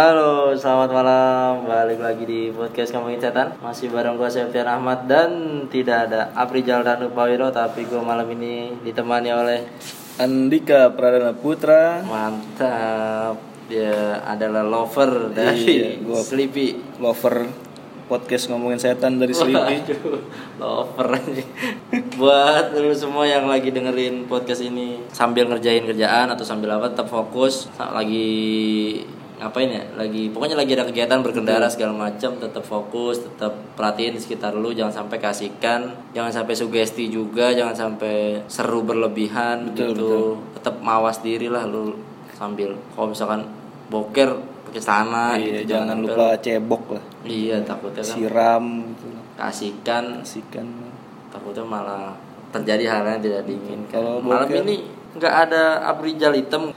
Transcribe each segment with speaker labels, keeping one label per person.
Speaker 1: Halo, selamat malam. Balik lagi di podcast Kamu Cetan. Masih bareng gue Septian Ahmad dan tidak ada Aprijal dan Upawiro, tapi gue malam ini ditemani oleh
Speaker 2: Andika Pradana Putra,
Speaker 1: mantap. Dia adalah lover dari
Speaker 2: Iya, gua-
Speaker 1: Sleepy.
Speaker 2: lover podcast ngomongin setan dari Sleepy.
Speaker 1: Waduh, lover aja. Buat lu semua yang lagi dengerin podcast ini sambil ngerjain kerjaan atau sambil apa tetap fokus Sa- lagi ngapain ya lagi pokoknya lagi ada kegiatan berkendara segala macam tetap fokus tetap perhatiin di sekitar lu jangan sampai kasihkan jangan sampai sugesti juga jangan sampai seru berlebihan
Speaker 2: Betul,
Speaker 1: gitu tetap mawas diri lah lu sambil kalau misalkan boker pakai sana
Speaker 2: Iya,
Speaker 1: gitu, sampai-
Speaker 2: jangan lupa cebok lah,
Speaker 1: iya takutnya kan
Speaker 2: siram gitu.
Speaker 1: kasihkan
Speaker 2: Kasihkan.
Speaker 1: takutnya malah terjadi hal yang tidak diinginkan.
Speaker 2: Kalau
Speaker 1: malam
Speaker 2: boker-
Speaker 1: ini nggak ada abrijal hitam.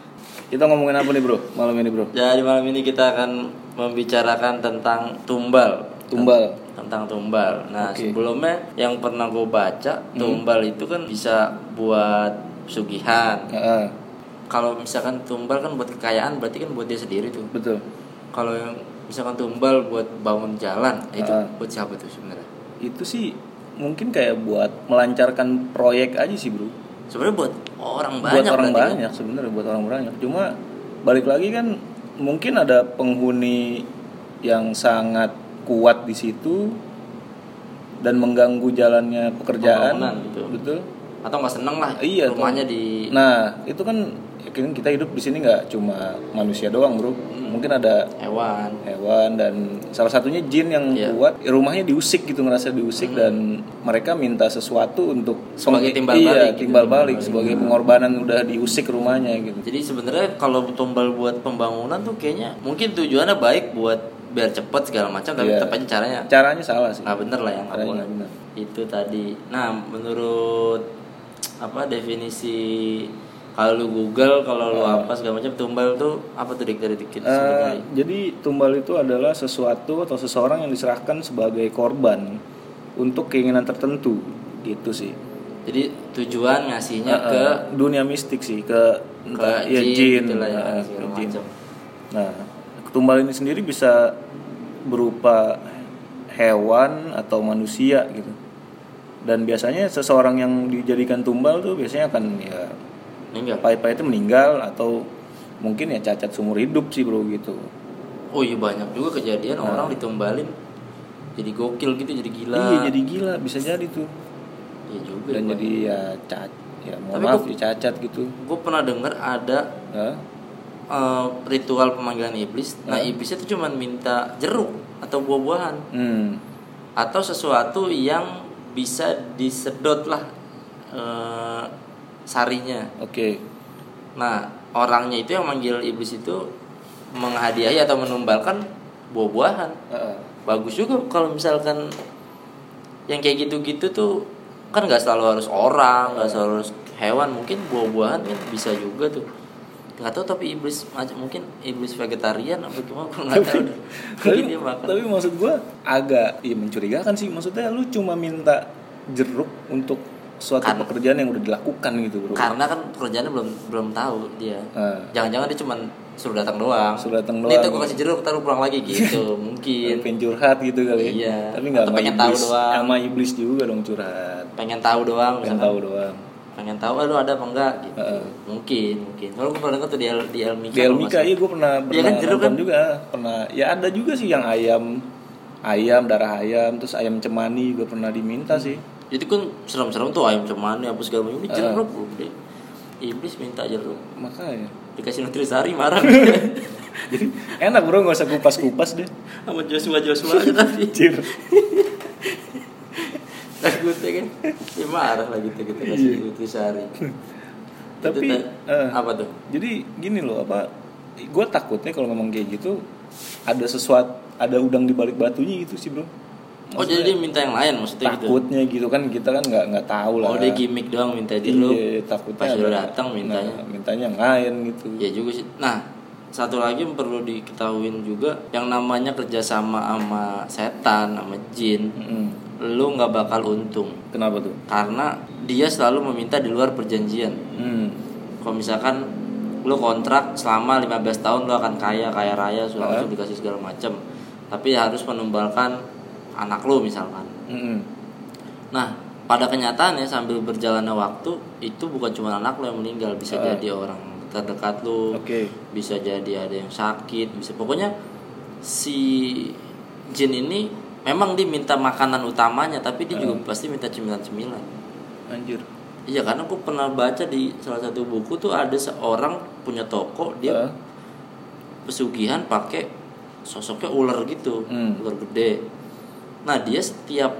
Speaker 2: Kita ngomongin apa nih, Bro? Malam ini, Bro.
Speaker 1: Jadi malam ini kita akan membicarakan tentang tumbal.
Speaker 2: Tumbal.
Speaker 1: Tentang tumbal. Nah
Speaker 2: Oke. Hmm.
Speaker 1: sebelumnya yang pernah gue baca tumbal itu kan bisa buat sugihan.
Speaker 2: Heeh,
Speaker 1: Kalau misalkan tumbal kan buat kekayaan berarti kan buat dia sendiri tuh.
Speaker 2: betul.
Speaker 1: Kalau yang misalkan tumbal buat bangun jalan itu
Speaker 2: Ah.
Speaker 1: buat siapa tuh sebenarnya?
Speaker 2: Itu sih mungkin kayak buat melancarkan proyek aja sih, Bro.
Speaker 1: Sebenarnya buat orang banyak.
Speaker 2: buat orang
Speaker 1: berarti kan?
Speaker 2: banyak sebenarnya buat orang banyak cuma balik lagi kan mungkin ada penghuni yang sangat kuat di situ dan mengganggu jalannya pekerjaan
Speaker 1: Pembangunan gitu.
Speaker 2: betul
Speaker 1: Atau nggak seneng lah
Speaker 2: Iya, tuh.
Speaker 1: rumahnya di
Speaker 2: nah itu kan ya kan kita hidup di sini nggak cuma manusia doang bro
Speaker 1: Hmm.
Speaker 2: mungkin ada
Speaker 1: hewan
Speaker 2: hewan dan salah satunya jin yang
Speaker 1: Iya. Hmm.
Speaker 2: kuat rumahnya diusik gitu ngerasa diusik dan mereka minta sesuatu untuk
Speaker 1: Sebagai
Speaker 2: meng-
Speaker 1: timbal
Speaker 2: iya,
Speaker 1: balik gitu.
Speaker 2: timbal balik sebagai pengorbanan udah diusik rumahnya gitu
Speaker 1: jadi sebenarnya kalau tumbal buat pembangunan tuh kayaknya mungkin tujuannya baik buat biar cepat segala macam tapi
Speaker 2: Iya.
Speaker 1: tetap aja caranya
Speaker 2: caranya salah sih Eh,
Speaker 1: nggak bener lah yang nggak
Speaker 2: Caranya
Speaker 1: boleh.
Speaker 2: nggak bener.
Speaker 1: itu tadi nah menurut apa definisi kalau lu Google kalau lu apa segala macam tumbal tuh apa tuh dik dari dikit
Speaker 2: Iya. Eh,
Speaker 1: sedikit lagi.
Speaker 2: jadi tumbal itu adalah sesuatu atau seseorang yang diserahkan sebagai korban untuk keinginan tertentu gitu sih
Speaker 1: jadi tujuan ngasihnya
Speaker 2: Eh,
Speaker 1: ke
Speaker 2: dunia mistik sih ke
Speaker 1: ke
Speaker 2: entah- ya,
Speaker 1: jin,
Speaker 2: jin,
Speaker 1: gitu lah ya,
Speaker 2: eh,
Speaker 1: segala
Speaker 2: jin.
Speaker 1: macam.
Speaker 2: Nah, tumbal ini sendiri bisa berupa hewan atau manusia gitu. Dan biasanya seseorang yang dijadikan tumbal tuh biasanya akan ya
Speaker 1: meninggal
Speaker 2: pahit-pahitnya meninggal atau mungkin ya cacat seumur hidup sih bro gitu.
Speaker 1: oh iya banyak juga kejadian orang ditumbalin jadi gokil gitu jadi gila
Speaker 2: Nah. Iya jadi gila bisa jadi tuh.
Speaker 1: Iya juga
Speaker 2: Dan
Speaker 1: gua-
Speaker 2: jadi ya cacat ya mohon
Speaker 1: Tapi
Speaker 2: maaf
Speaker 1: gua-
Speaker 2: dicacat gitu.
Speaker 1: gue pernah dengar ada
Speaker 2: Hah?
Speaker 1: eh, ritual pemanggilan iblis nah
Speaker 2: Iya.
Speaker 1: iblisnya itu cuma minta jeruk atau buah-buahan
Speaker 2: Hmm.
Speaker 1: atau sesuatu yang bisa disedot lah eh, sarinya
Speaker 2: Oke.
Speaker 1: nah orangnya itu yang manggil iblis itu menghadiahi atau menumbalkan buah-buahan
Speaker 2: Heeh.
Speaker 1: bagus juga kalau misalkan yang kayak gitu-gitu tuh kan nggak selalu harus orang nggak selalu harus hewan mungkin buah-buahan kan bisa juga tuh nggak tahu tapi iblis macam mungkin iblis vegetarian apa gimana aku nggak tahu deh.
Speaker 2: tapi,
Speaker 1: mungkin dia makan
Speaker 2: tapi maksud gua agak ya mencurigakan sih maksudnya lu cuma minta jeruk untuk suatu
Speaker 1: Kan.
Speaker 2: pekerjaan yang udah dilakukan gitu bro
Speaker 1: karena kan pekerjaannya belum belum tahu dia
Speaker 2: Eh.
Speaker 1: jangan-jangan dia cuma suruh datang doang
Speaker 2: Suruh datang
Speaker 1: Nih,
Speaker 2: doang.
Speaker 1: tuh gue kasih jeruk taruh pulang lagi gitu
Speaker 2: Lu
Speaker 1: mungkin
Speaker 2: pengen curhat gitu kali
Speaker 1: Iya.
Speaker 2: tapi nggak
Speaker 1: Atau
Speaker 2: sama
Speaker 1: pengen tahu
Speaker 2: iblis
Speaker 1: doang.
Speaker 2: sama iblis juga dong curhat
Speaker 1: pengen tahu doang
Speaker 2: pengen
Speaker 1: misalkan.
Speaker 2: tahu doang
Speaker 1: pengen tahu eh, lu ada apa enggak gitu
Speaker 2: Heeh.
Speaker 1: mungkin mungkin kalau gue pernah denger tuh di, El- di Elmika
Speaker 2: di
Speaker 1: kalau
Speaker 2: Elmika
Speaker 1: nggak
Speaker 2: iya gue pernah
Speaker 1: Iya
Speaker 2: pernah
Speaker 1: kan, jeruk
Speaker 2: nonton
Speaker 1: kan?
Speaker 2: juga pernah ya ada juga sih yang ayam ayam darah ayam terus ayam cemani juga pernah diminta sih
Speaker 1: salah. itu kan serem-serem tuh ayam cemani apa segala macam ini
Speaker 2: Heeh.
Speaker 1: jeruk bro Gede. iblis minta jeruk
Speaker 2: makanya
Speaker 1: dikasih nutrisari marah
Speaker 2: jadi enak bro nggak usah kupas kupas deh Gitu.
Speaker 1: sama Joshua Joshua aja tapi
Speaker 2: Anjir.
Speaker 1: takutnya kan dia marah lah gitu kita
Speaker 2: Iya.
Speaker 1: kasih nutrisari
Speaker 2: Tapi,
Speaker 1: Itu tuh,
Speaker 2: eh.
Speaker 1: apa tuh
Speaker 2: Jadi gini loh apa gue takutnya kalau ngomong kayak gitu ada sesuatu ada udang di balik batunya gitu sih bro.
Speaker 1: oh jadi dia minta yang lain maksudnya gitu
Speaker 2: takutnya gitu. kan kita kan nggak nggak tahu lah.
Speaker 1: oh dia gimmick doang minta jeruk
Speaker 2: Iya, takutnya
Speaker 1: pas udah
Speaker 2: ada-
Speaker 1: datang mintanya
Speaker 2: Nah, mintanya yang lain gitu.
Speaker 1: Ya juga sih. Nah, satu lagi yang perlu diketahuin juga yang namanya kerjasama sama setan, sama jin,
Speaker 2: Mm-mm.
Speaker 1: lu nggak bakal untung
Speaker 2: Kenapa tuh?
Speaker 1: karena dia selalu meminta di luar perjanjian.
Speaker 2: Hmm.
Speaker 1: Kalau misalkan lu kontrak selama 15 tahun lu akan kaya kaya raya sudah
Speaker 2: Ah.
Speaker 1: langsung dikasih segala macam tapi harus menumbalkan anak lu misalkan
Speaker 2: Mm-mm.
Speaker 1: nah pada kenyataannya sambil berjalannya waktu itu bukan cuma anak lu yang meninggal bisa
Speaker 2: Ah.
Speaker 1: jadi orang terdekat lu
Speaker 2: Oke.
Speaker 1: bisa jadi ada yang sakit bisa pokoknya si jin ini memang dia minta makanan utamanya tapi dia juga pasti minta cemilan-cemilan
Speaker 2: Anjir.
Speaker 1: Iya karena aku pernah baca di salah satu buku tuh ada seorang punya toko dia
Speaker 2: Ah.
Speaker 1: pesugihan pakai sosoknya ular gitu,
Speaker 2: Hmm.
Speaker 1: ular gede. Nah dia setiap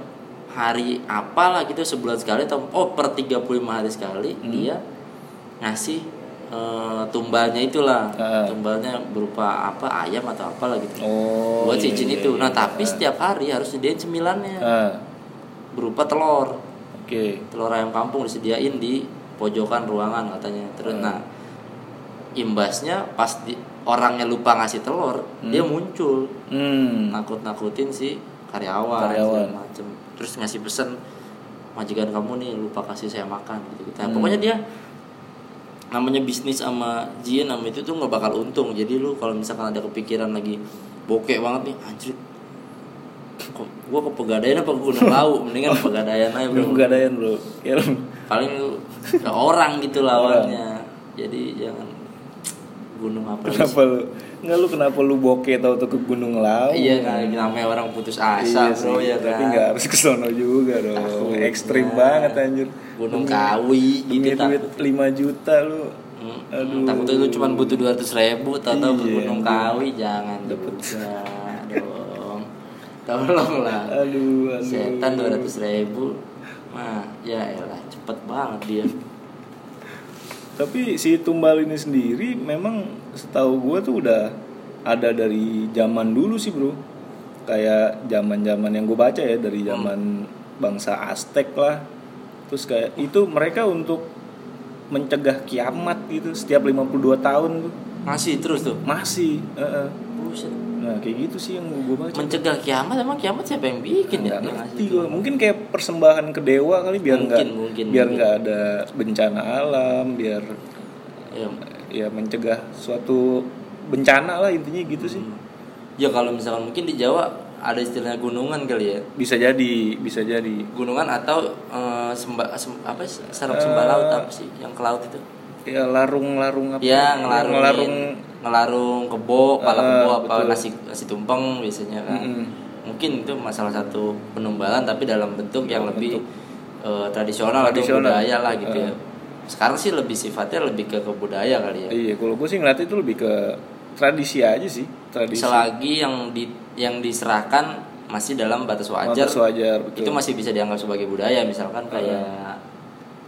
Speaker 1: hari apalah gitu sebulan sekali atau oh per 35 hari sekali
Speaker 2: Hmm.
Speaker 1: dia ngasih eh, tumbalnya itulah,
Speaker 2: Ah.
Speaker 1: tumbalnya berupa apa ayam atau apalah gitu.
Speaker 2: Oh.
Speaker 1: buat
Speaker 2: iya,
Speaker 1: cincin
Speaker 2: iya,
Speaker 1: itu.
Speaker 2: iya.
Speaker 1: Nah tapi setiap hari harus disediain cemilannya
Speaker 2: Ah,
Speaker 1: berupa telur
Speaker 2: Oke.
Speaker 1: telur ayam kampung disediain di pojokan ruangan katanya terus nah imbasnya pas di- orangnya lupa ngasih telur dia muncul
Speaker 2: Hmm.
Speaker 1: nakut-nakutin si karyawan,
Speaker 2: Karyawan.
Speaker 1: segala macem. terus ngasih pesan majikan kamu nih lupa kasih saya makan gitu gitu pokoknya dia namanya bisnis sama jin sama itu tuh nggak bakal untung jadi lu kalau misalkan ada kepikiran lagi bokek banget nih anjir kok gua ke pegadaian apa ke gunung lawu mendingan pegadaian aja bro
Speaker 2: Belum gadaian, Bro. Ya, lu-
Speaker 1: paling lu ke orang gitu
Speaker 2: Orang.
Speaker 1: lawannya jadi jangan gunung apa lu
Speaker 2: Iya. kenapa lu? Enggak lu kenapa lu bokeh tau tuh ke Gunung Lawu?
Speaker 1: iya kan namanya orang putus
Speaker 2: Iya
Speaker 1: asa
Speaker 2: sih,
Speaker 1: bro ya
Speaker 2: tapi
Speaker 1: kan
Speaker 2: nggak harus ke sono juga dong.
Speaker 1: Takutnya.
Speaker 2: Ekstrim banget anjir.
Speaker 1: gunung
Speaker 2: Demi-
Speaker 1: kawi
Speaker 2: Demi
Speaker 1: gitu
Speaker 2: duit
Speaker 1: takut
Speaker 2: 5 juta lu
Speaker 1: Hmm,
Speaker 2: Aduh.
Speaker 1: takutnya lu cuma butuh 200 ribu atau ke
Speaker 2: Iya,
Speaker 1: gunung
Speaker 2: aduh.
Speaker 1: kawi jangan dapet dong tolonglah
Speaker 2: aduh aduh.
Speaker 1: setan 200 ribu mah ya elah cepet banget dia
Speaker 2: Tapi si tumbal ini sendiri memang setahu gua tuh udah ada dari zaman dulu sih, Bro. Kayak zaman-zaman yang gue baca ya
Speaker 1: Hmm.
Speaker 2: dari zaman bangsa Aztek lah. Terus kayak itu mereka untuk mencegah kiamat gitu setiap 52 tahun tuh.
Speaker 1: masih terus tuh
Speaker 2: Masih, heeh.
Speaker 1: Buset.
Speaker 2: Nah, kayak gitu sih yang gue baca.
Speaker 1: mencegah kiamat emang kiamat siapa yang bikin ya
Speaker 2: Nggak
Speaker 1: Yang
Speaker 2: ngerti
Speaker 1: ngasih itu?
Speaker 2: gua. Mungkin kayak persembahan ke dewa kali biar
Speaker 1: Mungkin,
Speaker 2: nggak
Speaker 1: mungkin,
Speaker 2: biar
Speaker 1: mungkin.
Speaker 2: nggak ada bencana alam, biar
Speaker 1: Ya,
Speaker 2: ya mencegah suatu bencana lah intinya gitu sih.
Speaker 1: Ya kalau misalkan mungkin di Jawa ada istilahnya gunungan kali ya.
Speaker 2: Bisa jadi, bisa jadi.
Speaker 1: Gunungan atau eh, semba, sem- apa sih?
Speaker 2: Eh,
Speaker 1: Sarap sembah laut apa sih yang ke laut itu?
Speaker 2: Ya larung-larung apa?
Speaker 1: Ya ngelarungin
Speaker 2: Ngelarung,
Speaker 1: ngelarung kebo, kepala
Speaker 2: Ah,
Speaker 1: kebo apa
Speaker 2: betul.
Speaker 1: nasi nasi tumpeng biasanya kan.
Speaker 2: Mm-mm.
Speaker 1: Mungkin itu masalah satu penumbalan tapi dalam bentuk yang
Speaker 2: Dalam
Speaker 1: lebih eh, tradisional,
Speaker 2: Tradisional.
Speaker 1: atau budaya lah gitu
Speaker 2: Ah.
Speaker 1: ya. Sekarang sih lebih sifatnya lebih ke kebudaya kali ya.
Speaker 2: Iya, kalau gue sih ngeliat itu lebih ke tradisi aja sih, tradisi.
Speaker 1: Selagi yang di yang diserahkan masih dalam batas wajar.
Speaker 2: Batas wajar, betul.
Speaker 1: itu masih bisa dianggap sebagai budaya misalkan kayak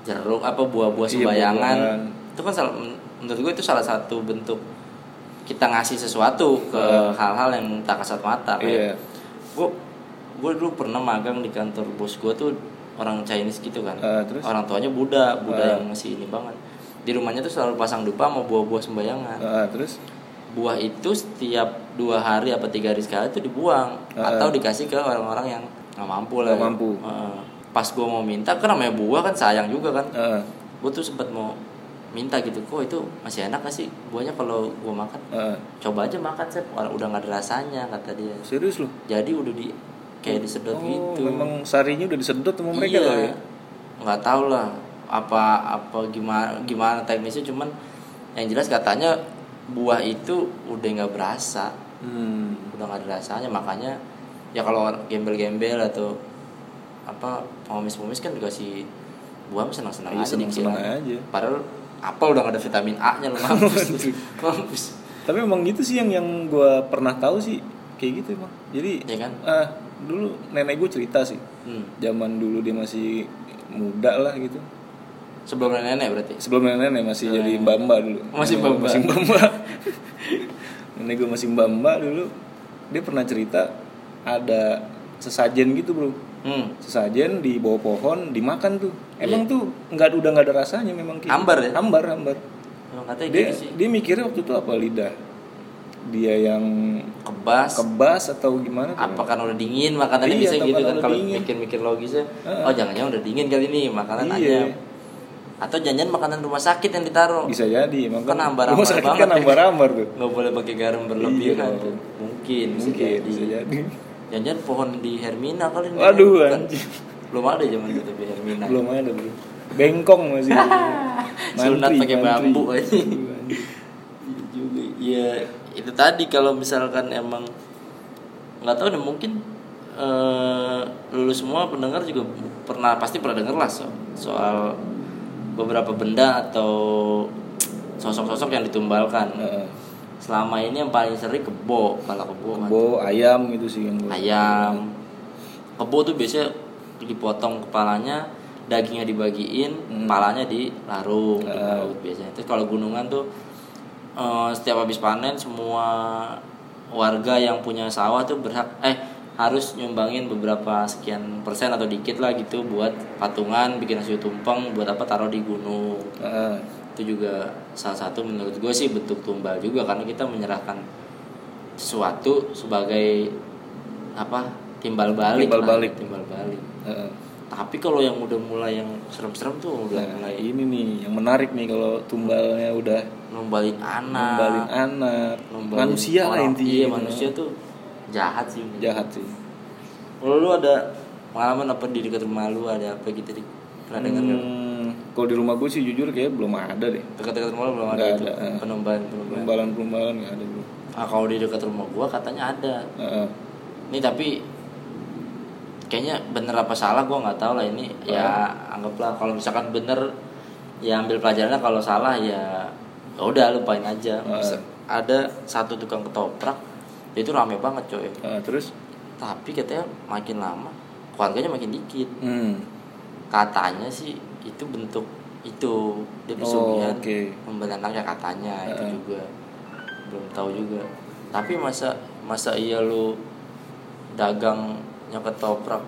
Speaker 1: jeruk apa buah-buah
Speaker 2: Iya,
Speaker 1: sembayangan
Speaker 2: buah-buahan.
Speaker 1: itu kan salah- men- menurut gue itu salah satu bentuk kita ngasih sesuatu ke hal-hal yang tak kasat mata
Speaker 2: Iya.
Speaker 1: kayak gue gue dulu pernah magang di kantor bos gue tuh orang Chinese gitu kan
Speaker 2: Eh, terus?
Speaker 1: orang tuanya Buddha Buddha
Speaker 2: Eh.
Speaker 1: yang masih ini banget di rumahnya tuh selalu pasang dupa sama buah-buah sembayangan
Speaker 2: Ah, terus
Speaker 1: buah itu setiap dua hari apa tiga hari sekali itu dibuang
Speaker 2: Heeh.
Speaker 1: atau dikasih ke orang-orang yang nggak mampu lah
Speaker 2: Ah. Nggak
Speaker 1: ya.
Speaker 2: mampu.
Speaker 1: Heeh. pas gue mau minta karena namanya buah kan sayang juga kan
Speaker 2: ah,
Speaker 1: gue tuh sempat mau minta gitu kok itu masih enak gak sih buahnya kalau gue makan
Speaker 2: ah.
Speaker 1: coba aja makan sep orang udah nggak ada rasanya kata dia
Speaker 2: serius loh.
Speaker 1: jadi udah di kayak disedot
Speaker 2: Oh,
Speaker 1: gitu
Speaker 2: memang sarinya udah disedot sama mereka
Speaker 1: iya.
Speaker 2: loh ya.
Speaker 1: nggak tahu lah apa apa gimana gimana teknisnya cuman yang jelas katanya buah itu udah nggak berasa
Speaker 2: Hmm.
Speaker 1: udah nggak ada rasanya makanya ya kalau orang gembel-gembel atau apa pengemis-pengemis kan dikasih buah mah senang-senang
Speaker 2: Iya,
Speaker 1: aja
Speaker 2: senang-senang
Speaker 1: dikira.
Speaker 2: aja.
Speaker 1: padahal apel udah nggak ada vitamin A nya lu mampus mampus
Speaker 2: Tapi emang gitu sih yang yang gue pernah tahu sih kayak gitu emang. Jadi
Speaker 1: ya kan
Speaker 2: ah, dulu nenek gue cerita sih,
Speaker 1: hmm.
Speaker 2: zaman dulu dia masih muda lah gitu.
Speaker 1: sebelum nenek berarti
Speaker 2: Sebelum nenek masih jadi mbak mbak dulu.
Speaker 1: Ah, iya. Masih
Speaker 2: Nenek gua
Speaker 1: mbak-mbak.
Speaker 2: Masih mbak mbak. nenek gue masih mbak mbak dulu. Dia pernah cerita ada sesajen gitu bro.
Speaker 1: hmm.
Speaker 2: Sesajen di bawah pohon dimakan tuh. Emang tuh nggak udah nggak ada rasanya memang. kayak gitu.
Speaker 1: Ambar Iya. ya?
Speaker 2: Ambar ambar.
Speaker 1: Emang katanya
Speaker 2: Dia
Speaker 1: gitu sih
Speaker 2: dia mikirnya waktu itu apa lidah. Dia yang
Speaker 1: kebas
Speaker 2: kebas atau gimana? tuh.
Speaker 1: apa karena udah dingin makanannya
Speaker 2: Iya,
Speaker 1: bisa
Speaker 2: atau
Speaker 1: gitu
Speaker 2: karena
Speaker 1: kan
Speaker 2: udah
Speaker 1: kalau
Speaker 2: dingin.
Speaker 1: mikir-mikir logisnya oh jangan-jangan udah dingin kali ini makanannya
Speaker 2: Iya.
Speaker 1: atau janjian makanan rumah sakit yang ditaruh
Speaker 2: bisa jadi emang
Speaker 1: Kan ambar-ambar
Speaker 2: rumah sakit
Speaker 1: banget
Speaker 2: kan
Speaker 1: ya.
Speaker 2: ambar-ambar tuh
Speaker 1: nggak boleh pakai garam
Speaker 2: Iya,
Speaker 1: berlebihan
Speaker 2: dong.
Speaker 1: tuh. mungkin bisa
Speaker 2: mungkin
Speaker 1: jadi.
Speaker 2: bisa jadi
Speaker 1: janjian pohon di Hermina kali ini
Speaker 2: Waduh,
Speaker 1: Bukan.
Speaker 2: anjing.
Speaker 1: belum ada zaman itu di Hermina
Speaker 2: belum ada bro bengkong masih
Speaker 1: Sunat
Speaker 2: Mantri,
Speaker 1: pakai
Speaker 2: mantri.
Speaker 1: bambu aja. Iya juga. Iya, itu tadi kalau misalkan emang nggak tahu deh mungkin eh lu semua pendengar juga pernah pasti pernah denger lah so- soal beberapa benda atau sosok-sosok yang ditumbalkan.
Speaker 2: Heeh.
Speaker 1: Selama ini yang paling sering kebo, kalau kebo, kan.
Speaker 2: Kebo, ayam gitu sih yang gua-
Speaker 1: ayam. Kebo tuh biasanya dipotong kepalanya, dagingnya dibagiin,
Speaker 2: Hmm.
Speaker 1: kepalanya dilarung di
Speaker 2: Ah.
Speaker 1: laut biasanya. Terus kalau gunungan tuh eh, setiap habis panen semua warga yang punya sawah tuh berhak eh harus nyumbangin beberapa sekian persen atau dikit lah gitu buat patungan, bikin hasil tumpeng, buat apa taruh di gunung
Speaker 2: Heeh.
Speaker 1: itu juga salah satu menurut gue sih bentuk tumbal juga karena kita menyerahkan sesuatu sebagai apa timbal balik
Speaker 2: Timbal
Speaker 1: lah,
Speaker 2: balik.
Speaker 1: timbal balik
Speaker 2: Heeh.
Speaker 1: tapi kalau yang udah mulai yang serem-serem tuh udah
Speaker 2: eh. Nah,
Speaker 1: mulai
Speaker 2: ini nih yang menarik nih kalau tumbalnya udah
Speaker 1: nombalin anak
Speaker 2: ngembalin anak,
Speaker 1: nombalin
Speaker 2: manusia lah
Speaker 1: Nah. orang.
Speaker 2: intinya.
Speaker 1: iya
Speaker 2: gitu. Ya.
Speaker 1: manusia tuh jahat sih
Speaker 2: jahat sih.
Speaker 1: kalau lu ada pengalaman apa di dekat rumah lu ada apa gitu di pernah dengar nggak?
Speaker 2: Hmm, kalau di rumah gue sih jujur kayak belum ada deh.
Speaker 1: dekat-dekat rumah lu belum ada
Speaker 2: Nggak
Speaker 1: itu
Speaker 2: ada, eh.
Speaker 1: penombalan penombalan
Speaker 2: Tumbalan-tumbalan nggak ada bro. Eh,
Speaker 1: ah kalau di dekat rumah gua katanya ada
Speaker 2: Heeh.
Speaker 1: Ini tapi kayaknya bener apa salah gua nggak tahu lah ini ya anggaplah kalau misalkan bener ya ambil pelajarannya kalau salah ya ya udah lupain aja.
Speaker 2: Ah.
Speaker 1: Misal- Ada satu tukang ketoprak dia itu rame banget coy.
Speaker 2: Heeh, eh, terus,
Speaker 1: Tapi katanya makin lama keluarganya makin dikit.
Speaker 2: hmm,
Speaker 1: Katanya sih itu bentuk itu dia
Speaker 2: Oh,
Speaker 1: pesugihan
Speaker 2: oke.
Speaker 1: pembelian anak ya katanya itu
Speaker 2: Ah.
Speaker 1: juga belum tahu juga tapi masa masa iya lu dagangnya ketoprak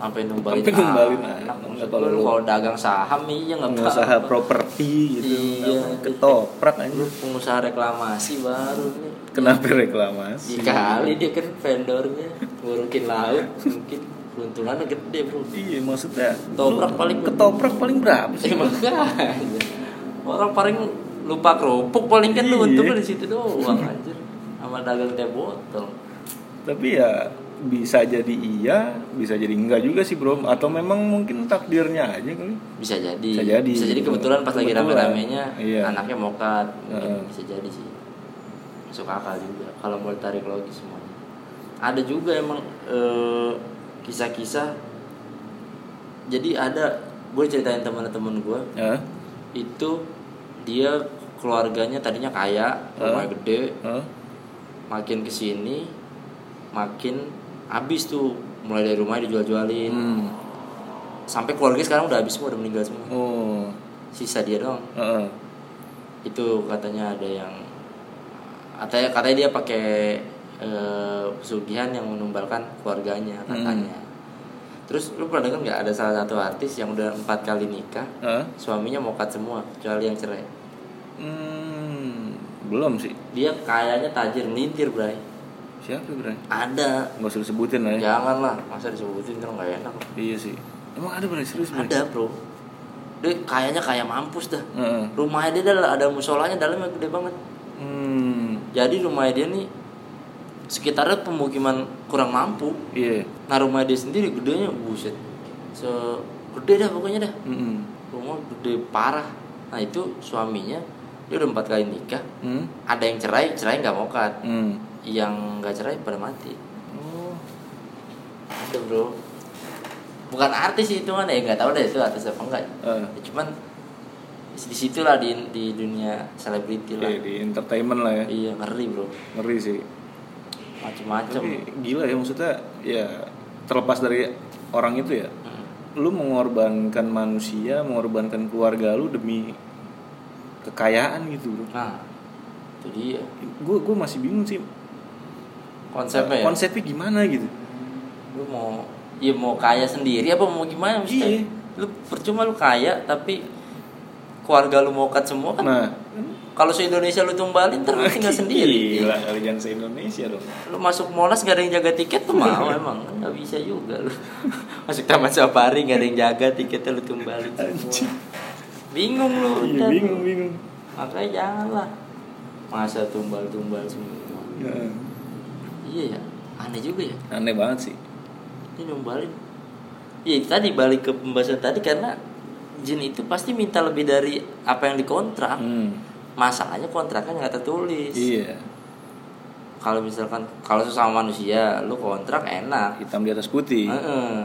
Speaker 1: sampai numbalin
Speaker 2: Sampai numbalin anak.
Speaker 1: anak
Speaker 2: Nggak
Speaker 1: maksud
Speaker 2: kalau
Speaker 1: gua lu
Speaker 2: lu-
Speaker 1: kalau dagang saham iya nggak
Speaker 2: pengusaha
Speaker 1: apa-apa.
Speaker 2: properti gitu,
Speaker 1: Iya.
Speaker 2: kenapa ketoprak aja.
Speaker 1: Lu pengusaha reklamasi baru nih
Speaker 2: Kenapa reklamasi?
Speaker 1: Iya kali dia kan vendornya ngurukin laut mungkin keuntungannya gede bro
Speaker 2: Iya maksudnya.
Speaker 1: Ketoprak
Speaker 2: lu
Speaker 1: paling-
Speaker 2: ketoprak paling berapa sih?
Speaker 1: Eh, makanya orang paling lupa kerupuk paling kan lu
Speaker 2: Iya.
Speaker 1: untungnya di situ doang anjir sama dagang teh botol
Speaker 2: Tapi ya bisa jadi iya, bisa jadi enggak juga sih bro. Atau memang mungkin takdirnya aja kali.
Speaker 1: bisa jadi
Speaker 2: Bisa jadi.
Speaker 1: kebetulan pas lagi
Speaker 2: Kebetulan.
Speaker 1: rame-ramenya
Speaker 2: Iya.
Speaker 1: anaknya mokat mungkin
Speaker 2: Heeh.
Speaker 1: bisa jadi sih masuk akal juga kalau mau tarik logis semuanya ada juga emang eh, kisah-kisah jadi ada gue ceritain teman-teman gue
Speaker 2: Heeh.
Speaker 1: itu dia keluarganya tadinya kaya rumah
Speaker 2: Heeh.
Speaker 1: gede
Speaker 2: Heeh.
Speaker 1: makin kesini makin habis tuh mulai dari rumahnya dijual-jualin
Speaker 2: Hmm.
Speaker 1: sampai keluarga sekarang udah habis semua udah meninggal semua
Speaker 2: Oh.
Speaker 1: sisa dia doang
Speaker 2: Heeh.
Speaker 1: itu katanya ada yang katanya katanya dia pakai eh, pesugihan yang menumbalkan keluarganya katanya terus lu pernah dengar nggak ada salah satu artis yang udah empat kali nikah
Speaker 2: Heeh.
Speaker 1: suaminya mokat semua kecuali yang cerai
Speaker 2: Hmm, belum sih.
Speaker 1: dia kayaknya tajir melintir bray
Speaker 2: Siapa Bray?
Speaker 1: ada
Speaker 2: Gak usah disebutin lah ya.
Speaker 1: janganlah masa disebutin kan nggak enak
Speaker 2: Iya sih. Emang ada Bray serius Bray?
Speaker 1: ada bro dia kayaknya kayak mampus dah
Speaker 2: Heeh.
Speaker 1: rumahnya dia ada, ada musolanya dalamnya gede banget
Speaker 2: Hmm.
Speaker 1: jadi rumahnya dia nih sekitarnya pemukiman kurang mampu
Speaker 2: Iya.
Speaker 1: nah rumah dia sendiri gedenya buset se gede dah pokoknya dah
Speaker 2: Mm-mm.
Speaker 1: rumah gede parah nah itu suaminya dia udah empat kali nikah
Speaker 2: Hmm.
Speaker 1: ada yang cerai cerai nggak mokat
Speaker 2: Hmm.
Speaker 1: yang nggak cerai pada mati
Speaker 2: Oh.
Speaker 1: ada bro bukan artis sih itu mana ya nggak tahu deh itu artis apa enggak
Speaker 2: Eh.
Speaker 1: Ya, cuman di situ lah di di dunia selebriti lah
Speaker 2: Iya, di entertainment lah ya.
Speaker 1: iya ngeri bro
Speaker 2: Ngeri sih.
Speaker 1: macem-macem
Speaker 2: Tapi gila ya maksudnya ya terlepas dari orang itu ya.
Speaker 1: Mm.
Speaker 2: Lu mengorbankan manusia, mengorbankan keluarga lu demi kekayaan gitu, Bro.
Speaker 1: nah itu dia
Speaker 2: Gue gue masih bingung sih
Speaker 1: konsepnya ya
Speaker 2: konsepnya gimana gitu.
Speaker 1: lu mau ya mau kaya sendiri apa mau gimana maksudnya
Speaker 2: Iya.
Speaker 1: lu percuma lu kaya tapi keluarga lu mau cut semua kan
Speaker 2: Nah, Iya,
Speaker 1: kalau se Indonesia lu tumbalin terus tinggal sendiri
Speaker 2: Gila, kali jangan se-Indonesia dong.
Speaker 1: lu masuk monas gak ada yang jaga tiket tuh mau emang nggak bisa juga lu masuk taman safari gak ada yang jaga tiketnya lu tumbalin semua
Speaker 2: Anjing.
Speaker 1: bingung lu
Speaker 2: Iya,
Speaker 1: udah lu.
Speaker 2: bingung bingung.
Speaker 1: makanya janganlah masa tumbal-tumbal semua
Speaker 2: Heeh.
Speaker 1: iya ya aneh juga ya
Speaker 2: Nah, Aneh banget sih.
Speaker 1: ini numbalin iya itu tadi balik ke pembahasan tadi karena jin itu pasti minta lebih dari apa yang dikontrak
Speaker 2: Hmm.
Speaker 1: masalahnya kontraknya nggak tertulis
Speaker 2: Iya.
Speaker 1: kalau misalkan kalau sesama manusia lu kontrak enak
Speaker 2: Hitam di atas putih.
Speaker 1: Heeh.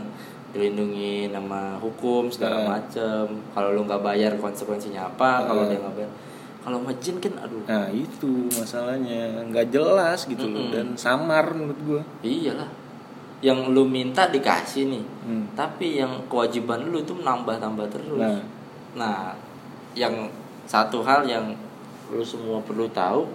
Speaker 1: dilindungi nama hukum segala
Speaker 2: Heeh.
Speaker 1: macem kalau lu nggak bayar konsekuensinya apa kalau
Speaker 2: Heeh.
Speaker 1: dia nggak bayar kalau sama jin kan aduh
Speaker 2: Nah itu masalahnya nggak jelas gitu loh
Speaker 1: Mm-mm.
Speaker 2: dan samar menurut gua.
Speaker 1: iyalah yang lu minta dikasih nih
Speaker 2: Hmm.
Speaker 1: tapi yang kewajiban lu itu nambah-nambah terus
Speaker 2: Nah.
Speaker 1: nah. yang satu hal yang lu semua perlu tahu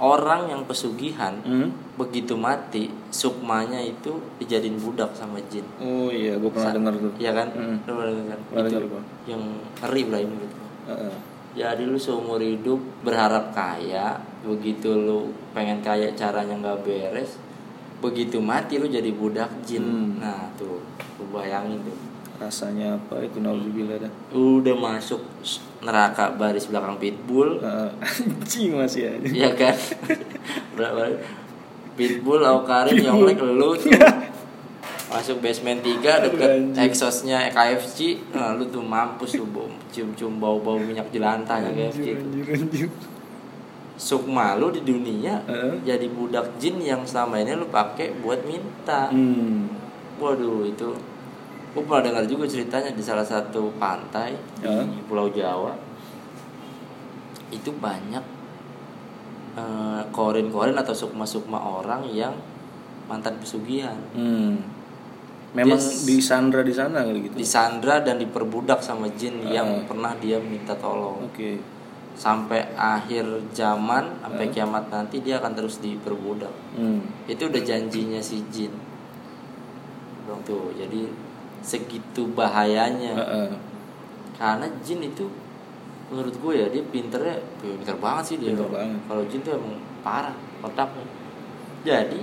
Speaker 1: orang yang pesugihan
Speaker 2: Hmm?
Speaker 1: begitu mati sukmanya itu dijadiin budak sama jin
Speaker 2: Oh iya, gua pernah dengar tuh.
Speaker 1: Iya kan?
Speaker 2: Mm.
Speaker 1: Lu pernah dengar kan?
Speaker 2: Pernah
Speaker 1: Itu
Speaker 2: dengar gua.
Speaker 1: yang ngeri lah ini menurut gua.
Speaker 2: Heeh.
Speaker 1: Jadi lu seumur hidup berharap kaya, begitu lu pengen kaya caranya nggak beres, begitu mati lu jadi budak jin.
Speaker 2: Hmm.
Speaker 1: Nah tuh, lu bayangin tuh.
Speaker 2: Rasanya apa itu nauzubillah dah.
Speaker 1: Udah masuk s- neraka baris belakang pitbull,
Speaker 2: Heeh. Anjing masih aja.
Speaker 1: ya kan? Berapa? Pitbull, Aukarin, Yonglek, lu tuh masuk basement 3 deket
Speaker 2: Aduh, Iya. anjing.
Speaker 1: exhaustnya KFC nah, lu tuh mampus lu bom cium-cium bau-bau minyak jelantah ya KFC tuh.
Speaker 2: Anjir, anjir, anjir.
Speaker 1: sukma lu di dunia
Speaker 2: Heeh.
Speaker 1: jadi budak jin yang selama ini lu pakai buat minta
Speaker 2: Hmm.
Speaker 1: waduh itu gue pernah dengar juga ceritanya di salah satu pantai
Speaker 2: Heeh.
Speaker 1: di pulau jawa itu banyak eh, korin-korin atau sukma-sukma orang yang mantan pesugihan
Speaker 2: Hmm. Memang
Speaker 1: Yes.
Speaker 2: disandra di sana kali gitu.
Speaker 1: disandra dan diperbudak sama jin yang
Speaker 2: Heeh.
Speaker 1: pernah dia minta tolong
Speaker 2: Oke.
Speaker 1: sampai akhir zaman sampai kiamat nanti dia akan terus diperbudak
Speaker 2: Hmm.
Speaker 1: itu udah janjinya si jin dong tuh jadi segitu bahayanya
Speaker 2: Heeh.
Speaker 1: karena jin itu menurut gue ya dia pinternya ya pinter banget sih dia
Speaker 2: Pinter banget.
Speaker 1: kalau jin tuh emang parah otaknya jadi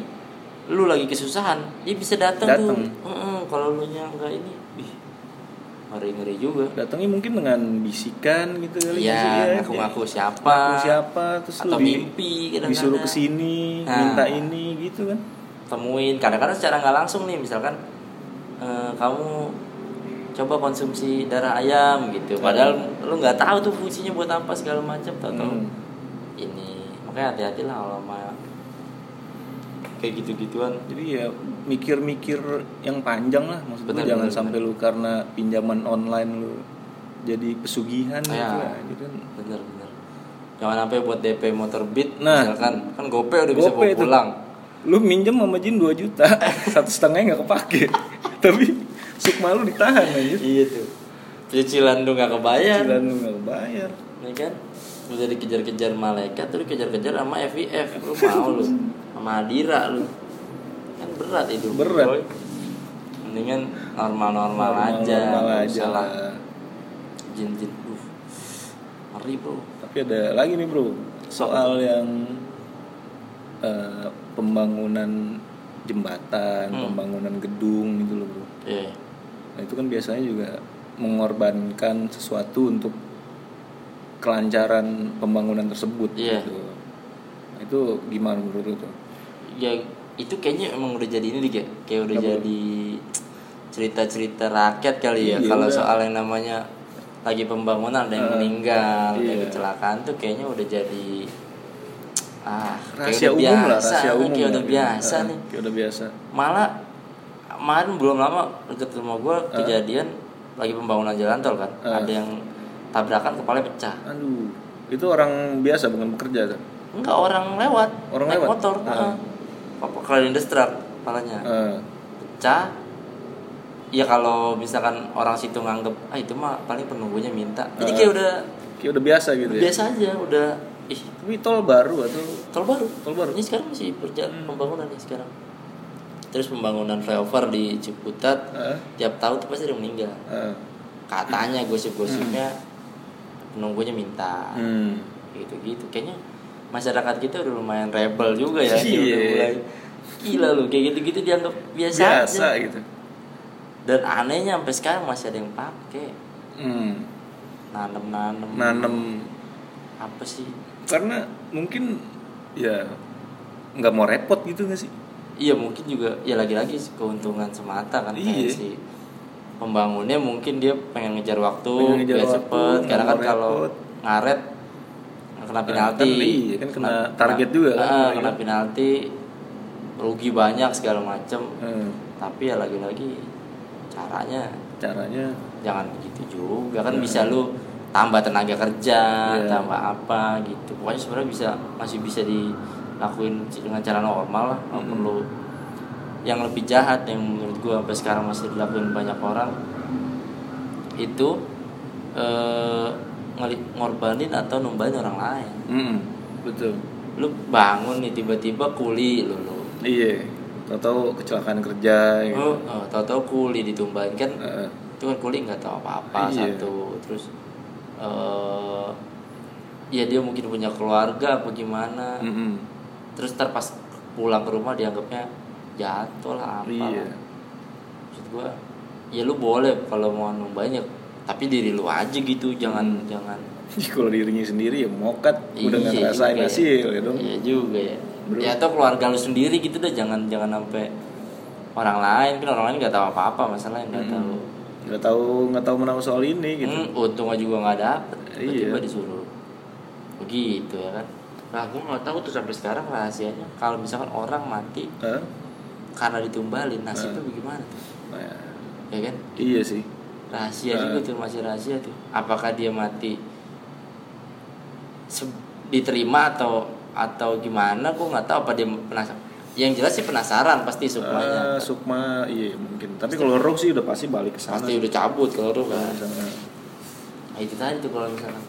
Speaker 1: lu lagi kesusahan dia bisa datang tuh
Speaker 2: Datang.
Speaker 1: Heeh, kalau lu nya nggak ini ih ngeri ngeri juga
Speaker 2: Datangnya mungkin dengan bisikan gitu kali
Speaker 1: Iya,
Speaker 2: sih,
Speaker 1: ngaku-ngaku
Speaker 2: Jadi,
Speaker 1: siapa.
Speaker 2: ngaku siapa terus lu
Speaker 1: atau
Speaker 2: di-
Speaker 1: mimpi kadang-kadang.
Speaker 2: disuruh ke sini,
Speaker 1: Nah.
Speaker 2: minta ini gitu kan.
Speaker 1: temuin kadang-kadang secara nggak langsung nih misalkan eh, kamu coba konsumsi darah ayam gitu
Speaker 2: Iya.
Speaker 1: padahal lu nggak tahu tuh fungsinya buat apa segala macam tau tau
Speaker 2: Hmm.
Speaker 1: ini makanya hati-hati lah kalau sama kayak gitu-gituan
Speaker 2: Jadi ya mikir-mikir yang panjang lah maksudnya
Speaker 1: Benar,
Speaker 2: jangan
Speaker 1: benar,
Speaker 2: sampai lu karena pinjaman online lu jadi pesugihan
Speaker 1: Ya.
Speaker 2: gitu lah. Jadi kan
Speaker 1: bener-bener jangan sampai buat DP motor beat
Speaker 2: Nah.
Speaker 1: misalkan kan gope udah bisa
Speaker 2: Gope
Speaker 1: bawa
Speaker 2: itu.
Speaker 1: pulang
Speaker 2: lu minjem sama jin 2 juta, satu setengahnya nggak kepake. Tapi sukma lu ditahan aja.
Speaker 1: iya tuh cicilan lu nggak kebayar
Speaker 2: Cicilan lu nggak bayar.
Speaker 1: ya kan udah dikejar-kejar malaikat terus dikejar-kejar sama FIF lu mau lu sama Adira lu kan berat itu
Speaker 2: Berat.
Speaker 1: boy. mendingan normal-normal aja
Speaker 2: Normal
Speaker 1: nggak
Speaker 2: aja
Speaker 1: usah lah
Speaker 2: lah.
Speaker 1: jin-jin uh, ngeri bro
Speaker 2: Tapi ada lagi nih bro soal yang eh, pembangunan jembatan,
Speaker 1: Hmm.
Speaker 2: pembangunan gedung gitu loh bro.
Speaker 1: Iya.
Speaker 2: Nah itu kan biasanya juga mengorbankan sesuatu untuk kelancaran pembangunan tersebut
Speaker 1: Iya.
Speaker 2: gitu. Nah, itu gimana menurut lu tuh?
Speaker 1: ya itu kayaknya emang udah jadi ini deh kayak kayak udah
Speaker 2: Apa?
Speaker 1: jadi cerita-cerita rakyat kali ya
Speaker 2: Iya,
Speaker 1: kalau
Speaker 2: udah.
Speaker 1: soal yang namanya lagi pembangunan ada yang
Speaker 2: Eh,
Speaker 1: meninggal ada
Speaker 2: iya.
Speaker 1: kecelakaan tuh kayaknya udah jadi ah
Speaker 2: Rahasia
Speaker 1: kayak udah
Speaker 2: umum lah,
Speaker 1: biasa,
Speaker 2: rahasia
Speaker 1: nih,
Speaker 2: umum.
Speaker 1: kayak
Speaker 2: lah,
Speaker 1: udah
Speaker 2: gitu.
Speaker 1: biasa
Speaker 2: Ah,
Speaker 1: nih
Speaker 2: Kayak udah biasa.
Speaker 1: malah kemarin belum lama deket rumah gue kejadian lagi pembangunan jalan tol kan
Speaker 2: Eh.
Speaker 1: ada yang tabrakan kepala pecah
Speaker 2: Aduh, itu orang biasa bukan pekerja kan?
Speaker 1: enggak orang lewat
Speaker 2: Orang
Speaker 1: naik
Speaker 2: lewat?
Speaker 1: motor
Speaker 2: Eh.
Speaker 1: heeh. apa kalian destruct kepalanya
Speaker 2: Ah,
Speaker 1: pecah ya kalau misalkan orang situ nganggep ah itu mah paling penunggunya minta jadi
Speaker 2: Ah.
Speaker 1: kayak udah
Speaker 2: kayak udah biasa gitu ya.
Speaker 1: biasa aja udah ih
Speaker 2: Tapi tol baru atau
Speaker 1: tol baru
Speaker 2: Tol baru.
Speaker 1: ini
Speaker 2: Hmm.
Speaker 1: sekarang masih berjalan pembangunan nih sekarang terus pembangunan flyover di Ciputat
Speaker 2: Ah,
Speaker 1: tiap tahun tuh pasti ada yang meninggal
Speaker 2: ah.
Speaker 1: katanya gosip-gosipnya penunggunya minta
Speaker 2: Hmm.
Speaker 1: gitu-gitu kayaknya masyarakat kita udah lumayan rebel juga ya dia udah
Speaker 2: Iya.
Speaker 1: mulai gila lu kayak gitu-gitu dianggap biasa,
Speaker 2: Biasa
Speaker 1: aja
Speaker 2: gitu.
Speaker 1: dan anehnya sampai sekarang masih ada yang pakai
Speaker 2: Hmm.
Speaker 1: nanem nanem
Speaker 2: Nah. nanem
Speaker 1: apa sih
Speaker 2: karena mungkin ya nggak mau repot gitu nggak sih
Speaker 1: iya mungkin juga ya lagi-lagi keuntungan semata kan kayak
Speaker 2: Iya.
Speaker 1: si pembangunnya mungkin dia pengen ngejar waktu
Speaker 2: Pengen ngejar
Speaker 1: biar
Speaker 2: waktu,
Speaker 1: cepet
Speaker 2: nggak
Speaker 1: karena
Speaker 2: mau
Speaker 1: kan kalau
Speaker 2: repot.
Speaker 1: ngaret kena
Speaker 2: Nah,
Speaker 1: penalti
Speaker 2: kan iya, kan kena target juga kan,
Speaker 1: ah,
Speaker 2: iya.
Speaker 1: kena penalti rugi banyak segala macem
Speaker 2: Hmm,
Speaker 1: tapi ya lagi-lagi caranya
Speaker 2: caranya
Speaker 1: jangan begitu juga kan bisa lu tambah tenaga kerja
Speaker 2: Iya.
Speaker 1: tambah apa gitu pokoknya sebenarnya bisa masih bisa dilakuin dengan cara normal lah nggak
Speaker 2: Mm-mm.
Speaker 1: perlu yang lebih jahat yang menurut gua sampai sekarang masih dilakuin banyak orang itu eh, ngeli- ngorbanin atau numbahin orang lain
Speaker 2: Mm-mm, betul
Speaker 1: lu bangun nih tiba-tiba kuli lu, lu.
Speaker 2: iya atau kecelakaan kerja Eh, gitu.
Speaker 1: Oh, oh, tahu-tahu kuli ditumbahin kan
Speaker 2: Heeh.
Speaker 1: itu kan kulit nggak tahu apa-apa
Speaker 2: Iya.
Speaker 1: satu terus eh ya dia mungkin punya keluarga apa gimana
Speaker 2: Mm-mm.
Speaker 1: terus ntar pas pulang ke rumah dianggapnya jatuh lah apa
Speaker 2: iya
Speaker 1: lah. maksud gua ya lu boleh kalau mau anu banyak tapi diri lu aja gitu jangan jangan
Speaker 2: Ih, kalau dirinya sendiri ya mokat Hmm. udah nggak
Speaker 1: Iya
Speaker 2: ngerasain
Speaker 1: juga ya.
Speaker 2: hasil ya dong
Speaker 1: iya juga ya
Speaker 2: Belum.
Speaker 1: ya atau keluarga lu sendiri gitu deh jangan jangan sampai orang lain kan orang lain nggak tahu apa-apa masalahnya nggak
Speaker 2: Mm-mm.
Speaker 1: tahu
Speaker 2: nggak tahu nggak tahu menahu soal ini gitu
Speaker 1: Hmm, untungnya juga nggak dapet tiba-tiba
Speaker 2: Iya.
Speaker 1: disuruh begitu ya kan nah gue nggak tahu tuh sampai sekarang rahasianya kalau misalkan orang mati
Speaker 2: Hah?
Speaker 1: karena ditumbalin nasibnya bagaimana tuh
Speaker 2: Nah,
Speaker 1: ya kan
Speaker 2: iya sih
Speaker 1: rahasia
Speaker 2: Eh.
Speaker 1: juga tuh masih rahasia tuh apakah dia mati se- diterima atau atau gimana gue nggak tahu apa dia penasaran yang jelas sih penasaran pasti
Speaker 2: Ah,
Speaker 1: semuanya
Speaker 2: Sukma iya mungkin tapi kalau rock sih udah pasti balik ke sana
Speaker 1: pasti udah cabut kalau lu kan
Speaker 2: Sana.
Speaker 1: Nah, itu tadi tuh kalau misalkan.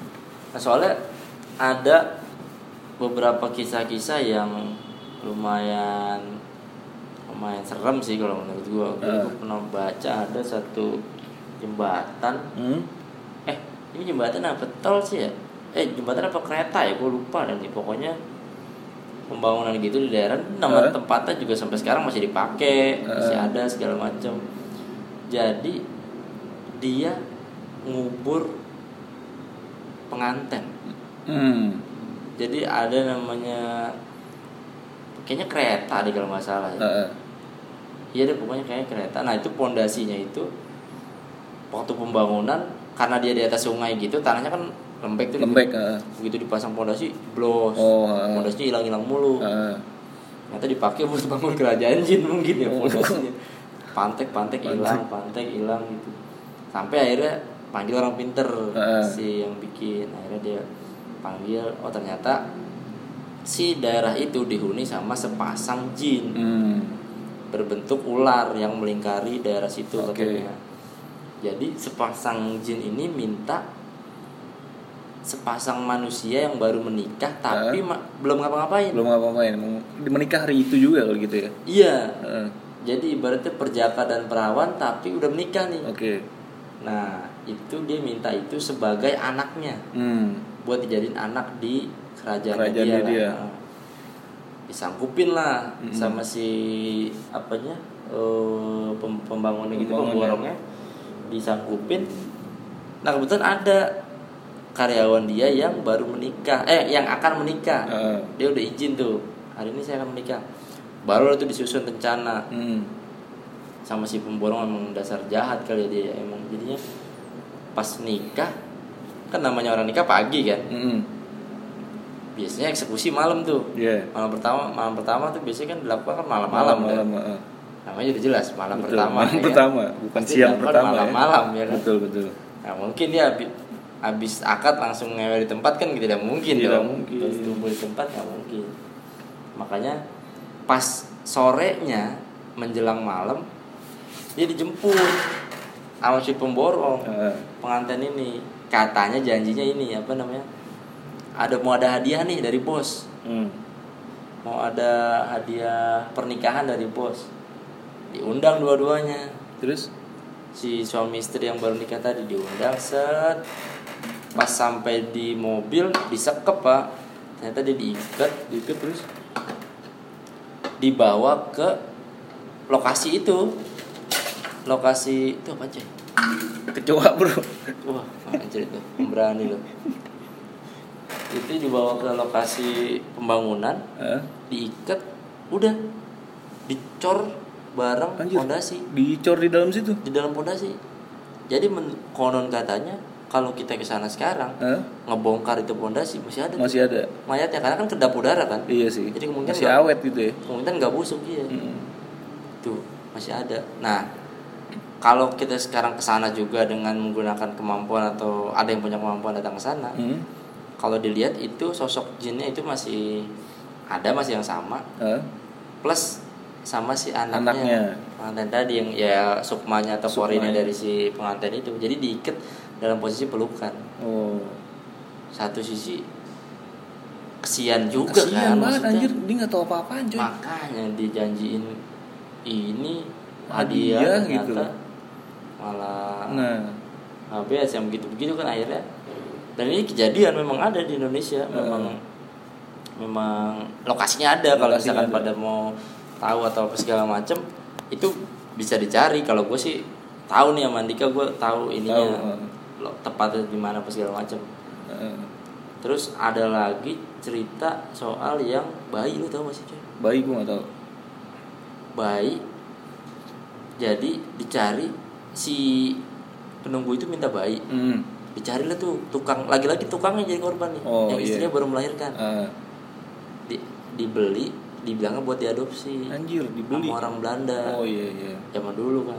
Speaker 1: Nah, soalnya ada beberapa kisah-kisah yang lumayan lumayan serem sih kalau menurut gua. Gua
Speaker 2: Eh.
Speaker 1: gua pernah baca ada satu jembatan.
Speaker 2: Hmm?
Speaker 1: Eh, ini jembatan apa tol sih ya? Eh, jembatan apa kereta ya? Gua lupa nanti pokoknya pembangunan gitu di daerah nama
Speaker 2: Eh.
Speaker 1: tempatnya juga sampai sekarang masih dipakai,
Speaker 2: Eh.
Speaker 1: masih ada segala macam. Jadi dia ngubur penganten.
Speaker 2: Hmm.
Speaker 1: Jadi ada namanya kayaknya kereta deh kalau nggak salah. ya.
Speaker 2: Ah, ah.
Speaker 1: Iya deh pokoknya kayaknya kereta. Nah itu pondasinya itu waktu pembangunan karena dia di atas sungai gitu tanahnya kan lembek tuh.
Speaker 2: lembek ah, ah.
Speaker 1: Begitu dipasang pondasi blos.
Speaker 2: Oh, ah.
Speaker 1: Pondasinya hilang-hilang mulu.
Speaker 2: Ah, ah.
Speaker 1: Ternyata dipakai buat bangun kerajaan jin mungkin ya
Speaker 2: Oh.
Speaker 1: pondasinya. Pantek-pantek
Speaker 2: Pantek.
Speaker 1: hilang, pantek hilang gitu. Sampai akhirnya panggil orang pinter
Speaker 2: Heeh.
Speaker 1: si yang bikin. Akhirnya dia panggil, oh ternyata si daerah itu dihuni sama sepasang jin
Speaker 2: Hmm.
Speaker 1: berbentuk ular yang melingkari daerah situ
Speaker 2: Oke.
Speaker 1: katanya. Jadi sepasang jin ini minta sepasang manusia yang baru menikah tapi
Speaker 2: Heeh.
Speaker 1: ma- belum ngapa-ngapain.
Speaker 2: belum ngapa-ngapain Emang menikah hari itu juga kalau gitu ya
Speaker 1: Iya,
Speaker 2: Ah,
Speaker 1: jadi ibaratnya perjaka dan perawan tapi udah menikah nih.
Speaker 2: oke
Speaker 1: Nah, itu dia minta itu sebagai anaknya
Speaker 2: hmm.
Speaker 1: buat dijadiin anak di kerajaan, dia.
Speaker 2: Kerajaan dia,
Speaker 1: lah.
Speaker 2: dia.
Speaker 1: Nah, Disangkupin lah
Speaker 2: Mm-mm.
Speaker 1: sama si apanya? eh, pem- pembangunnya gitu
Speaker 2: Pembangunnya.
Speaker 1: pemborongnya disangkupin. Nah, kebetulan ada karyawan dia yang baru menikah, eh yang akan menikah.
Speaker 2: Ah,
Speaker 1: Dia udah izin tuh. Hari ini saya akan menikah. Baru itu disusun rencana
Speaker 2: hmm.
Speaker 1: sama si pemborong emang dasar jahat kali ya dia emang jadinya pas nikah kan namanya orang nikah pagi kan
Speaker 2: Hmm.
Speaker 1: biasanya eksekusi malam tuh
Speaker 2: Iya.
Speaker 1: malam pertama malam pertama tuh biasanya kan dilakukan kan malam-malam kan.
Speaker 2: malam, ah, ah.
Speaker 1: namanya udah jelas malam
Speaker 2: Betul,
Speaker 1: pertama
Speaker 2: malam
Speaker 1: ya kan.
Speaker 2: pertama bukan
Speaker 1: Pasti
Speaker 2: siang
Speaker 1: dilakukan
Speaker 2: pertama ya.
Speaker 1: malam-malam ya kan
Speaker 2: betul betul
Speaker 1: nah mungkin dia habis, habis akad langsung ngewe di tempat kan tidak mungkin
Speaker 2: Tidak
Speaker 1: dong
Speaker 2: mungkin.
Speaker 1: Terus tumbuh di tempat nggak mungkin makanya pas sorenya menjelang malam dia dijemput sama si pemborong
Speaker 2: Ah,
Speaker 1: pengantin ini katanya janjinya ini apa namanya ada mau ada hadiah nih dari bos
Speaker 2: hmm.
Speaker 1: mau ada hadiah pernikahan dari bos diundang dua-duanya
Speaker 2: terus
Speaker 1: si suami istri yang baru nikah tadi diundang set pas sampai di mobil disekep pak ternyata dia diikat
Speaker 2: diikat terus
Speaker 1: dibawa ke lokasi itu lokasi itu apa cuy
Speaker 2: kecoa bro
Speaker 1: Wah, anjir itu berani loh. Itu dibawa ke lokasi pembangunan,
Speaker 2: Hah?
Speaker 1: diikat, udah dicor bareng
Speaker 2: Anjir.
Speaker 1: fondasi
Speaker 2: dicor di dalam situ
Speaker 1: di dalam fondasi. Jadi men- konon katanya kalau kita ke sana sekarang
Speaker 2: Hah?
Speaker 1: ngebongkar itu fondasi masih ada
Speaker 2: Eh, masih ada
Speaker 1: mayatnya karena kan kedap udara kan.
Speaker 2: iya sih
Speaker 1: Jadi kemungkinan
Speaker 2: masih
Speaker 1: nggak-
Speaker 2: awet gitu ya
Speaker 1: Kemungkinan nggak busuk iya.
Speaker 2: Mm.
Speaker 1: Tuh, masih ada. Nah, kalau kita sekarang ke sana juga dengan menggunakan kemampuan atau ada yang punya kemampuan datang ke sana,
Speaker 2: Hmm.
Speaker 1: kalau dilihat itu sosok jinnya itu masih ada masih yang sama
Speaker 2: Hah?
Speaker 1: plus sama si
Speaker 2: Anaknya.
Speaker 1: anaknya, pengantin tadi yang ya sukmanya atau
Speaker 2: Sukmanya.
Speaker 1: porinya dari si pengantin itu jadi diikat dalam posisi pelukan
Speaker 2: oh
Speaker 1: satu sisi kesian juga
Speaker 2: kasihan
Speaker 1: kan
Speaker 2: banget
Speaker 1: maksudnya.
Speaker 2: anjir dia nggak tahu apa-apaan coy
Speaker 1: makanya dijanjiin ini
Speaker 2: Hadiah
Speaker 1: hadiah,
Speaker 2: gitu.
Speaker 1: ternyata malah
Speaker 2: nah
Speaker 1: HBS yang begitu-begitu kan akhirnya dan ini kejadian memang ada di Indonesia
Speaker 2: Eh.
Speaker 1: memang memang lokasinya ada kalau
Speaker 2: Lokasinya
Speaker 1: misalkan
Speaker 2: ada.
Speaker 1: pada mau tahu atau apa segala macem itu bisa dicari kalau gue sih tahu nih sama Andika gue tahu
Speaker 2: tahu eh.
Speaker 1: ininya lo tepatnya di mana apa segala macem
Speaker 2: Heeh.
Speaker 1: terus ada lagi cerita soal yang bayi lu tahu masih cuy
Speaker 2: bayi gua nggak tahu
Speaker 1: bayi jadi dicari si penunggu itu minta bayi
Speaker 2: Hmm.
Speaker 1: dicarilah tuh tukang lagi-lagi tukang yang jadi korban nih
Speaker 2: Oh,
Speaker 1: yang istrinya
Speaker 2: iya.
Speaker 1: baru melahirkan
Speaker 2: Ah,
Speaker 1: Di- dibeli dibilangnya buat diadopsi
Speaker 2: anjir dibeli
Speaker 1: sama orang Belanda
Speaker 2: oh iya iya
Speaker 1: zaman dulu kan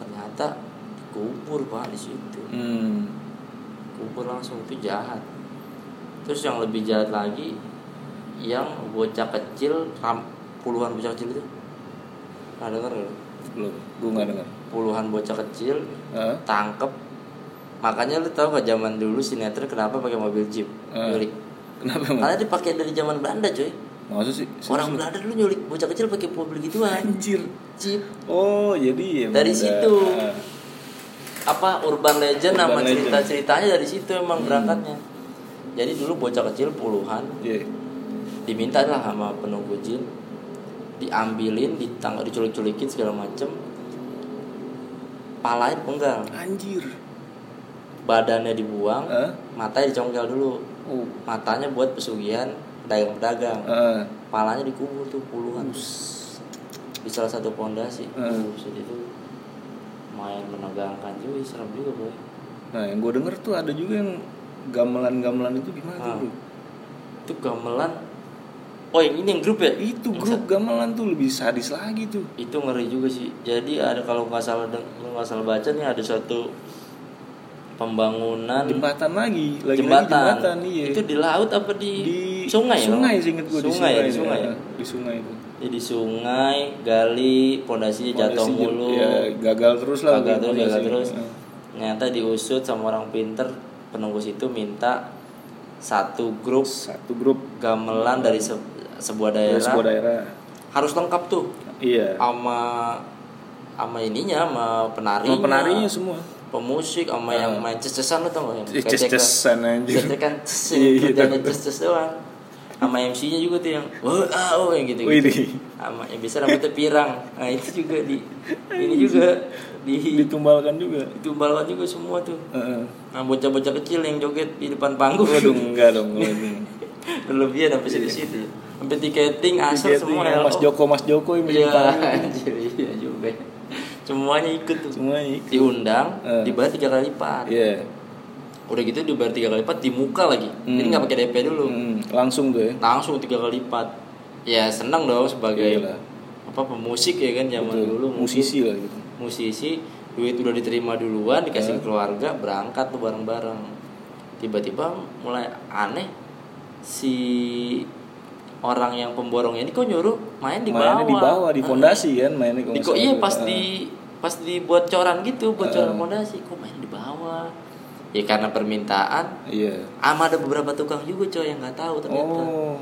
Speaker 1: ternyata dikubur pak di situ
Speaker 2: hmm.
Speaker 1: kubur langsung itu jahat terus yang lebih jahat lagi yang bocah kecil ram- puluhan bocah kecil itu nah, denger nggak lu?
Speaker 2: belum gua nggak dengar Eh,
Speaker 1: puluhan bocah kecil
Speaker 2: Heeh.
Speaker 1: tangkep makanya lu tau gak zaman dulu sinetron kenapa pakai mobil jeep
Speaker 2: Eh.
Speaker 1: nyulik
Speaker 2: kenapa emang
Speaker 1: karena dipakai dari zaman Belanda cuy
Speaker 2: maksud sih Hmm. Serius
Speaker 1: orang
Speaker 2: lu?
Speaker 1: Belanda dulu nyulik bocah kecil pakai mobil gituan
Speaker 2: anjir
Speaker 1: jeep
Speaker 2: oh jadi emang
Speaker 1: Dari
Speaker 2: udah-
Speaker 1: situ.
Speaker 2: Ah.
Speaker 1: apa urban legend
Speaker 2: Urban
Speaker 1: nama
Speaker 2: legend. Hmm.
Speaker 1: cerita ceritanya dari situ emang berangkatnya jadi dulu bocah kecil puluhan
Speaker 2: Iya.
Speaker 1: diminta lah sama penunggu jin diambilin ditang diculik-culikin segala macem palain penggal
Speaker 2: anjir
Speaker 1: badannya dibuang
Speaker 2: Heeh.
Speaker 1: matanya dicongkel dulu
Speaker 2: oh
Speaker 1: matanya buat pesugihan pedagang-pedagang
Speaker 2: Ah.
Speaker 1: palanya dikubur tuh puluhan di salah satu pondasi
Speaker 2: Hmm.
Speaker 1: Buset, itu main menegangkan juga serem juga boy
Speaker 2: Nah, yang gue denger tuh ada juga yang gamelan-gamelan itu gimana tuh,
Speaker 1: Ah.
Speaker 2: bro?
Speaker 1: itu gamelan oh yang ini yang grup ya
Speaker 2: Itu
Speaker 1: Yang
Speaker 2: grup gamelan tuh lebih sadis lagi tuh.
Speaker 1: itu ngeri juga sih jadi ada kalau nggak salah deng- lu nggak salah baca nih ada suatu pembangunan
Speaker 2: Jembatan lagi, lagi
Speaker 1: jembatan,
Speaker 2: jembatan, iya.
Speaker 1: itu di laut apa di,
Speaker 2: di
Speaker 1: sungai ya?
Speaker 2: sungai sih inget gue
Speaker 1: sungai, ya,
Speaker 2: di
Speaker 1: di sungai ya?
Speaker 2: ya. di sungai itu
Speaker 1: Jadi sungai, gali, pondasinya jatuh
Speaker 2: Pondasi jem-
Speaker 1: mulu.
Speaker 2: ya, gagal terus lah
Speaker 1: Gagal terus,
Speaker 2: pondasi.
Speaker 1: gagal terus.
Speaker 2: Heeh.
Speaker 1: Ternyata diusut sama orang pinter, penunggu situ minta satu grup
Speaker 2: satu grup
Speaker 1: gamelan dari se- sebuah daerah.
Speaker 2: dari sebuah daerah
Speaker 1: Harus lengkap tuh
Speaker 2: iya
Speaker 1: sama sama ininya, sama penarinya.
Speaker 2: sama penarinya semua
Speaker 1: pemusik sama yang main ces-cesan lo tau gak yang
Speaker 2: Ih,
Speaker 1: kecek lo?
Speaker 2: ces-cesan anjir
Speaker 1: Ces-ces kan ces,
Speaker 2: Eh, Iya, iya,
Speaker 1: kerjanya
Speaker 2: tahu.
Speaker 1: ces-ces doang sama MC-nya juga tuh yang oh ah oh yang gitu gitu
Speaker 2: Widih.
Speaker 1: sama yang biasa rambutnya pirang nah itu juga di ini juga di
Speaker 2: ditumbalkan juga
Speaker 1: ditumbalkan juga semua tuh
Speaker 2: Heeh.
Speaker 1: nah bocah-bocah kecil yang joget di depan panggung
Speaker 2: waduh enggak dong kalau ini.
Speaker 1: berlebihan sampai situ-situ sampai tiketing asal
Speaker 2: Diketing
Speaker 1: semua
Speaker 2: sama Mas
Speaker 1: LO.
Speaker 2: Joko Mas Joko yang
Speaker 1: iya
Speaker 2: bikin panggung.
Speaker 1: anjir iya juga semuanya ikut tuh
Speaker 2: semua ikut.
Speaker 1: diundang
Speaker 2: Eh.
Speaker 1: dibayar tiga kali lipat
Speaker 2: Iya.
Speaker 1: udah gitu dibayar tiga kali lipat di muka lagi jadi
Speaker 2: Hmm.
Speaker 1: nggak pakai DP dulu
Speaker 2: Hmm, langsung tuh ya.
Speaker 1: langsung tiga kali lipat ya senang dong sebagai
Speaker 2: Iyalah.
Speaker 1: apa pemusik ya kan zaman
Speaker 2: Iya Betul.
Speaker 1: dulu mungkin.
Speaker 2: musisi lah gitu.
Speaker 1: musisi duit udah diterima duluan dikasih
Speaker 2: Eh.
Speaker 1: ke keluarga berangkat tuh bareng-bareng tiba-tiba mulai aneh si orang yang pemborong ini kok nyuruh main di
Speaker 2: mainnya
Speaker 1: bawah
Speaker 2: di bawah di
Speaker 1: Ah.
Speaker 2: fondasi kan mainnya
Speaker 1: Kan
Speaker 2: kalau
Speaker 1: Di-
Speaker 2: nggak
Speaker 1: kok
Speaker 2: salah
Speaker 1: iya
Speaker 2: tuh.
Speaker 1: pas
Speaker 2: Ah.
Speaker 1: di pas dibuat coran gitu buat
Speaker 2: Eh.
Speaker 1: coran fondasi kok main di bawah ya karena permintaan
Speaker 2: Iya.
Speaker 1: ama ada beberapa tukang juga coy yang nggak tahu ternyata
Speaker 2: Oh.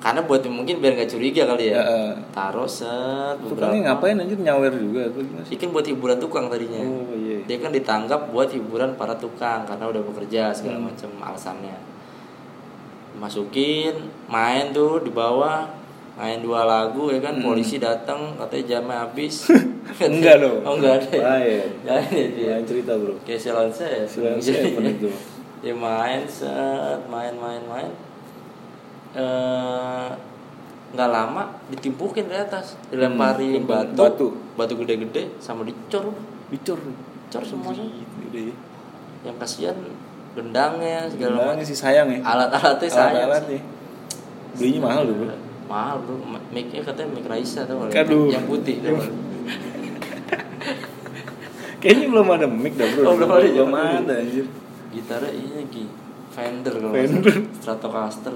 Speaker 1: karena buat mungkin biar nggak curiga kali ya
Speaker 2: Heeh.
Speaker 1: taruh set
Speaker 2: eh. Tukangnya
Speaker 1: beberapa
Speaker 2: ngapain anjir nyawer juga atau gimana sih?
Speaker 1: Dia kan buat hiburan tukang tadinya
Speaker 2: Oh iya.
Speaker 1: dia kan ditanggap buat hiburan para tukang karena udah bekerja segala
Speaker 2: Hmm.
Speaker 1: macam alasannya masukin main tuh di bawah main dua lagu ya kan polisi datang katanya jamnya habis
Speaker 2: Hmm. enggak dong
Speaker 1: oh enggak ada ya?
Speaker 2: Lain.
Speaker 1: Jangan ya, dia. ya?
Speaker 2: Lain cerita bro
Speaker 1: kayak silon saya
Speaker 2: Silent Seven itu.
Speaker 1: Iya. dia main set main main main eh nggak lama ditimpukin ke atas dilemparin
Speaker 2: Hmm,
Speaker 1: batu,
Speaker 2: batu.
Speaker 1: batu gede-gede sama dicor
Speaker 2: bicor
Speaker 1: dicor semuanya
Speaker 2: udah ya
Speaker 1: yang kasihan gendangnya segala
Speaker 2: Gimana sih sayang ya
Speaker 1: alat-alatnya saya
Speaker 2: Alat-alatnya. belinya mahal tuh bro
Speaker 1: mahal bro mic-nya katanya mic Raisa tuh
Speaker 2: Aduh.
Speaker 1: yang putih tuh
Speaker 2: Yang- kayaknya belum ada mic dah bro
Speaker 1: Oh, belum ada,
Speaker 2: belum
Speaker 1: zaman dulu.
Speaker 2: ada anjir
Speaker 1: gitarnya ini lagi Fender kalau nggak
Speaker 2: Fender.
Speaker 1: salah. Stratocaster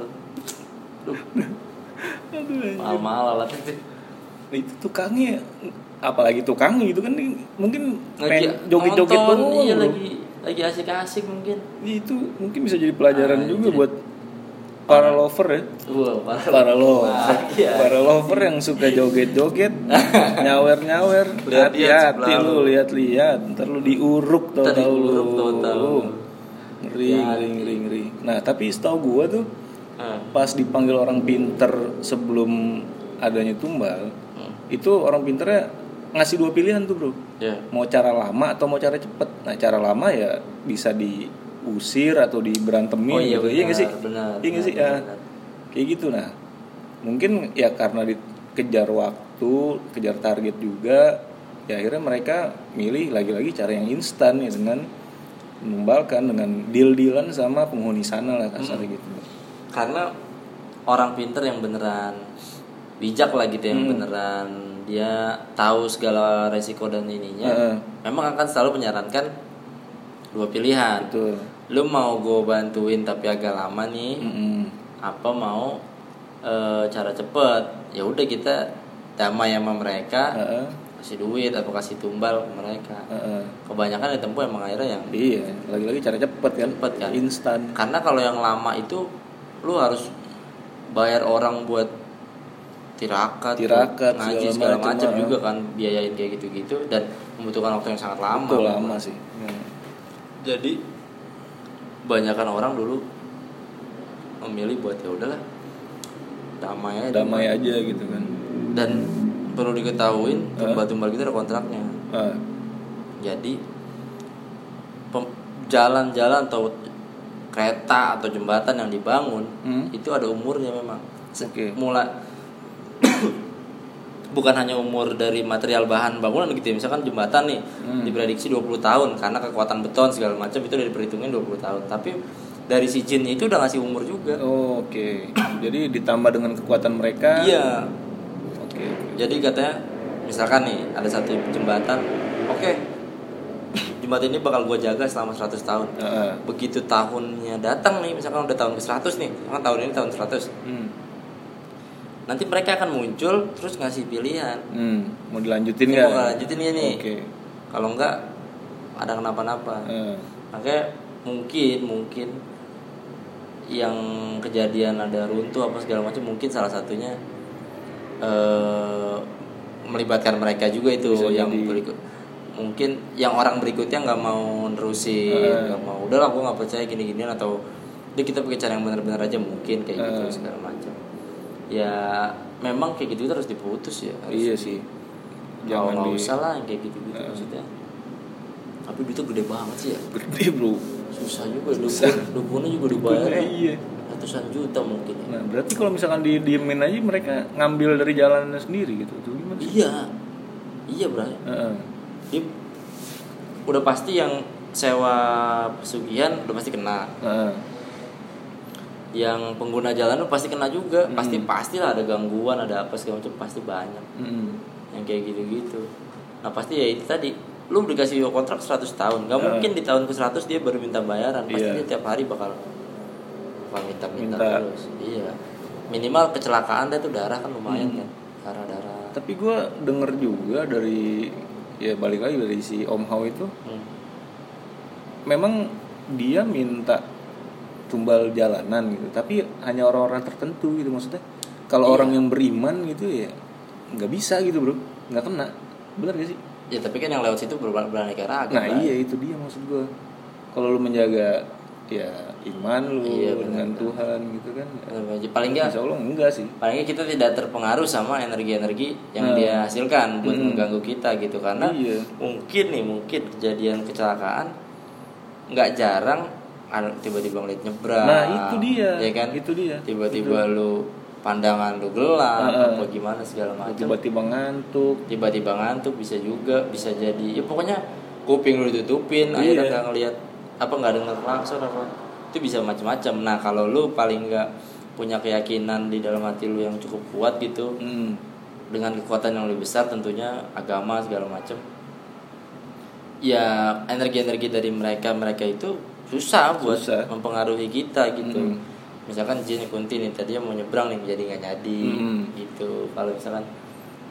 Speaker 1: Duh,
Speaker 2: aduh anjir.
Speaker 1: mahal-mahal alatnya tuh
Speaker 2: Nah, itu tukangnya apalagi tukangnya itu kan mungkin
Speaker 1: lagi
Speaker 2: pengen joget-joget
Speaker 1: nonton,
Speaker 2: doang
Speaker 1: iya
Speaker 2: bro.
Speaker 1: lagi lagi asik-asik mungkin
Speaker 2: Ini itu mungkin bisa jadi pelajaran
Speaker 1: Ah,
Speaker 2: juga
Speaker 1: jadi-
Speaker 2: buat para lover ya
Speaker 1: wah parah
Speaker 2: para lover
Speaker 1: iya.
Speaker 2: para lover yang suka joget-joget nyawer-nyawer
Speaker 1: Lihat-lihat
Speaker 2: hati-hati
Speaker 1: sebelah
Speaker 2: lu
Speaker 1: lu.
Speaker 2: lihat-lihat ntar lu diuruk
Speaker 1: Ntar
Speaker 2: tahu-tahu lu
Speaker 1: diuruk Iya. tahu-tahu.
Speaker 2: ring
Speaker 1: Hati.
Speaker 2: ring ring ring nah tapi setahu gua tuh
Speaker 1: Ah,
Speaker 2: pas dipanggil orang pinter sebelum adanya tumbal
Speaker 1: hmm,
Speaker 2: itu orang pinternya ngasih dua pilihan tuh bro
Speaker 1: ya
Speaker 2: mau cara lama atau mau cara cepet nah cara lama ya bisa diusir atau diberantemin gitu iya nggak sih
Speaker 1: Oh, benar
Speaker 2: iya nggak sih
Speaker 1: benar,
Speaker 2: Ah,
Speaker 1: benar.
Speaker 2: kayak gitu nah mungkin ya karena dikejar waktu kejar target juga ya akhirnya mereka milih lagi-lagi cara yang instan ya dengan menumbalkan dengan deal-dealan sama penghuni sana lah kasar gitu
Speaker 1: karena orang pinter yang beneran bijak lah gitu
Speaker 2: Hmm.
Speaker 1: yang beneran dia tahu segala resiko dan ininya
Speaker 2: Heeh.
Speaker 1: memang akan selalu menyarankan dua pilihan
Speaker 2: betul
Speaker 1: lu mau gue bantuin tapi agak lama nih
Speaker 2: Mm-mm.
Speaker 1: apa mau eh, cara cepet ya udah kita damai sama mereka
Speaker 2: Heeh,
Speaker 1: kasih duit atau kasih tumbal ke mereka
Speaker 2: heeh.
Speaker 1: kebanyakan ditempuh emang akhirnya yang
Speaker 2: iya lagi-lagi cara cepet kan
Speaker 1: Cepet kan.
Speaker 2: instan
Speaker 1: karena kalau yang lama itu lu harus bayar orang buat tirakat,
Speaker 2: Tirakat,
Speaker 1: ngaji segala,
Speaker 2: segala macem,
Speaker 1: macam
Speaker 2: ah.
Speaker 1: juga kan biayain kayak gitu-gitu dan membutuhkan waktu yang sangat lama.
Speaker 2: itu lama sih Hmm.
Speaker 1: Jadi kebanyakan orang dulu memilih buat ya udahlah damai aja.
Speaker 2: damai aja gitu kan
Speaker 1: Dan perlu diketahui
Speaker 2: Ah.
Speaker 1: tumbal-tumbal gitu ada kontraknya.
Speaker 2: Ah,
Speaker 1: Jadi pem- jalan-jalan atau kereta atau jembatan yang dibangun
Speaker 2: Hmm.
Speaker 1: itu ada umurnya memang. Se-
Speaker 2: Oke.
Speaker 1: Mulai bukan hanya umur dari material bahan bangunan gitu ya. Misalkan jembatan nih
Speaker 2: Hmm.
Speaker 1: diprediksi 20 tahun karena kekuatan beton segala macam itu udah diperhitungin 20 tahun. Tapi dari si jin itu udah ngasih umur juga.
Speaker 2: oh, oke jadi ditambah dengan kekuatan mereka
Speaker 1: Iya.
Speaker 2: oke
Speaker 1: Jadi katanya misalkan nih ada satu jembatan, oke. jembatan ini bakal gue jaga selama 100 tahun.
Speaker 2: Ah, ah.
Speaker 1: begitu tahunnya datang nih misalkan udah tahun ke 100 nih kan tahun ini tahun 100
Speaker 2: Hmm.
Speaker 1: nanti mereka akan muncul terus ngasih pilihan
Speaker 2: Hmm. mau dilanjutin
Speaker 1: ini
Speaker 2: nggak
Speaker 1: mau lanjutin ya nih
Speaker 2: oke
Speaker 1: kalau enggak ada kenapa-napa
Speaker 2: Ah,
Speaker 1: makanya mungkin mungkin yang kejadian ada runtuh apa segala macam mungkin salah satunya eh, melibatkan mereka juga itu
Speaker 2: Bisa
Speaker 1: yang
Speaker 2: jadi.
Speaker 1: berikut mungkin yang orang berikutnya nggak mau
Speaker 2: Eh.
Speaker 1: nerusin nggak mau udahlah gue nggak percaya gini ginian atau udah kita pakai cara yang benar-benar aja mungkin kayak gitu
Speaker 2: Eh.
Speaker 1: segala macam ya memang kayak gitu harus diputus ya harus
Speaker 2: iya
Speaker 1: di-
Speaker 2: sih
Speaker 1: jangan
Speaker 2: jangan
Speaker 1: nggak
Speaker 2: di
Speaker 1: usah lah yang kayak gitu gitu
Speaker 2: Eh.
Speaker 1: maksudnya tapi itu gede banget sih ya
Speaker 2: gede bro
Speaker 1: susah juga
Speaker 2: Susah.
Speaker 1: dukun dukunnya juga dibayar
Speaker 2: Dukunnya iya
Speaker 1: ratusan juta mungkin ya.
Speaker 2: nah berarti kalau misalkan di diemin aja mereka ngambil dari jalannya sendiri gitu tuh gimana sih
Speaker 1: iya iya bray
Speaker 2: Ah, ah.
Speaker 1: dia udah pasti yang sewa pesugihan udah pasti kena
Speaker 2: Ah, ah.
Speaker 1: yang pengguna jalan udah pasti kena juga
Speaker 2: Hmm.
Speaker 1: pasti pastilah ada gangguan ada apa segala macam pasti banyak
Speaker 2: Mm-mm.
Speaker 1: yang kayak gitu-gitu nah pasti ya itu tadi lu dikasih kontrak 100 tahun nggak
Speaker 2: Eh.
Speaker 1: mungkin di tahun ke 100 dia baru minta bayaran pasti
Speaker 2: Iya.
Speaker 1: dia tiap hari bakal bakal minta minta
Speaker 2: Minta.
Speaker 1: terus iya minimal kecelakaan dia tuh darah kan lumayan
Speaker 2: Hmm.
Speaker 1: kan darah darah
Speaker 2: tapi gue denger juga dari ya balik lagi dari si Om Hao itu memang dia minta tumbal jalanan gitu tapi hanya orang-orang tertentu gitu maksudnya
Speaker 1: Iya.
Speaker 2: kalau orang yang beriman gitu ya nggak bisa gitu bro nggak kena benar gak sih
Speaker 1: ya tapi kan yang lewat situ berba- beraneka ragam
Speaker 2: nah
Speaker 1: Bang.
Speaker 2: iya itu dia maksud gue kalau lu menjaga ya iman lu
Speaker 1: Iya, Ya. benar.
Speaker 2: dengan Tuhan gitu kan
Speaker 1: paling nggak
Speaker 2: insya Allah enggak sih
Speaker 1: palingnya kita tidak terpengaruh sama energi-energi yang
Speaker 2: Nah.
Speaker 1: dia hasilkan buat
Speaker 2: Mm.
Speaker 1: mengganggu kita gitu karena
Speaker 2: Iya.
Speaker 1: mungkin nih mungkin kejadian kecelakaan nggak jarang an- tiba-tiba ngeliat nyebrang
Speaker 2: nah itu dia
Speaker 1: ya kan
Speaker 2: itu dia
Speaker 1: tiba-tiba lu pandangan lu gelap
Speaker 2: Heeh.
Speaker 1: apa gimana segala macam
Speaker 2: tiba-tiba ngantuk
Speaker 1: tiba-tiba ngantuk bisa juga bisa jadi ya pokoknya kuping lu ditutupin akhirnya
Speaker 2: Iya.
Speaker 1: nggak ngeliat apa nggak dengar klakson apa itu bisa macam-macam nah kalau lu paling nggak punya keyakinan di dalam hati lu yang cukup kuat gitu
Speaker 2: Hmm.
Speaker 1: dengan kekuatan yang lebih besar tentunya agama segala macam ya energi-energi dari mereka mereka itu susah buat
Speaker 2: Susah.
Speaker 1: mempengaruhi kita gitu
Speaker 2: Mm-mm.
Speaker 1: misalkan jin kunti nih tadinya mau nyebrang nih jadi nggak jadi
Speaker 2: Mm-mm.
Speaker 1: gitu kalau misalkan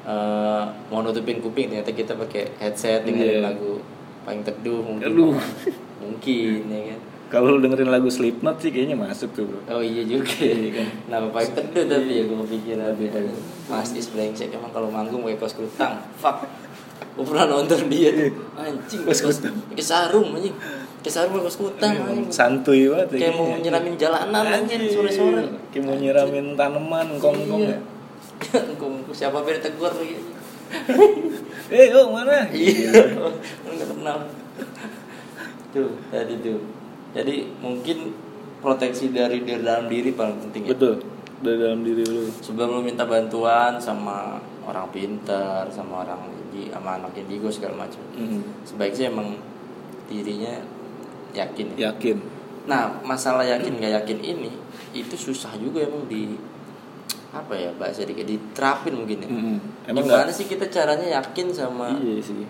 Speaker 1: eh, mau nutupin kuping ternyata kita pakai headset dengerin
Speaker 2: Iya.
Speaker 1: lagu paling teduh mungkin
Speaker 2: Aduh.
Speaker 1: mungkin ya kan
Speaker 2: kalau lu dengerin lagu Slipknot sih kayaknya masuk tuh bro
Speaker 1: Oh iya juga.
Speaker 2: Iya kan?
Speaker 1: Kenapa paling teduh tapi ya gue kepikiran
Speaker 2: Iya.
Speaker 1: Pasti brengsek emang kalau manggung pakai kaos kutang. Fuck. Gue pernah nonton dia tuh. Anjing
Speaker 2: Kaos
Speaker 1: kaos
Speaker 2: kutang.
Speaker 1: pakai sarung anjing. Pakai sarung pakai kaos kutang anjing.
Speaker 2: santuy banget ya
Speaker 1: Kayak mau
Speaker 2: kayaknya.
Speaker 1: nyiramin jalanan anjing sore-sore.
Speaker 2: kayak mau nyiramin tanaman kongkong ya.
Speaker 1: Iya. Kong- Siapa biar tegur lagi.
Speaker 2: eh oh mana
Speaker 1: Iya. Enggak kenal. Tuh, tadi tuh. Jadi mungkin proteksi dari dari dalam diri paling penting ya.
Speaker 2: betul dari dalam diri lu
Speaker 1: sebelum lu minta bantuan sama orang pintar sama orang di sama anak indigo segala macam
Speaker 2: Mm.
Speaker 1: sebaiknya emang dirinya yakin ya.
Speaker 2: yakin
Speaker 1: nah masalah yakin nggak yakin ini itu susah juga emang di apa ya bahasa dikit diterapin mungkin ya
Speaker 2: Mm-mm. Hmm. emang
Speaker 1: gimana
Speaker 2: nggak
Speaker 1: sih kita caranya yakin sama
Speaker 2: iya sih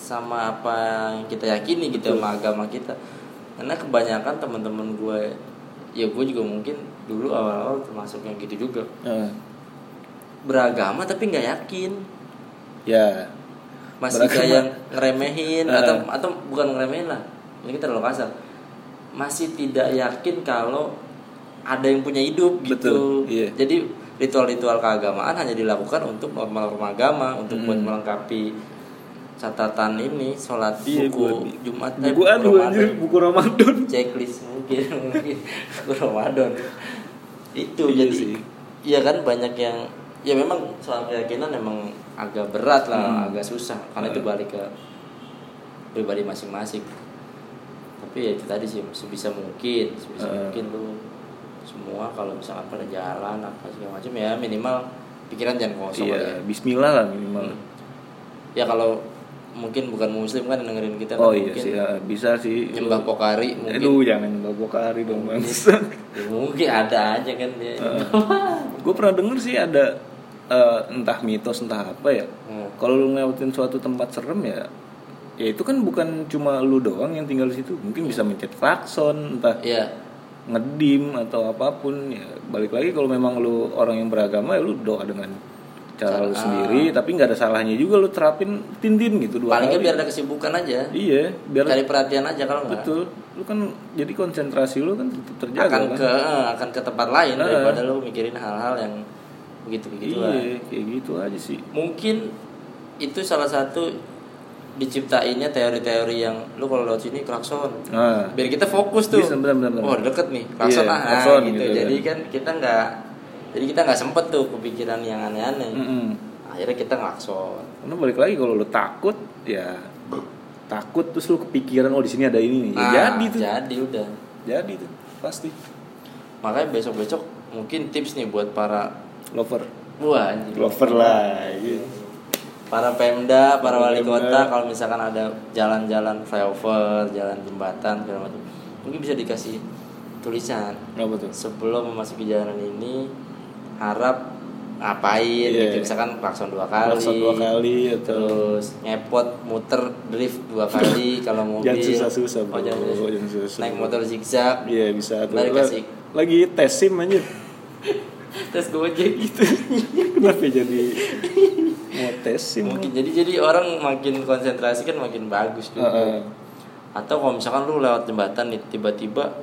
Speaker 1: sama apa yang kita yakini gitu sama agama kita karena kebanyakan teman-teman gue ya gue juga mungkin dulu awal-awal termasuk yang gitu juga
Speaker 2: Eh,
Speaker 1: beragama tapi nggak yakin
Speaker 2: ya
Speaker 1: masih
Speaker 2: Beragama.
Speaker 1: kayak ngeremehin
Speaker 2: Eh.
Speaker 1: atau atau bukan ngeremehin lah ini kita terlalu kasar masih tidak yakin kalau ada yang punya hidup gitu
Speaker 2: Betul, iya.
Speaker 1: jadi ritual-ritual keagamaan hanya dilakukan untuk norma-norma agama untuk buat
Speaker 2: Mm.
Speaker 1: melengkapi catatan ini sholat
Speaker 2: Iya, buat
Speaker 1: buku
Speaker 2: di-
Speaker 1: Jumat eh,
Speaker 2: buku aduh
Speaker 1: Ramadan.
Speaker 2: anjir buku Ramadan
Speaker 1: checklist mungkin mungkin Aku Ramadan itu
Speaker 2: Iya
Speaker 1: jadi
Speaker 2: sih.
Speaker 1: iya kan banyak yang ya memang soal keyakinan emang agak berat lah
Speaker 2: Hmm.
Speaker 1: agak susah karena itu
Speaker 2: Hmm.
Speaker 1: balik ke pribadi masing-masing tapi ya itu tadi sih sebisa mungkin sebisa
Speaker 2: Hmm.
Speaker 1: mungkin lu semua kalau misalkan pada jalan apa segala macam ya minimal pikiran jangan kosong lah
Speaker 2: iya
Speaker 1: ya.
Speaker 2: Bismillah lah minimal
Speaker 1: ya kalau mungkin bukan muslim kan yang dengerin kita kan
Speaker 2: oh iya
Speaker 1: mungkin
Speaker 2: sih ya, bisa sih
Speaker 1: nyembah pokari mungkin
Speaker 2: Aduh jangan nyembah pokari dong bang
Speaker 1: Ya, mungkin ada aja kan dia.
Speaker 2: Eh. gue pernah denger sih ada eh, entah mitos entah apa ya
Speaker 1: Hmm.
Speaker 2: kalau lu ngelewatin suatu tempat serem ya ya itu kan bukan cuma lu doang yang tinggal di situ mungkin bisa mencet klakson entah
Speaker 1: Iya.
Speaker 2: ngedim atau apapun ya balik lagi kalau memang lu orang yang beragama ya lu doa dengan cara lu
Speaker 1: Cara-
Speaker 2: sendiri tapi nggak ada salahnya juga lu terapin tintin gitu dua
Speaker 1: Palingnya
Speaker 2: kali.
Speaker 1: biar ada kesibukan aja.
Speaker 2: iya biar
Speaker 1: Cari perhatian aja kalau enggak.
Speaker 2: betul lu kan jadi konsentrasi lu kan tetap terjaga
Speaker 1: Akan
Speaker 2: kan?
Speaker 1: ke eh, akan ke tempat lain
Speaker 2: Ah.
Speaker 1: daripada lu mikirin hal-hal yang begitu-begitu lah.
Speaker 2: iya kayak gitu aja sih
Speaker 1: Mungkin itu salah satu diciptainnya teori-teori yang lu kalau lewat sini klakson.
Speaker 2: nah
Speaker 1: Biar kita fokus tuh.
Speaker 2: Bisa, benar, benar, benar.
Speaker 1: Oh, deket nih. Klakson
Speaker 2: Iya,
Speaker 1: ah, ah,
Speaker 2: klakson
Speaker 1: gitu.
Speaker 2: gitu kan.
Speaker 1: Jadi kan kita nggak jadi kita nggak sempet tuh kepikiran yang aneh-aneh.
Speaker 2: mm-mm.
Speaker 1: Akhirnya kita ngelakson.
Speaker 2: Karena balik lagi kalau lo takut ya takut terus lo kepikiran oh di sini ada ini nih. Ya,
Speaker 1: Ah,
Speaker 2: jadi tuh.
Speaker 1: Jadi udah.
Speaker 2: Jadi tuh pasti
Speaker 1: Makanya besok-besok mungkin tips nih buat para
Speaker 2: lover.
Speaker 1: wah anjing.
Speaker 2: Lover lah. iya.
Speaker 1: Para Pemda, para
Speaker 2: Para
Speaker 1: wali
Speaker 2: Pemda.
Speaker 1: kota kalau misalkan ada jalan-jalan flyover, jalan jembatan segala macam. Mungkin bisa dikasih tulisan
Speaker 2: Kenapa tuh?
Speaker 1: sebelum memasuki jalanan ini harap ngapain
Speaker 2: Iya.
Speaker 1: gitu misalkan klakson dua kali.
Speaker 2: Klakson dua kali atau
Speaker 1: Terus ngepot muter drift dua kali kalau mobil.
Speaker 2: jangan
Speaker 1: Oh,
Speaker 2: susah-susah bro.
Speaker 1: jangan susah.
Speaker 2: Jangan susah.
Speaker 1: Naik motor zigzag.
Speaker 2: Iya bisa tuh.
Speaker 1: Balik
Speaker 2: Lah,
Speaker 1: kasih.
Speaker 2: Lagi tes sim aja.
Speaker 1: Terus gojek gitu.
Speaker 2: Kenapa jadi mau tes sim?
Speaker 1: mungkin jadi jadi orang makin konsentrasi kan makin bagus juga
Speaker 2: Heeh.
Speaker 1: atau kalau misalkan lu lewat jembatan nih tiba-tiba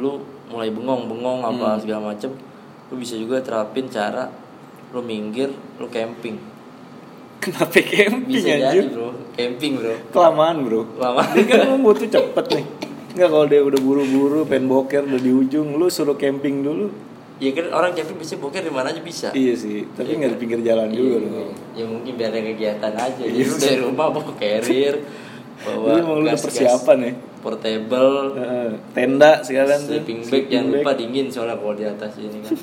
Speaker 1: lu mulai bengong-bengong apa
Speaker 2: Hmm.
Speaker 1: segala macem lu bisa juga terapin cara lu minggir lu camping
Speaker 2: Kenapa camping
Speaker 1: bisa jadi
Speaker 2: anjir?
Speaker 1: bro camping bro
Speaker 2: Kelamaan bro.
Speaker 1: lama
Speaker 2: Dia kan mau butuh cepet nih. Nggak kalau dia udah buru-buru pengen boker udah di ujung lu suruh camping dulu.
Speaker 1: ya kan orang camping bisa boker di mana aja bisa
Speaker 2: Iya sih, tapi nggak di pinggir jalan juga
Speaker 1: Iya.
Speaker 2: dong.
Speaker 1: ya mungkin biar ada kegiatan aja
Speaker 2: Iya,
Speaker 1: jadi dari rumah bawa carrier bawa
Speaker 2: Jadi emang lu udah
Speaker 1: gas-gas
Speaker 2: persiapan ya.
Speaker 1: portable
Speaker 2: Heeh, tenda sekalian tuh.
Speaker 1: sleeping bag jangan lupa dingin soalnya kalau di atas ini kan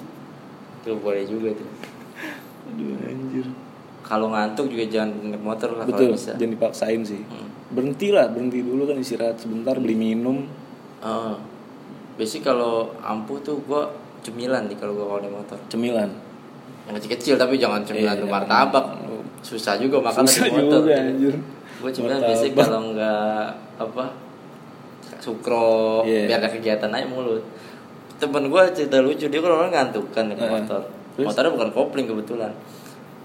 Speaker 1: itu boleh juga tuh
Speaker 2: Aduh anjir.
Speaker 1: kalau ngantuk juga jangan naik motor lah kalau
Speaker 2: Betul,
Speaker 1: bisa
Speaker 2: jangan dipaksain sih.
Speaker 1: Hmm.
Speaker 2: Berhentilah, berhenti dulu kan istirahat sebentar beli minum.
Speaker 1: Oh. Basic kalau ampuh tuh gua cemilan nih kalau gua kalau naik motor.
Speaker 2: Cemilan.
Speaker 1: Yang kecil-kecil tapi jangan cemilan
Speaker 2: Iya,
Speaker 1: tuh
Speaker 2: jangan.
Speaker 1: martabak. Susah juga makan
Speaker 2: Susah
Speaker 1: di motor.
Speaker 2: juga, anjir.
Speaker 1: Gua cemilan
Speaker 2: Martabak.
Speaker 1: basic kalau nggak apa sukro
Speaker 2: Iya.
Speaker 1: biar ada kegiatan aja mulut. Temen gua cerita lucu dia kalau orang ngantuk kan naik
Speaker 2: Heeh.
Speaker 1: motor.
Speaker 2: Terus?
Speaker 1: Motornya bukan kopling kebetulan.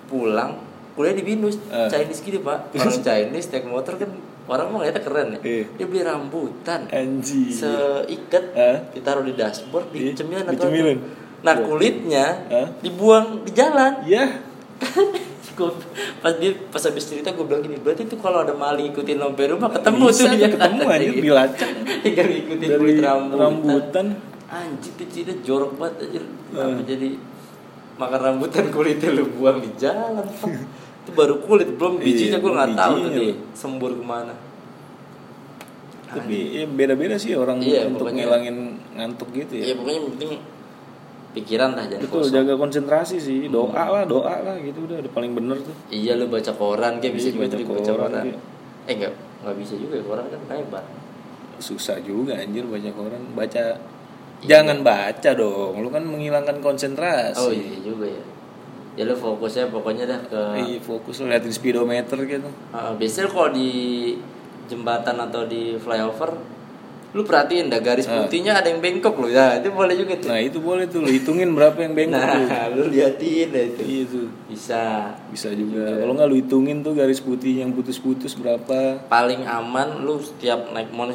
Speaker 1: Pulang kuliah di Binus,
Speaker 2: Eh.
Speaker 1: Chinese gitu pak Orang Chinese naik motor kan orang mah ngeliatnya keren ya
Speaker 2: Iya. Eh,
Speaker 1: Dia beli rambutan
Speaker 2: Anjir.
Speaker 1: seikat
Speaker 2: Hah?
Speaker 1: ditaruh di dashboard
Speaker 2: Iya,
Speaker 1: dicemilin
Speaker 2: dicemilin.
Speaker 1: nah kulitnya
Speaker 2: Hah?
Speaker 1: dibuang di jalan
Speaker 2: Ya,
Speaker 1: Gua- pas dia pas habis cerita gue bilang gini berarti tuh kalau ada maling ikutin lo sampai rumah ketemu
Speaker 2: Bisa
Speaker 1: tuh dia
Speaker 2: ketemu, anjir, dilacak.
Speaker 1: tinggal ngikutin
Speaker 2: dari
Speaker 1: kulit
Speaker 2: rambutan.
Speaker 1: rambutan, anjir tuh cerita jorok banget anjir
Speaker 2: Eh.
Speaker 1: Apa jadi makan rambutan kulitnya lu buang di jalan Pak? itu baru kulit belum bijinya
Speaker 2: Iya,
Speaker 1: gue nggak
Speaker 2: belum
Speaker 1: tahu tuh
Speaker 2: bijinya,
Speaker 1: dia
Speaker 2: Bang.
Speaker 1: sembur kemana
Speaker 2: Tapi ya beda-beda sih orang
Speaker 1: Iya,
Speaker 2: untuk
Speaker 1: pokoknya.
Speaker 2: ngilangin ngantuk gitu ya.
Speaker 1: ya pokoknya yang penting pikiran lah jangan
Speaker 2: Betul,
Speaker 1: kosong. Hmm.
Speaker 2: jaga konsentrasi sih. Doa lah, doa lah gitu udah udah paling bener tuh.
Speaker 1: Iya lu baca koran kayak bisa
Speaker 2: Iya,
Speaker 1: baca,
Speaker 2: baca
Speaker 1: baca
Speaker 2: koran,
Speaker 1: koran.
Speaker 2: iya.
Speaker 1: Eh enggak, enggak bisa juga ya, koran kan lebar.
Speaker 2: Susah juga anjir baca koran, baca
Speaker 1: Iya.
Speaker 2: Jangan baca dong, lu kan menghilangkan konsentrasi.
Speaker 1: Oh iya juga ya. Ya lu fokusnya pokoknya dah ke
Speaker 2: Iya, fokus lu liatin speedometer gitu.
Speaker 1: Ah, biasanya kalau di jembatan atau di flyover lu perhatiin dah garis
Speaker 2: Ah.
Speaker 1: putihnya ada yang bengkok loh ya itu boleh juga tuh
Speaker 2: Nah, itu boleh tuh lu hitungin berapa yang bengkok tuh.
Speaker 1: nah lu liatin dah itu
Speaker 2: Iya tuh.
Speaker 1: bisa
Speaker 2: Bisa juga. Kalau nggak lu hitungin tuh garis putih yang putus-putus berapa.
Speaker 1: paling aman lu setiap naik mau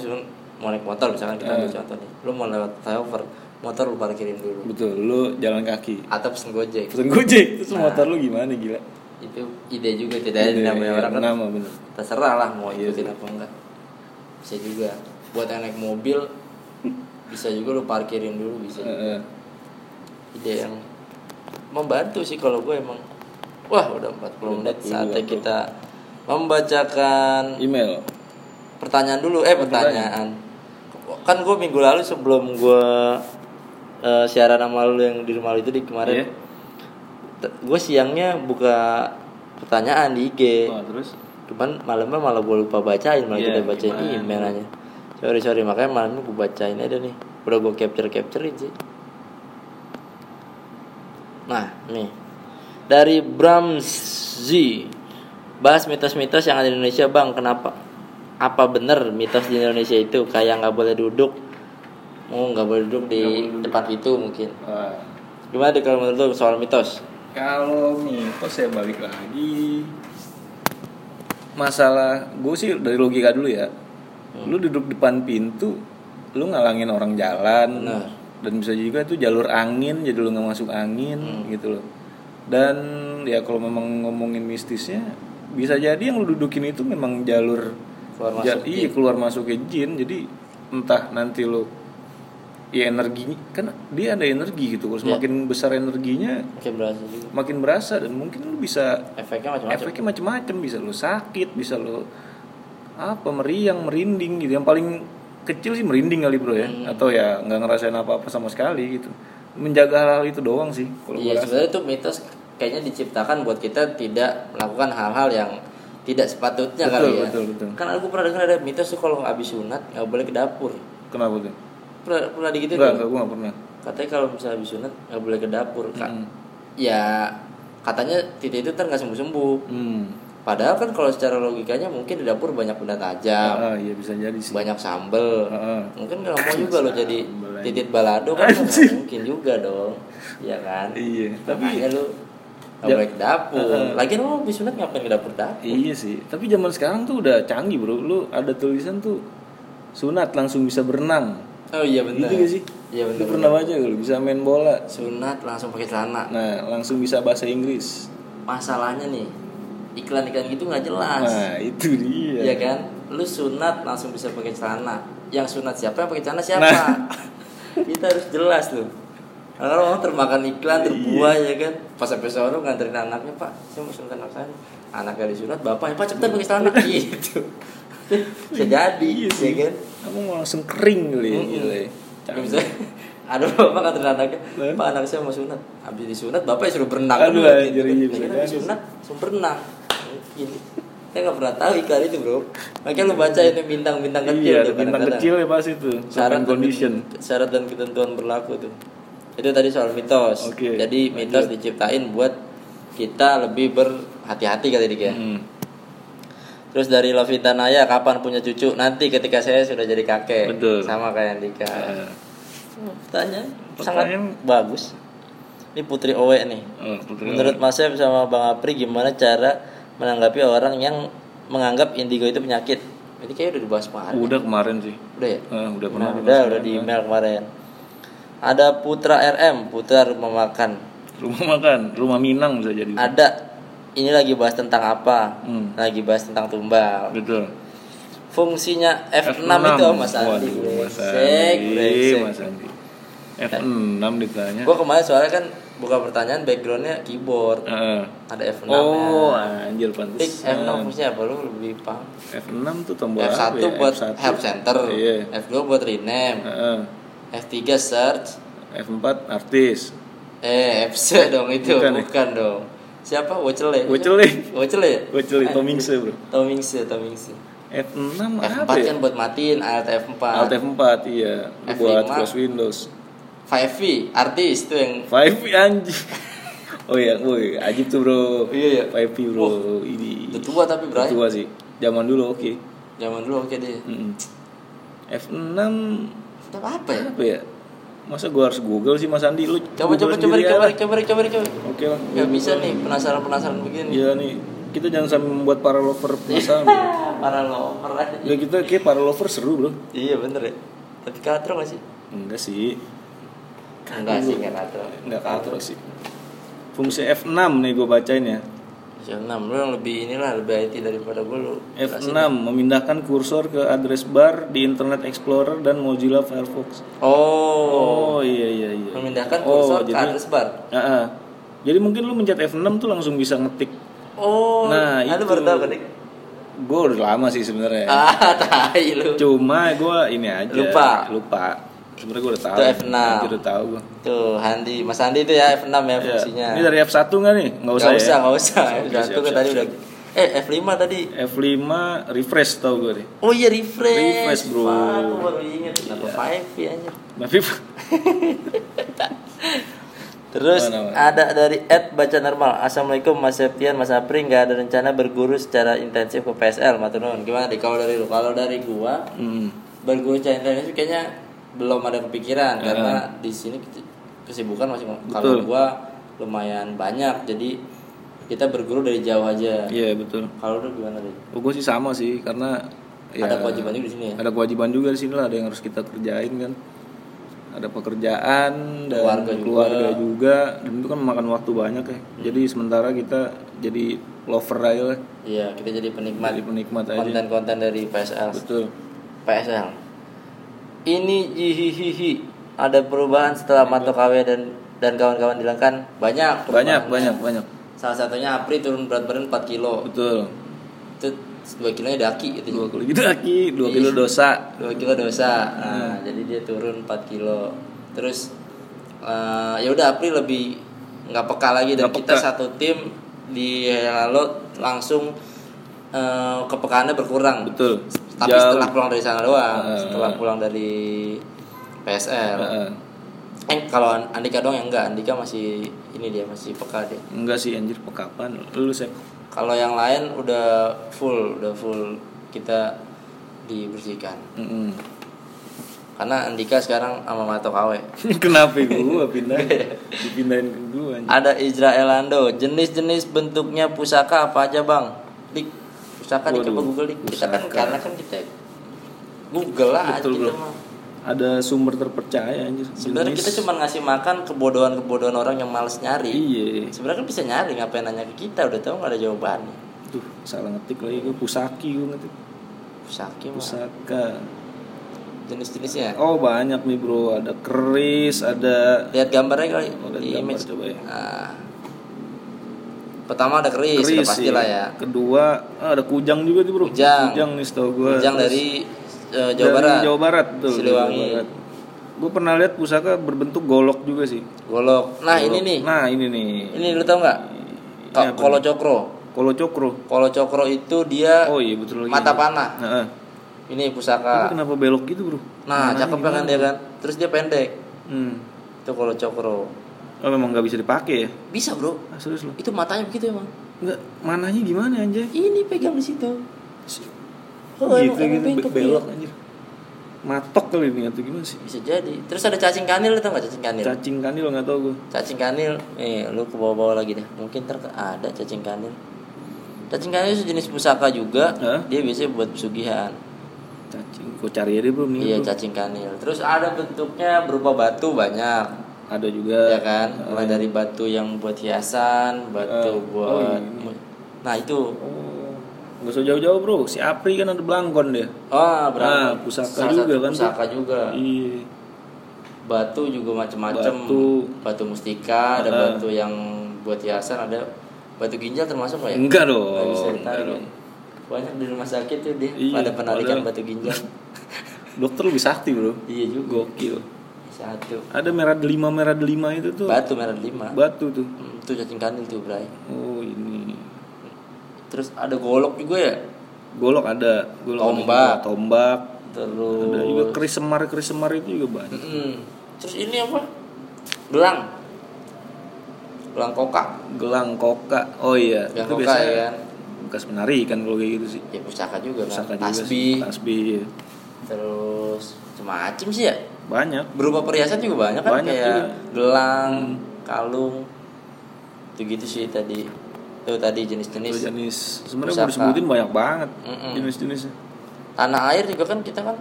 Speaker 1: mau naik motor misalkan kita
Speaker 2: Eh.
Speaker 1: ambil contoh nih lu mau lewat flyover motor lu parkirin dulu
Speaker 2: Betul, lu jalan kaki.
Speaker 1: atau pesen gojek
Speaker 2: Pesen Gojek, terus motor lu gimana gila?
Speaker 1: itu ide juga tidak ada
Speaker 2: Ide,
Speaker 1: Nah. namanya
Speaker 2: iya,
Speaker 1: orang kan
Speaker 2: nama, bener.
Speaker 1: terserah lah mau ikutin apa enggak bisa juga buat yang naik mobil bisa juga lu parkirin dulu bisa juga.
Speaker 2: Heeh.
Speaker 1: ide yang membantu sih kalau gue emang wah udah 40 menit
Speaker 2: 40,
Speaker 1: saatnya
Speaker 2: aku.
Speaker 1: kita membacakan
Speaker 2: Email.
Speaker 1: pertanyaan dulu eh pertanyaan kan gue minggu lalu sebelum gue eh, siaran sama lu yang di rumah lu itu di kemarin
Speaker 2: Iya.
Speaker 1: gue siangnya buka pertanyaan di IG
Speaker 2: Wah, Nah, terus
Speaker 1: cuman malamnya malah gue lupa bacain malah
Speaker 2: Iya,
Speaker 1: kita bacain
Speaker 2: gimana?
Speaker 1: email aja sorry sorry makanya malamnya gue bacain aja nih udah gue capture capturein sih nah nih dari Bramzi bahas mitos-mitos yang ada di Indonesia bang kenapa apa bener mitos di Indonesia itu kayak nggak boleh duduk mau nggak boleh duduk di depan itu mungkin
Speaker 2: Wah.
Speaker 1: gimana deh kalau menurut lu soal mitos
Speaker 2: Kalau mitos saya balik lagi Masalah gue sih dari logika dulu ya
Speaker 1: Hmm.
Speaker 2: Lu duduk depan pintu Lu ngalangin orang jalan
Speaker 1: Benar.
Speaker 2: Dan bisa juga itu jalur angin Jadi lu gak masuk angin
Speaker 1: Hmm.
Speaker 2: gitu loh Dan ya kalau memang ngomongin mistisnya Bisa jadi yang lu dudukin itu memang jalur
Speaker 1: Keluar
Speaker 2: ja-
Speaker 1: masuk
Speaker 2: iya, keluar masuknya jin Jadi entah nanti lu Ya energinya Kan dia ada energi gitu Kalau
Speaker 1: Ya.
Speaker 2: semakin besar energinya
Speaker 1: oke berhasil juga
Speaker 2: makin berasa dan mungkin lu bisa
Speaker 1: efeknya macam-macam
Speaker 2: efeknya macem-macem bisa lu sakit bisa lu apa meriang merinding gitu yang paling kecil sih merinding kali
Speaker 1: Iya.
Speaker 2: bro ya atau ya nggak ngerasain apa-apa sama sekali gitu menjaga hal-hal itu doang sih kalau
Speaker 1: Iya
Speaker 2: gua rasa.
Speaker 1: sebenarnya itu mitos kayaknya diciptakan buat kita tidak melakukan hal-hal yang tidak sepatutnya
Speaker 2: Betul,
Speaker 1: kali ya.
Speaker 2: betul, betul.
Speaker 1: Kan aku pernah dengar ada mitos tuh kalau habis sunat nggak boleh ke dapur.
Speaker 2: kenapa tuh
Speaker 1: Pernah, pernah digitu
Speaker 2: enggak enggak gue nggak pernah Hmm.
Speaker 1: Katanya kalau misalnya habis sunat nggak boleh ke dapur. Kak. Ya katanya titik itu kan nggak sembuh-sembuh.
Speaker 2: hmm
Speaker 1: Padahal kan kalau secara logikanya mungkin di dapur banyak benda tajam,
Speaker 2: ah iya bisa jadi sih
Speaker 1: banyak sambel.
Speaker 2: Ah, ah.
Speaker 1: Mungkin nggak mau juga lo jadi
Speaker 2: Sambel aja.
Speaker 1: titik balado kan nggak mungkin juga dong. Iya kan?
Speaker 2: iya tapi
Speaker 1: Makanya lu nggak
Speaker 2: Ja-
Speaker 1: boleh ke dapur.
Speaker 2: Heeh.
Speaker 1: Lagian lu habis sunat ngapain ke dapur dapur?
Speaker 2: Iya sih, tapi zaman sekarang tuh udah canggih bro. Lu ada tulisan tuh sunat langsung bisa berenang.
Speaker 1: Oh iya benar.
Speaker 2: Gitu gak sih?
Speaker 1: Iya
Speaker 2: Lu
Speaker 1: benar.
Speaker 2: pernah baca gak lu bisa main bola,
Speaker 1: Sunat langsung pakai celana.
Speaker 2: Nah, langsung bisa bahasa Inggris.
Speaker 1: Masalahnya nih iklan-iklan gitu nggak jelas.
Speaker 2: Nah, itu dia.
Speaker 1: Iya kan? Lu sunat langsung bisa pakai celana. yang sunat siapa yang pakai celana
Speaker 2: Nah.
Speaker 1: siapa kita harus jelas tuh karena orang termakan iklan
Speaker 2: Iya.
Speaker 1: terbuai ya kan pas sampai sore nganterin anaknya pak saya mau sunat anak saya anaknya disunat bapaknya pak cepetan pakai celana gitu
Speaker 2: Iya.
Speaker 1: bisa jadi ya kan
Speaker 2: Aku mau langsung kering kali ya.
Speaker 1: Mm-mm.
Speaker 2: gila ya.
Speaker 1: Ya, misalnya ada bapak nganterin anaknya
Speaker 2: Eh?
Speaker 1: pak anak saya mau sunat habis disunat bapak suruh berenang dulu,
Speaker 2: Aduh,
Speaker 1: gitu
Speaker 2: anjir,
Speaker 1: kan.
Speaker 2: iya,
Speaker 1: Ya
Speaker 2: bisa
Speaker 1: kan,
Speaker 2: jadi.
Speaker 1: habis sunat langsung berenang mungkin saya nggak pernah tahu iklan itu bro makanya lu baca itu bintang-bintang kecil
Speaker 2: Iya, ada
Speaker 1: tuh
Speaker 2: bintang
Speaker 1: kadang-kadang.
Speaker 2: kecil ya pas itu.
Speaker 1: syarat
Speaker 2: Syarat
Speaker 1: dan-
Speaker 2: condition.
Speaker 1: syarat dan ketentuan berlaku tuh itu tadi soal mitos
Speaker 2: Oke,
Speaker 1: jadi mitos diciptain buat kita lebih berhati-hati kali dik ya
Speaker 2: Hmm.
Speaker 1: Terus dari Lovita Naya kapan punya cucu? Nanti ketika saya sudah jadi kakek.
Speaker 2: Betul.
Speaker 1: Sama kayak Andika.
Speaker 2: Eh,
Speaker 1: Hmm, Pertanyaan sangat
Speaker 2: Pertanyaan-
Speaker 1: bagus. Ini Putri Owe nih.
Speaker 2: oh, putri
Speaker 1: Menurut Mas Sep sama Bang Apri gimana cara menanggapi orang yang menganggap indigo itu penyakit? Ini kayaknya udah dibahas kemarin.
Speaker 2: Oh, udah kemarin sih.
Speaker 1: Udah ya?
Speaker 2: Eh, udah pernah.
Speaker 1: Nah, udah,
Speaker 2: dibahas kemarin. ya.
Speaker 1: udah di email kemarin. Ada Putra RM, Putra rumah makan.
Speaker 2: Rumah makan, rumah Minang bisa jadi.
Speaker 1: Ada ini lagi bahas tentang apa?
Speaker 2: Iya. Hmm.
Speaker 1: Lagi bahas tentang tumbal.
Speaker 2: Betul.
Speaker 1: fungsinya F6, itu oh, Mas Andi.
Speaker 2: Waduh, Mas
Speaker 1: Brengsek,
Speaker 2: Andi,
Speaker 1: brengsek.
Speaker 2: Mas Andi. F6 ditanya.
Speaker 1: Gua kemarin soalnya kan buka pertanyaan backgroundnya keyboard.
Speaker 2: Eh.
Speaker 1: Ada F6.
Speaker 2: Oh,
Speaker 1: ya.
Speaker 2: anjir
Speaker 1: Dik,
Speaker 2: pantas.
Speaker 1: F6 fungsinya apa lu lebih paham?
Speaker 2: F6 tuh tombol
Speaker 1: F1
Speaker 2: apa ya?
Speaker 1: buat
Speaker 2: F1.
Speaker 1: help center,
Speaker 2: Iya.
Speaker 1: F2 buat rename,
Speaker 2: Heeh.
Speaker 1: F3 search.
Speaker 2: F4 artis.
Speaker 1: Eh, FC dong itu,
Speaker 2: Bukan
Speaker 1: bukan,
Speaker 2: ya?
Speaker 1: dong. Siapa? Wocele.
Speaker 2: Wocele.
Speaker 1: Wocele. ya?
Speaker 2: Wocele,
Speaker 1: Eh,
Speaker 2: Tomingse, bro.
Speaker 1: Tomingse, Tomingse.
Speaker 2: F6
Speaker 1: F4
Speaker 2: apa ya?
Speaker 1: kan buat matiin, Alt F4.
Speaker 2: Alt F4 iya
Speaker 1: F5.
Speaker 2: buat close Windows.
Speaker 1: 5V, artis itu yang
Speaker 2: 5 anjir. Oh iya, woi, ajib tuh bro.
Speaker 1: Iya, iya.
Speaker 2: 5 bro.
Speaker 1: Wah,
Speaker 2: ini.
Speaker 1: udah tua tapi
Speaker 2: Udah
Speaker 1: berarti
Speaker 2: tua sih. Zaman dulu oke.
Speaker 1: Zaman dulu oke deh.
Speaker 2: Mm-mm. F6
Speaker 1: Tapi apa ya?
Speaker 2: apa ya? Masa gua harus Google sih Mas Andi lu?
Speaker 1: Coba coba
Speaker 2: Google
Speaker 1: coba
Speaker 2: sendiri
Speaker 1: coba
Speaker 2: aja.
Speaker 1: coba coba coba.
Speaker 2: Oke lah.
Speaker 1: Gak bisa nih penasaran penasaran begini.
Speaker 2: Iya nih, kita jangan sampai membuat para lover penasaran. bro.
Speaker 1: Para lover aja.
Speaker 2: Ya kita kayak para lover seru bro.
Speaker 1: Iya bener ya. Tapi katro gak sih?
Speaker 2: Enggak sih.
Speaker 1: Enggak sih nggak katro.
Speaker 2: Enggak katro sih. Fungsi F6 nih gue bacain ya.
Speaker 1: F6 lu yang lebih inilah lebih IT daripada gue lu.
Speaker 2: F6 memindahkan kursor ke address bar di Internet Explorer dan Mozilla Firefox.
Speaker 1: Oh,
Speaker 2: Oh, iya iya iya.
Speaker 1: memindahkan
Speaker 2: Oh,
Speaker 1: kursor ke
Speaker 2: jadi-
Speaker 1: address bar.
Speaker 2: Ah, ah. Jadi mungkin lu mencet F6 tuh langsung bisa ngetik.
Speaker 1: Oh,
Speaker 2: Nah,
Speaker 1: ah, lu
Speaker 2: itu.
Speaker 1: baru tahu kan? Dik?
Speaker 2: Gue udah lama sih sebenarnya.
Speaker 1: Ah, tai lu.
Speaker 2: Cuma gue ini aja.
Speaker 1: Lupa.
Speaker 2: Lupa. Sebenarnya gue udah tahu.
Speaker 1: Itu F6.
Speaker 2: Anjir, Udah tahu gue.
Speaker 1: Tuh, Handi, Mas Handi itu ya F6 ya
Speaker 2: Ya.
Speaker 1: fungsinya.
Speaker 2: Ini dari F1 nggak nih? Nggak usah,
Speaker 1: Gak usah,
Speaker 2: ya.
Speaker 1: gak usah.
Speaker 2: Siap,
Speaker 1: F1
Speaker 2: siap,
Speaker 1: kan tadi
Speaker 2: siap.
Speaker 1: udah. Eh, F5 tadi.
Speaker 2: F5 refresh tau gue deh.
Speaker 1: Oh iya refresh.
Speaker 2: Refresh, bro. Iya.
Speaker 1: Fuck, gua baru inget kenapa 5 ya anjir.
Speaker 2: Tapi
Speaker 1: Terus
Speaker 2: Mana, mana?
Speaker 1: ada dari Ed baca normal. Assalamualaikum Mas Septian, Mas Apri nggak ada rencana berguru secara intensif ke PSL, Matunun. Gimana deh kalau dari lu? Kalau dari gua
Speaker 2: hmm,
Speaker 1: berguru secara intensif kayaknya belum ada kepikiran karena di sini kes- kesibukan masih kalau
Speaker 2: Betul.
Speaker 1: gua lumayan banyak. Jadi kita berguru dari jauh aja.
Speaker 2: iya betul.
Speaker 1: Kalau lu gimana deh?
Speaker 2: Oh, gue sih sama sih karena ya,
Speaker 1: Ada kewajiban juga di sini ya.
Speaker 2: ada kewajiban juga di sini lah ada yang harus kita kerjain kan. Ada pekerjaan dan
Speaker 1: Keluarga juga. Hmm.
Speaker 2: keluarga juga. dan itu kan memakan waktu banyak ya. Jadi sementara kita jadi lover aja lah,
Speaker 1: Iya, kita jadi penikmat
Speaker 2: jadi penikmat aja.
Speaker 1: konten-konten dari PSL.
Speaker 2: Betul.
Speaker 1: PSL. Ini jihihihi. Ada perubahan setelah Mato KW dan dan kawan-kawan dilangkan banyak. perubahan.
Speaker 2: Banyak, banyak, banyak.
Speaker 1: Salah satunya Apri turun berat badan 4 kilo.
Speaker 2: Betul.
Speaker 1: Itu 2 kilonya daki itu.
Speaker 2: Dua kilo daki, dua kilo dosa.
Speaker 1: 2 kilo dosa.
Speaker 2: Hmm.
Speaker 1: Nah, jadi dia turun 4 kilo. Terus eh, ya udah Apri lebih nggak peka lagi dan
Speaker 2: Nggak
Speaker 1: kita
Speaker 2: peka.
Speaker 1: satu tim di Helalo langsung eh, kepekaannya berkurang.
Speaker 2: Betul.
Speaker 1: Tapi
Speaker 2: Jauh. Eh.
Speaker 1: setelah pulang dari sana doang,
Speaker 2: Heeh.
Speaker 1: setelah pulang dari PSL.
Speaker 2: Heeh.
Speaker 1: Eh kalau An- Andika doang yang enggak, Andika masih ini dia masih peka dia.
Speaker 2: Enggak sih anjir pekapan lu sep.
Speaker 1: Kalau yang lain udah full, udah full kita dibersihkan.
Speaker 2: Mm-mm.
Speaker 1: Karena Andika sekarang sama Mato Kawe.
Speaker 2: Kenapa gua pindah? Dipindahin ke gua anjir.
Speaker 1: Ada Israelando, jenis-jenis bentuknya pusaka apa aja, Bang? Dik, pusaka di
Speaker 2: Waduh,
Speaker 1: Google Dik. Kita kan
Speaker 2: pusaka.
Speaker 1: karena kan kita Google lah
Speaker 2: Betul,
Speaker 1: kita
Speaker 2: bro.
Speaker 1: mah.
Speaker 2: Ada sumber terpercaya anjir.
Speaker 1: Sebenarnya
Speaker 2: Jenis.
Speaker 1: kita cuma ngasih makan kebodohan-kebodohan orang yang males nyari.
Speaker 2: Iya.
Speaker 1: Sebenarnya kan bisa nyari, ngapain nanya ke kita? Udah tahu nggak ada jawabannya.
Speaker 2: Tuh, salah ngetik lagi gua pusaki gua ngetik.
Speaker 1: Pusaki mah.
Speaker 2: Pusaka.
Speaker 1: jenis-jenisnya?
Speaker 2: Oh banyak nih bro, ada keris, ada
Speaker 1: Lihat gambarnya kali
Speaker 2: Oh, lihat
Speaker 1: di
Speaker 2: gambar,
Speaker 1: image.
Speaker 2: coba ya.
Speaker 1: Nah. Pertama ada keris,
Speaker 2: keris iya.
Speaker 1: udah pastilah ya.
Speaker 2: Kedua ah, ada kujang juga nih bro.
Speaker 1: Kujang.
Speaker 2: nih setahu gue.
Speaker 1: Kujang dari eh, Jawa Barat.
Speaker 2: Jawa Barat tuh.
Speaker 1: Siliwangi.
Speaker 2: Gue pernah lihat pusaka berbentuk golok juga sih.
Speaker 1: Golok. Nah, ini nih.
Speaker 2: Nah ini nih.
Speaker 1: Ini lu tau nggak? Ka- Kolo Cokro.
Speaker 2: Kolo cokro.
Speaker 1: Kolo Cokro itu dia
Speaker 2: Oh iya betul lagi.
Speaker 1: mata panah.
Speaker 2: Nah, eh.
Speaker 1: Ini
Speaker 2: Tapi
Speaker 1: pusaka.
Speaker 2: kenapa belok gitu bro?
Speaker 1: Nah, cakep kan dia kan. Terus dia pendek.
Speaker 2: Hmm.
Speaker 1: Itu Kolo Cokro.
Speaker 2: Oh memang nggak bisa dipakai ya?
Speaker 1: Bisa, Bro.
Speaker 2: Ah, serius lo?
Speaker 1: Itu matanya begitu emang.
Speaker 2: Nggak, mananya gimana anjay?
Speaker 1: Ini pegang di situ.
Speaker 2: Oh, gitu
Speaker 1: emang- emang
Speaker 2: gitu
Speaker 1: bengkok,
Speaker 2: be- belok anjir. Matok kali ini atau gimana sih?
Speaker 1: iya. Bisa jadi. Terus ada cacing kanil, lu tau nggak cacing kanil?
Speaker 2: Cacing kanil nggak tau gue.
Speaker 1: cacing kanil eh lu ke bawah-bawah lagi deh mungkin ntar ke- ada cacing kanil cacing kanil sejenis pusaka juga
Speaker 2: Hah?
Speaker 1: dia biasanya buat pesugihan
Speaker 2: Cacing, gue cari aja bro nih.
Speaker 1: iya cacing kanil terus ada bentuknya berupa batu banyak
Speaker 2: Ada juga. Ah.
Speaker 1: ya kan mulai dari batu yang buat hiasan batu
Speaker 2: eh. Oh,
Speaker 1: buat
Speaker 2: ini.
Speaker 1: nah itu
Speaker 2: Oh, nggak usah jauh-jauh bro. Si Apri kan ada belangkon deh.
Speaker 1: oh
Speaker 2: Nah,
Speaker 1: berapa
Speaker 2: pusaka
Speaker 1: Salah
Speaker 2: juga
Speaker 1: satu
Speaker 2: kan,
Speaker 1: pusaka juga
Speaker 2: Iya.
Speaker 1: batu juga macam-macam
Speaker 2: Batu.
Speaker 1: batu mustika ada
Speaker 2: Ah.
Speaker 1: batu yang buat hiasan ada batu ginjal termasuk nggak ya
Speaker 2: Enggak
Speaker 1: Nggak bisa
Speaker 2: dong.
Speaker 1: ditarik
Speaker 2: enggak dong.
Speaker 1: ya. Banyak di rumah sakit tuh dia
Speaker 2: Iya,
Speaker 1: pada penarikan
Speaker 2: padahal.
Speaker 1: batu ginjal.
Speaker 2: Dokter lebih sakti bro.
Speaker 1: iya juga.
Speaker 2: Gokil.
Speaker 1: Satu.
Speaker 2: Ada merah delima merah delima itu tuh.
Speaker 1: Batu merah lima.
Speaker 2: Batu tuh.
Speaker 1: Hmm, Itu cacing kanil tuh, Bray.
Speaker 2: Oh ini.
Speaker 1: Terus ada golok juga ya.
Speaker 2: Golok ada. Golok ada
Speaker 1: Tombak.
Speaker 2: juga. Tombak.
Speaker 1: Terus
Speaker 2: Ada juga keris semar keris semar itu juga banyak.
Speaker 1: Mm-mm. Terus ini apa? Gelang. Gelang kokak.
Speaker 2: Gelang koka. Oh iya.
Speaker 1: Gelang
Speaker 2: itu
Speaker 1: kokak
Speaker 2: biasanya
Speaker 1: ya kan.
Speaker 2: bekas menari kan kalau kayak gitu sih.
Speaker 1: Ya pusaka juga
Speaker 2: Pusaka
Speaker 1: kan.
Speaker 2: juga
Speaker 1: Tasbih.
Speaker 2: sih. Tasbih. iya.
Speaker 1: Terus macam sih ya.
Speaker 2: Banyak.
Speaker 1: Berupa perhiasan juga banyak kan
Speaker 2: Banyak
Speaker 1: kayak
Speaker 2: juga.
Speaker 1: gelang, kalung. Itu gitu sih tadi. Tuh tadi jenis-jenis.
Speaker 2: Itu jenis. Sebenarnya mau
Speaker 1: pusaka.
Speaker 2: disebutin banyak banget
Speaker 1: Mm-mm.
Speaker 2: jenis-jenisnya.
Speaker 1: tanah air juga kan kita kan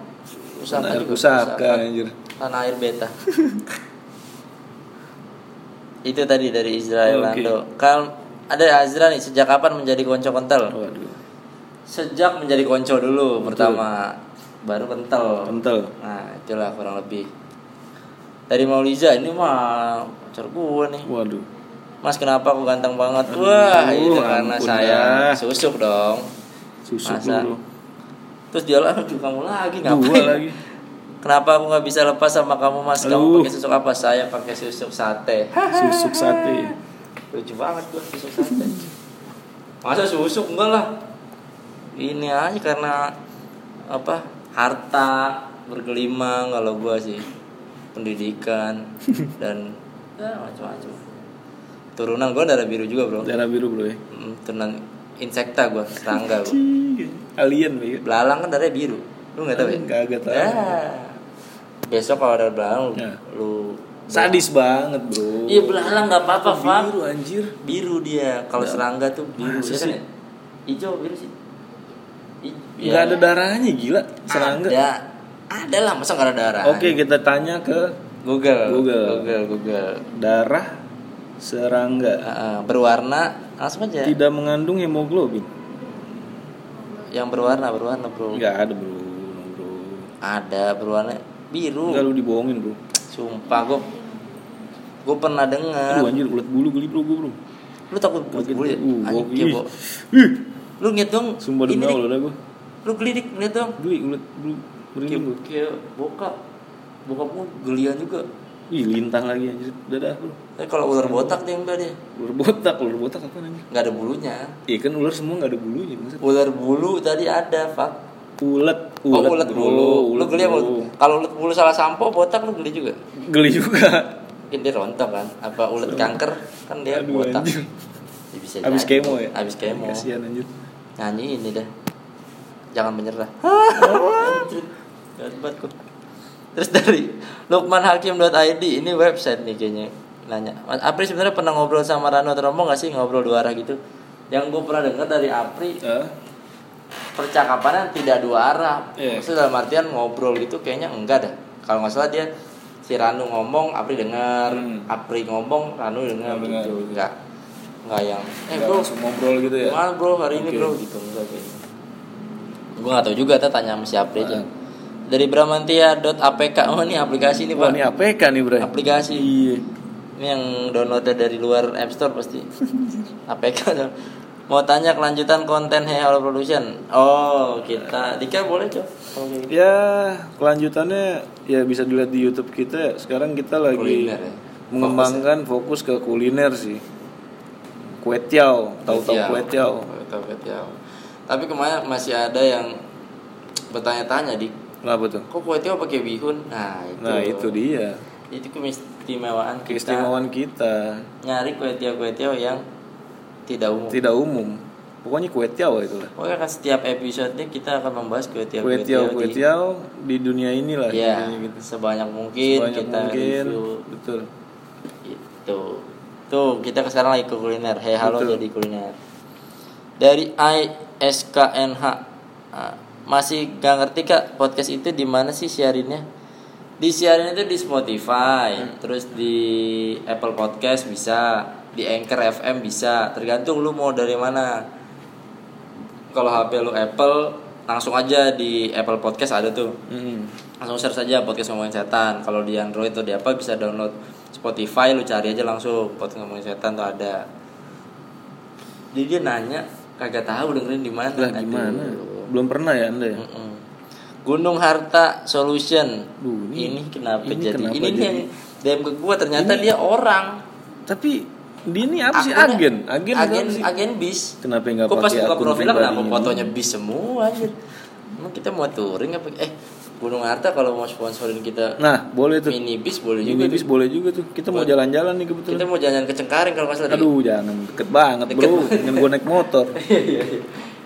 Speaker 1: pusaka
Speaker 2: Tanah air kan.
Speaker 1: juga kan.
Speaker 2: pusaka, anjir.
Speaker 1: tanah air beta itu tadi dari Israel
Speaker 2: Oke.
Speaker 1: Lando Kal- ada Azra nih sejak kapan menjadi konco kental
Speaker 2: Waduh.
Speaker 1: sejak menjadi konco dulu pertama baru kental
Speaker 2: Kental.
Speaker 1: nah itulah kurang lebih dari Mauliza ini mah pacar gua nih
Speaker 2: Waduh.
Speaker 1: Mas kenapa aku ganteng banget wah itu karena
Speaker 2: ampun
Speaker 1: saya
Speaker 2: dah.
Speaker 1: susuk dong
Speaker 2: Susuk
Speaker 1: Masa?
Speaker 2: dulu.
Speaker 1: terus dia lah "Aduh, kamu lagi
Speaker 2: Dua
Speaker 1: ngapain
Speaker 2: lagi.
Speaker 1: Kenapa aku nggak bisa lepas sama kamu mas?
Speaker 2: Aduh.
Speaker 1: Kamu pakai susuk apa? Saya pakai susuk sate. Hah,
Speaker 2: Susuk sate.
Speaker 1: Lucu banget gua susuk sate. Masa susuk enggak lah? Ini aja karena apa? Harta bergelimang kalau gua sih. Pendidikan dan ya, macam-macam. Turunan gua darah biru juga bro.
Speaker 2: Darah biru bro ya.
Speaker 1: Hmm, Turunan insekta gua, serangga gua.
Speaker 2: Cih, Alien bro ya.
Speaker 1: Belalang kan darahnya biru. Lu nggak tahu ya?
Speaker 2: Nggak agak tahu.
Speaker 1: Ya. Besok kalau ada belalang,
Speaker 2: Ya.
Speaker 1: lu
Speaker 2: Sadis banget bro.
Speaker 1: Iya belalang nggak apa-apa, Fak.
Speaker 2: Biru anjir.
Speaker 1: Biru dia. Kalau serangga tuh biru ya
Speaker 2: Masa
Speaker 1: kan
Speaker 2: sih?
Speaker 1: ya? Hijau biru sih. I- ya.
Speaker 2: Nggak ada darahnya gila. Serangga.
Speaker 1: Ada. Ada lah, masa nggak ada darah?
Speaker 2: Oke kita tanya ke
Speaker 1: Google.
Speaker 2: Google.
Speaker 1: Google. Google.
Speaker 2: darah serangga.
Speaker 1: Ah, ah, berwarna langsung aja.
Speaker 2: Tidak mengandung hemoglobin.
Speaker 1: Yang berwarna, berwarna bro.
Speaker 2: Nggak ada bro. No, bro.
Speaker 1: Ada berwarna biru.
Speaker 2: Enggak lu dibohongin bro.
Speaker 1: Sumpah gue gue pernah dengar.
Speaker 2: Aduh anjir ulat bulu geli bro gue bro.
Speaker 1: Lu takut kulit Ah. bulu ya?
Speaker 2: Uh,
Speaker 1: Anjing,
Speaker 2: gua-
Speaker 1: kepo.
Speaker 2: ih, ih.
Speaker 1: Lu ngeliat dong.
Speaker 2: Sumpah
Speaker 1: ini
Speaker 2: demi
Speaker 1: dik.
Speaker 2: Allah udah gue.
Speaker 1: Lu gelidik ngeliat dong.
Speaker 2: Gue ulat bulu merinding
Speaker 1: Kayak
Speaker 2: gue.
Speaker 1: kayak bokap. Bokap gua gelian juga.
Speaker 2: Ih lintah lagi anjir. Dadah bro.
Speaker 1: Tapi kalau ular botak dia enggak dia.
Speaker 2: Ular botak, ular botak apa anjir?
Speaker 1: Enggak ada bulunya.
Speaker 2: Iya kan ular semua nggak ada bulunya maksud.
Speaker 1: Ular bulu tadi ada, Pak.
Speaker 2: Ulet,
Speaker 1: Oh, ulet
Speaker 2: bro.
Speaker 1: bulu. Lu
Speaker 2: Ulet
Speaker 1: geli sama
Speaker 2: bulu.
Speaker 1: ulet- Kalau ulet bulu salah sampo, botak lu geli juga.
Speaker 2: Geli juga.
Speaker 1: Mungkin dia rontok kan. Apa ulet kanker kan dia
Speaker 2: Aduh
Speaker 1: botak.
Speaker 2: anjir.
Speaker 1: Ya, bisa
Speaker 2: Abis
Speaker 1: jadi.
Speaker 2: kemo ya.
Speaker 1: Abis kemo.
Speaker 2: Kasihan anjir.
Speaker 1: Nyanyi ini dah. Jangan menyerah. Anjir. Jahat banget gua. Terus dari lukmanhakim.id ini website nih kayaknya nanya. Mas Apri sebenarnya pernah ngobrol sama Rano Tromo gak sih ngobrol dua arah gitu? Yang gue pernah dengar dari Apri
Speaker 2: Eh,
Speaker 1: percakapannya tidak dua arah.
Speaker 2: Iya.
Speaker 1: Maksudnya dalam artian ngobrol gitu kayaknya enggak dah. Kalau nggak salah dia si Ranu ngomong, Apri dengar,
Speaker 2: Hmm.
Speaker 1: Apri ngomong, Ranu dengar
Speaker 2: Ranu
Speaker 1: gitu. Enggak enggak yang eh
Speaker 2: nggak
Speaker 1: bro
Speaker 2: langsung ngobrol gitu ya.
Speaker 1: gimana bro hari ini
Speaker 2: Oke.
Speaker 1: bro gitu enggak kayaknya gue nggak tahu juga tuh tanya sama si Apri aja
Speaker 2: Heeh.
Speaker 1: dari bramantia.apk oh ini aplikasi Iya. nih
Speaker 2: Wah,
Speaker 1: pak
Speaker 2: ini APK nih, Bray.
Speaker 1: aplikasi ini yang downloadnya dari luar App Store pasti APK tuh. mau tanya kelanjutan konten Hey Hello Production oh kita Dika boleh coba
Speaker 2: Ya, kelanjutannya ya bisa dilihat di YouTube kita. ya. Sekarang kita lagi
Speaker 1: Kuliner ya.
Speaker 2: mengembangkan fokus ke kuliner sih. Kue tiao, tahu-tahu
Speaker 1: Iya.
Speaker 2: kue tiao.
Speaker 1: tahu kue tiaw. ya. tapi kemarin masih ada yang bertanya-tanya di
Speaker 2: Kenapa tuh?
Speaker 1: kok kue tiaw pakai bihun nah itu
Speaker 2: Nah, itu dia.
Speaker 1: itu keistimewaan kita
Speaker 2: Keistimewaan kita
Speaker 1: nyari kue tiaw kue tiaw yang tidak umum
Speaker 2: tidak umum. Pokoknya kue tiao itulah.
Speaker 1: Pokoknya kan setiap episode ini kita akan membahas Ya, kue tiaw
Speaker 2: Kue tiao, kue
Speaker 1: di-
Speaker 2: tiao di dunia inilah
Speaker 1: ya
Speaker 2: intinya gitu.
Speaker 1: sebanyak mungkin
Speaker 2: Sebanyak
Speaker 1: kita
Speaker 2: mungkin.
Speaker 1: review
Speaker 2: Betul.
Speaker 1: itu tuh kita kesana lagi ke kuliner hei halo
Speaker 2: Betul.
Speaker 1: jadi kuliner dari ISKNH Ah, masih gak ngerti kak podcast itu di mana sih siarinnya di siarin itu di Spotify terus di Apple Podcast bisa di Anchor FM bisa tergantung lu mau dari mana kalau HP lu Apple langsung aja di Apple Podcast ada tuh
Speaker 2: Mm.
Speaker 1: langsung share saja podcast ngomongin setan kalau di android atau di apa bisa download spotify lu cari aja langsung podcast ngomongin setan tuh ada jadi dia nanya kagak tahu dengerin di mana Aduh.
Speaker 2: Lah
Speaker 1: Hmm.
Speaker 2: gimana? Belum pernah ya Anda ya?
Speaker 1: Mm-mm. Gunung Harta Solution
Speaker 2: Duh, ini-
Speaker 1: ini, kenapa
Speaker 2: ini
Speaker 1: jadi
Speaker 2: kenapa
Speaker 1: ini nih
Speaker 2: jadi?
Speaker 1: yang DM ke gua ternyata dia orang
Speaker 2: Tapi dia ini apa sih
Speaker 1: Akunnya-
Speaker 2: agen? Agen, apa
Speaker 1: agen,
Speaker 2: sih?
Speaker 1: agen bis
Speaker 2: Kenapa nggak
Speaker 1: Gua pas
Speaker 2: pakai
Speaker 1: buka
Speaker 2: akun
Speaker 1: profilnya kenapa
Speaker 2: pribadinya?
Speaker 1: fotonya bis semua anjir emang kita mau touring apa eh Gunung Harta kalau mau sponsorin kita
Speaker 2: Nah, boleh tuh.
Speaker 1: mini bis boleh juga
Speaker 2: Ini bis boleh juga tuh. Kita mau jalan-jalan nih kebetulan.
Speaker 1: kita mau jalan ke Cengkareng kalau nggak salah
Speaker 2: Aduh, jangan deket banget, Bro. Dengan gue naik motor.
Speaker 1: Iya, iya,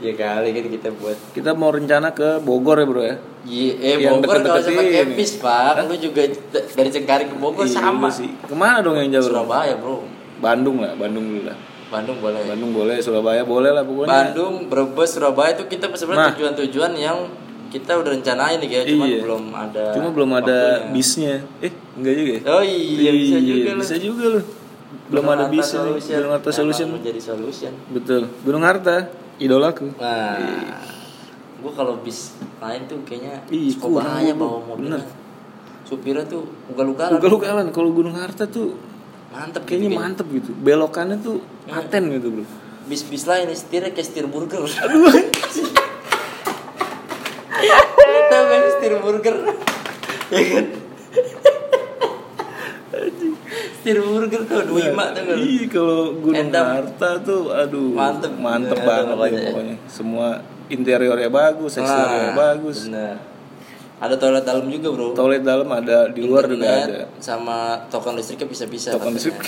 Speaker 1: iya. ya kali kan kita buat
Speaker 2: Kita mau rencana ke Bogor ya, Bro ya.
Speaker 1: Iya, eh
Speaker 2: Yang
Speaker 1: Bogor kalau
Speaker 2: deket-deket
Speaker 1: usah pakai
Speaker 2: ini.
Speaker 1: bis pak, lu juga d- dari Cengkareng ke Bogor
Speaker 2: Iya
Speaker 1: sama.
Speaker 2: sih. Kemana dong yang jauh?
Speaker 1: Surabaya bro,
Speaker 2: Bandung lah, Bandung dulu lah.
Speaker 1: Bandung boleh.
Speaker 2: Bandung boleh, Surabaya boleh lah pokoknya.
Speaker 1: Bandung, Brebes, Surabaya itu kita sebenarnya
Speaker 2: Nah.
Speaker 1: tujuan-tujuan yang kita udah rencanain nih ya, cuman
Speaker 2: Iya.
Speaker 1: belum ada.
Speaker 2: Cuma belum ada
Speaker 1: waktunya.
Speaker 2: bisnya. Eh, enggak juga ya?
Speaker 1: Oh iya bisa juga lu.
Speaker 2: Bisa juga lu. Belum ada
Speaker 1: Harta
Speaker 2: bisnya. nih.
Speaker 1: Solution.
Speaker 2: Belum ada
Speaker 1: Memang
Speaker 2: solution.
Speaker 1: menjadi solution.
Speaker 2: Betul. Gunung Harta, idolaku.
Speaker 1: Nah, gue kalau bis lain tuh kayaknya
Speaker 2: Ih,
Speaker 1: suka
Speaker 2: kurang
Speaker 1: bahaya
Speaker 2: gua,
Speaker 1: bawa
Speaker 2: Bro.
Speaker 1: mobilnya.
Speaker 2: Bener.
Speaker 1: Supirnya tuh ugal-ugalan.
Speaker 2: Luka lukaan kalau Gunung Harta tuh
Speaker 1: Mantep gitu
Speaker 2: kayaknya mantep gitu. Belokannya tuh
Speaker 1: Iya.
Speaker 2: paten gitu, Bro.
Speaker 1: Bis-bis lain nih, setirnya kayak setir burger. Lu tau gak sih kan setir burger? Ya kan? setir burger tuh dua lima tuh kan.
Speaker 2: Iya, kalau Gunung
Speaker 1: Entem.
Speaker 2: Harta tuh aduh
Speaker 1: Mantep. Iya,
Speaker 2: mantep
Speaker 1: Bener,
Speaker 2: banget lah ya,
Speaker 1: pokoknya.
Speaker 2: pokoknya. Semua interiornya bagus,
Speaker 1: Nah.
Speaker 2: eksteriornya bagus.
Speaker 1: Bener. Ada toilet dalam juga bro.
Speaker 2: Toilet dalam ada, di luar juga
Speaker 1: Internet ya.
Speaker 2: ada.
Speaker 1: Sama token listriknya bisa-bisa.
Speaker 2: Token listrik.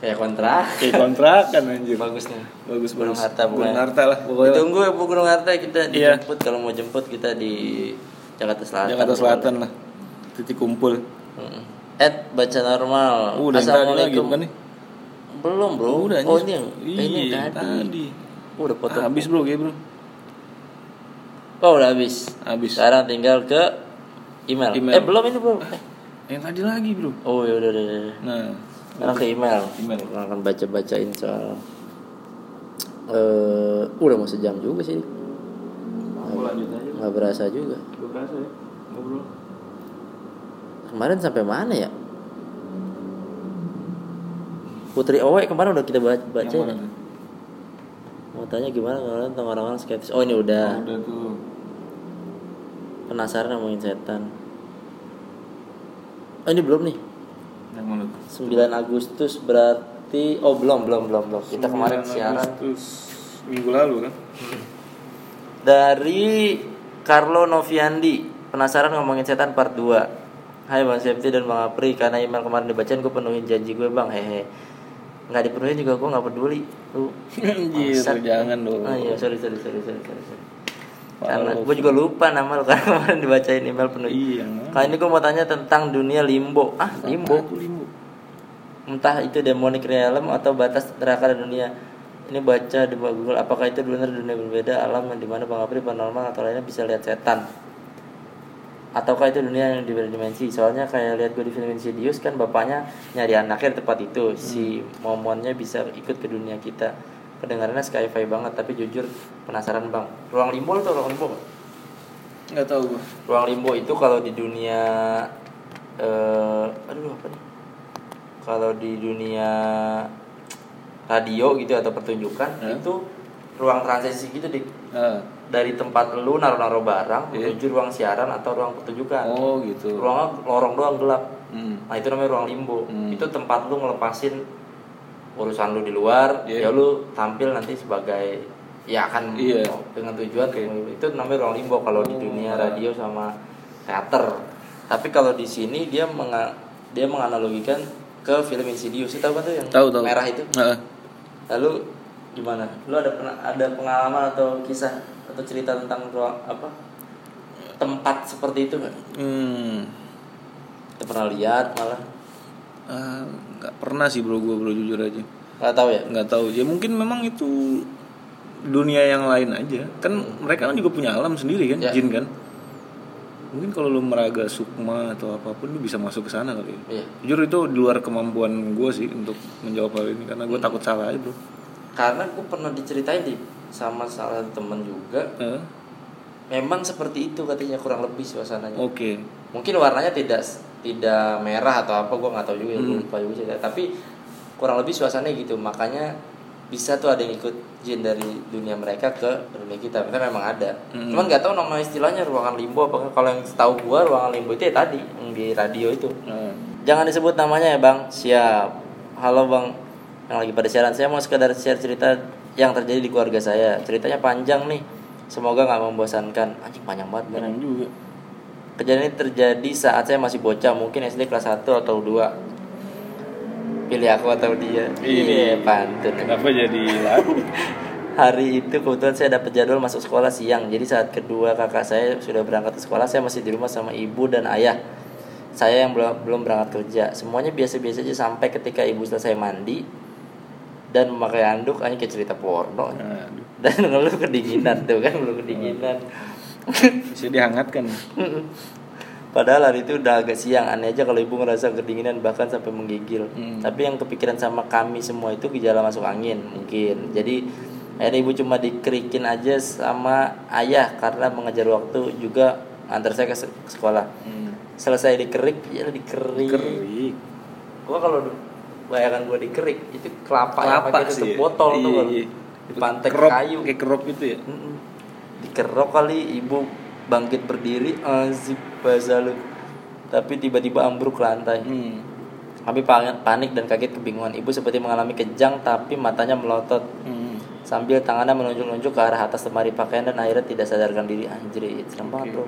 Speaker 1: Kayak kontrak.
Speaker 2: Kayak kontrakan anjir.
Speaker 1: Bagus nih.
Speaker 2: Bagus
Speaker 1: Gunung
Speaker 2: bagus.
Speaker 1: Harta pokoknya.
Speaker 2: Gunung Harta lah pokoknya.
Speaker 1: Ditunggu ya Bu Gunung Harta kita
Speaker 2: Iya.
Speaker 1: dijemput kalau mau jemput kita di Jakarta Selatan.
Speaker 2: Jakarta Selatan lah. Titik kumpul.
Speaker 1: Mm. At baca normal.
Speaker 2: Uh, udah tadi lagi bukan nih?
Speaker 1: Belum bro.
Speaker 2: Udah
Speaker 1: oh ini
Speaker 2: anjir.
Speaker 1: yang
Speaker 2: Iya,
Speaker 1: ini yang tadi.
Speaker 2: tadi.
Speaker 1: Oh, udah potong.
Speaker 2: Habis bro, kayak bro.
Speaker 1: Oh udah habis.
Speaker 2: Habis.
Speaker 1: Sekarang tinggal ke email.
Speaker 2: Email.
Speaker 1: Eh belum ini belum. Eh.
Speaker 2: Yang tadi lagi bro.
Speaker 1: Oh ya udah udah. udah.
Speaker 2: Nah,
Speaker 1: Sekarang ke email.
Speaker 2: Email.
Speaker 1: Orang akan baca bacain soal. Eh udah mau sejam juga sih.
Speaker 2: Aku lanjut aja.
Speaker 1: Nggak berasa juga.
Speaker 2: Gak berasa ya ngobrol.
Speaker 1: Kemarin sampai mana ya? Putri Owe kemarin udah kita baca, baca
Speaker 2: Yang mana
Speaker 1: ya?
Speaker 2: tuh?
Speaker 1: Mau tanya gimana kemarin tentang orang-orang skeptis Oh ini udah
Speaker 2: Udah tuh.
Speaker 1: Penasaran ngomongin setan Oh ini belum nih
Speaker 2: Yang mana tuh?
Speaker 1: 9 Agustus berarti Oh belum belum belum belum Kita kemarin
Speaker 2: 9
Speaker 1: siaran
Speaker 2: Agustus minggu lalu kan.
Speaker 1: Dari Carlo Noviandi Penasaran ngomongin setan part 2 Hai Bang Septi dan Bang Apri Karena email kemarin dibacain gue penuhin janji gue Bang Hehe nggak dipenuhin juga gue nggak peduli Lu
Speaker 2: Anjir,
Speaker 1: bangsat.
Speaker 2: jangan dong.
Speaker 1: Oh iya sorry sorry sorry sorry sorry, sorry.
Speaker 2: Parah
Speaker 1: Karena
Speaker 2: lu.
Speaker 1: gue juga lupa nama lo karena kemarin dibacain email penuh.
Speaker 2: Iya, nah.
Speaker 1: Kali ini gue mau tanya tentang dunia limbo. Ah limbo?
Speaker 2: Aku limbo.
Speaker 1: Entah itu demonic realm atau batas neraka dan dunia. Ini baca di bawah Google. Apakah itu benar dunia berbeda alam yang dimana Bang Apri paranormal atau lainnya bisa lihat setan? Ataukah itu dunia yang di beda dimensi? Soalnya kayak lihat gue di film Insidious kan bapaknya nyari anaknya di tempat itu. Si momonnya bisa ikut ke dunia kita. Kedengarannya sci-fi banget tapi jujur penasaran bang. Ruang limbo lo tau ruang limbo? Bang?
Speaker 2: nggak tahu gue
Speaker 1: ruang limbo itu kalau di dunia eh aduh apa nih kalau di dunia radio gitu atau pertunjukan
Speaker 2: Hah?
Speaker 1: itu ruang transisi gitu di
Speaker 2: Ah,
Speaker 1: dari tempat lu naruh-naruh barang
Speaker 2: Iya.
Speaker 1: menuju ruang siaran atau ruang pertunjukan
Speaker 2: oh gitu
Speaker 1: ruangnya lorong doang gelap
Speaker 2: Hmm.
Speaker 1: nah itu namanya ruang limbo
Speaker 2: Hmm.
Speaker 1: itu tempat lu ngelepasin urusan lu di luar ya
Speaker 2: Iya.
Speaker 1: lu tampil nanti sebagai ya akan
Speaker 2: Iya.
Speaker 1: dengan tujuan itu namanya ruang limbo kalau di
Speaker 2: Oh.
Speaker 1: dunia radio sama teater tapi kalau di sini dia menga- dia menganalogikan ke film Insidious itu apa tuh yang
Speaker 2: tahu tahu
Speaker 1: merah itu
Speaker 2: Ah,
Speaker 1: lalu gimana lu ada pernah- ada pengalaman atau kisah atau cerita tentang ruang apa tempat seperti itu nggak
Speaker 2: hmm
Speaker 1: Lu pernah lihat malah
Speaker 2: Ah, nggak pernah sih bro gue bro jujur aja
Speaker 1: nggak tahu ya
Speaker 2: nggak tahu ya mungkin memang itu dunia yang lain aja kan mereka kan juga punya alam sendiri kan
Speaker 1: Ya.
Speaker 2: jin kan mungkin kalau lu meraga sukma atau apapun lu bisa masuk ke sana kali ya.
Speaker 1: iya
Speaker 2: jujur itu di luar kemampuan gue sih untuk menjawab hal ini karena gue takut salah aja bro
Speaker 1: karena gue pernah diceritain di sama salah satu temen juga
Speaker 2: Eh,
Speaker 1: memang seperti itu katanya kurang lebih suasananya
Speaker 2: oke
Speaker 1: mungkin warnanya tidak tidak merah atau apa gue nggak tahu juga gua lupa juga cerita. tapi kurang lebih suasananya gitu makanya bisa tuh ada yang ikut jin dari dunia mereka ke dunia kita kita memang ada
Speaker 2: Hmm.
Speaker 1: cuman nggak tahu nama istilahnya ruangan limbo apa kalau yang tahu gua ruangan limbo itu ya tadi yang di radio itu
Speaker 2: Eh,
Speaker 1: Jangan disebut namanya ya bang Siap Halo bang Yang lagi pada siaran Saya mau sekedar share cerita Yang terjadi di keluarga saya Ceritanya panjang nih Semoga nggak membosankan Anjing panjang banget beneran.
Speaker 2: barang juga
Speaker 1: Kejadian ini terjadi saat saya masih bocah Mungkin SD kelas 1 atau 2 Pilih aku atau dia
Speaker 2: Iya.
Speaker 1: Iya pantun
Speaker 2: kenapa jadi lagu
Speaker 1: Hari itu kebetulan saya dapat jadwal masuk sekolah siang Jadi saat kedua kakak saya sudah berangkat ke sekolah Saya masih di rumah sama ibu dan ayah Saya yang belum, belum berangkat kerja Semuanya biasa-biasa aja sampai ketika ibu selesai mandi Dan memakai handuk Hanya kayak cerita porno
Speaker 2: Aduh,
Speaker 1: Dan ngeluh kedinginan Tuh kan ngeluh kedinginan
Speaker 2: bisa dihangatkan
Speaker 1: Padahal hari itu udah agak siang Aneh aja kalau ibu ngerasa kedinginan Bahkan sampai menggigil
Speaker 2: Hmm.
Speaker 1: Tapi yang kepikiran sama kami semua itu Gejala masuk angin mungkin Jadi akhirnya ibu cuma dikerikin aja sama ayah Karena mengejar waktu juga Antar saya ke se- ke sekolah Selesai dikerik Ya dikerik
Speaker 2: Hmm. kerik
Speaker 1: Gua kalau du- bayangan gua dikerik Itu kelapa, yang
Speaker 2: kelapa
Speaker 1: pakai tutup
Speaker 2: sih
Speaker 1: botol tuh
Speaker 2: Iya,
Speaker 1: kan.
Speaker 2: iya.
Speaker 1: Di pantai
Speaker 2: Kerop,
Speaker 1: kayu
Speaker 2: kayak kerop gitu ya
Speaker 1: Mm-mm. Dikerok kali ibu bangkit berdiri azib bazalu. Tapi tiba-tiba ambruk lantai.
Speaker 2: hmm.
Speaker 1: Kami pa- panik dan kaget kebingungan. Ibu seperti mengalami kejang tapi matanya melotot.
Speaker 2: Hmm.
Speaker 1: Sambil tangannya menunjuk-nunjuk ke arah atas lemari pakaian dan akhirnya tidak sadarkan diri. Anjir, serem banget bro.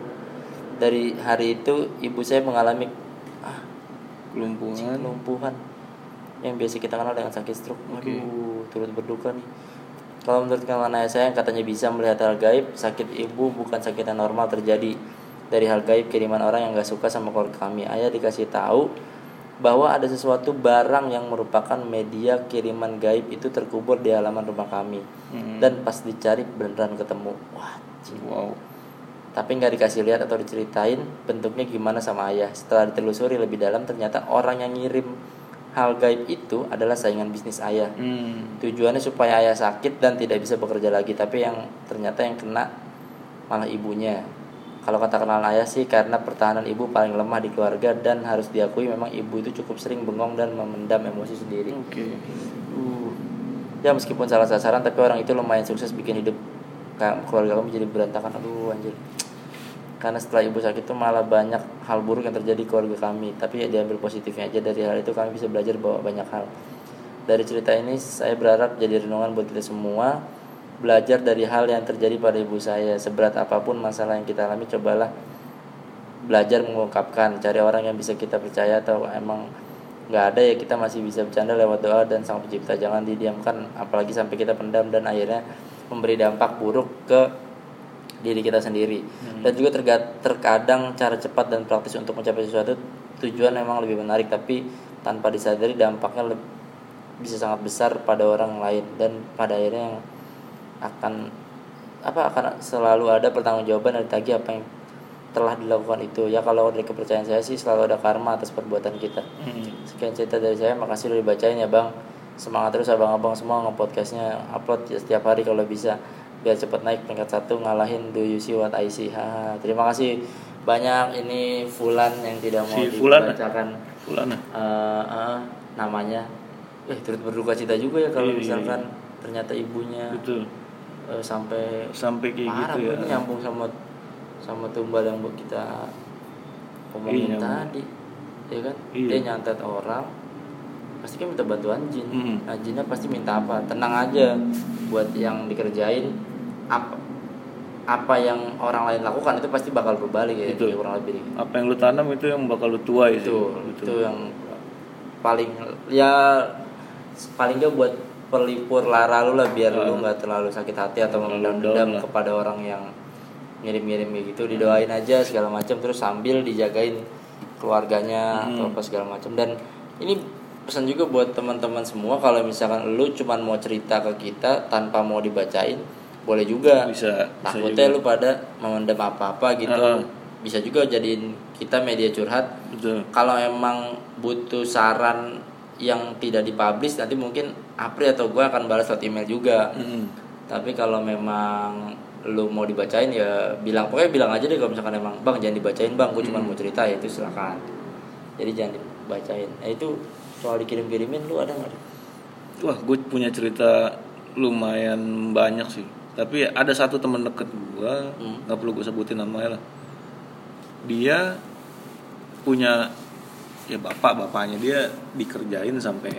Speaker 1: Dari hari itu ibu saya mengalami ah,
Speaker 2: kelumpuhan
Speaker 1: kelumpuhan yang biasa kita kenal dengan sakit stroke.
Speaker 2: Oke.
Speaker 1: Aduh, turut berduka nih. Kalau menurut kawan ayah saya yang katanya bisa melihat hal gaib, sakit ibu bukan sakit yang normal terjadi dari hal gaib kiriman orang yang gak suka sama keluarga kami. Ayah dikasih tahu bahwa ada sesuatu barang yang merupakan media kiriman gaib itu terkubur di halaman rumah kami. Dan pas dicari beneran ketemu. Wah, anjing
Speaker 2: wow
Speaker 1: tapi nggak dikasih lihat atau diceritain bentuknya gimana sama ayah. Setelah ditelusuri lebih dalam, ternyata orang yang ngirim hal gaib itu adalah saingan bisnis ayah.
Speaker 2: hmm.
Speaker 1: Tujuannya supaya ayah sakit dan tidak bisa bekerja lagi, tapi yang ternyata yang kena malah ibunya. Kalau kata kenal ayah sih karena pertahanan ibu paling lemah di keluarga dan harus diakui memang ibu itu cukup sering bengong dan memendam emosi sendiri.
Speaker 2: oke
Speaker 1: Uh. Ya meskipun salah sasaran tapi orang itu lumayan sukses bikin hidup ka- keluarga kamu jadi berantakan. Aduh anjir. Karena setelah ibu sakit itu malah banyak hal buruk yang terjadi di keluarga kami. Tapi ya diambil positifnya aja dari hal itu kami bisa belajar bahwa banyak hal. Dari cerita ini saya berharap jadi renungan buat kita semua belajar dari hal yang terjadi pada ibu saya. Seberat apapun masalah yang kita alami cobalah belajar mengungkapkan cari orang yang bisa kita percaya atau emang nggak ada ya kita masih bisa bercanda lewat doa dan sang pencipta jangan didiamkan apalagi sampai kita pendam dan akhirnya memberi dampak buruk ke diri kita sendiri dan juga terga- terkadang cara cepat dan praktis untuk mencapai sesuatu tujuan memang lebih menarik tapi tanpa disadari dampaknya leb- bisa sangat besar pada orang lain dan pada akhirnya yang akan apa akan selalu ada pertanggungjawaban dari tagih apa yang telah dilakukan itu ya kalau dari kepercayaan saya sih selalu ada karma atas perbuatan kita
Speaker 2: Hmm,
Speaker 1: sekian cerita dari saya makasih udah dibacain ya bang semangat terus abang-abang semua nge-podcastnya upload ya setiap hari kalau bisa biar cepat naik peringkat satu ngalahin Do You See What I See. Haha, terima kasih banyak ini Fulan yang tidak mau
Speaker 2: Si Fulan.
Speaker 1: dibacakan
Speaker 2: Fulana.
Speaker 1: eh eh, namanya. Eh turut berduka cita juga ya kalau
Speaker 2: Iya, iya,
Speaker 1: misalkan ternyata ibunya
Speaker 2: Betul.
Speaker 1: eh, sampai
Speaker 2: Sampai kayak
Speaker 1: parah
Speaker 2: gitu
Speaker 1: Bu.
Speaker 2: ya.
Speaker 1: ini nyambung sama sama tumbal yang kita
Speaker 2: Iya,
Speaker 1: omongin
Speaker 2: nyambung.
Speaker 1: tadi ya kan
Speaker 2: Iya.
Speaker 1: dia nyantet orang pasti kan minta bantuan jin
Speaker 2: Mhm.
Speaker 1: nah jinnya pasti minta apa tenang aja buat yang dikerjain apa apa yang orang lain lakukan itu pasti bakal berbalik ya
Speaker 2: Betul.
Speaker 1: kurang lebih
Speaker 2: Apa yang lu tanam itu yang bakal lu tuai sih.
Speaker 1: itu itu
Speaker 2: Betul.
Speaker 1: yang paling ya paling nggak buat pelipur lara lu lah biar lu
Speaker 2: Hmm.
Speaker 1: nggak terlalu sakit hati atau
Speaker 2: Terlalu
Speaker 1: memendam
Speaker 2: down
Speaker 1: dendam
Speaker 2: lah.
Speaker 1: kepada orang yang ngirim-ngirim kayak gitu didoain aja segala macam terus sambil dijagain keluarganya atau
Speaker 2: Hmm.
Speaker 1: apa segala macam dan ini pesan juga buat teman-teman semua kalau misalkan lu cuman mau cerita ke kita tanpa mau dibacain boleh juga
Speaker 2: Bisa. bisa
Speaker 1: takutnya
Speaker 2: juga.
Speaker 1: lu pada memendam apa-apa gitu
Speaker 2: Heeh.
Speaker 1: bisa juga jadiin kita media curhat
Speaker 2: Betul.
Speaker 1: kalau emang butuh saran yang tidak dipublish nanti mungkin Apri atau gue akan balas lewat email juga
Speaker 2: Mm-mm.
Speaker 1: tapi kalau memang lu mau dibacain ya bilang pokoknya bilang aja deh kalau misalkan emang bang jangan dibacain bang gue cuma mau cerita ya itu silakan jadi jangan dibacain nah, itu soal dikirim kirimin lu ada nggak
Speaker 2: Wah, gue punya cerita lumayan banyak sih. Tapi ada satu teman deket gue,
Speaker 1: Hmm.
Speaker 2: nggak perlu gue sebutin namanya lah. Dia punya ya bapak bapaknya dia dikerjain sampai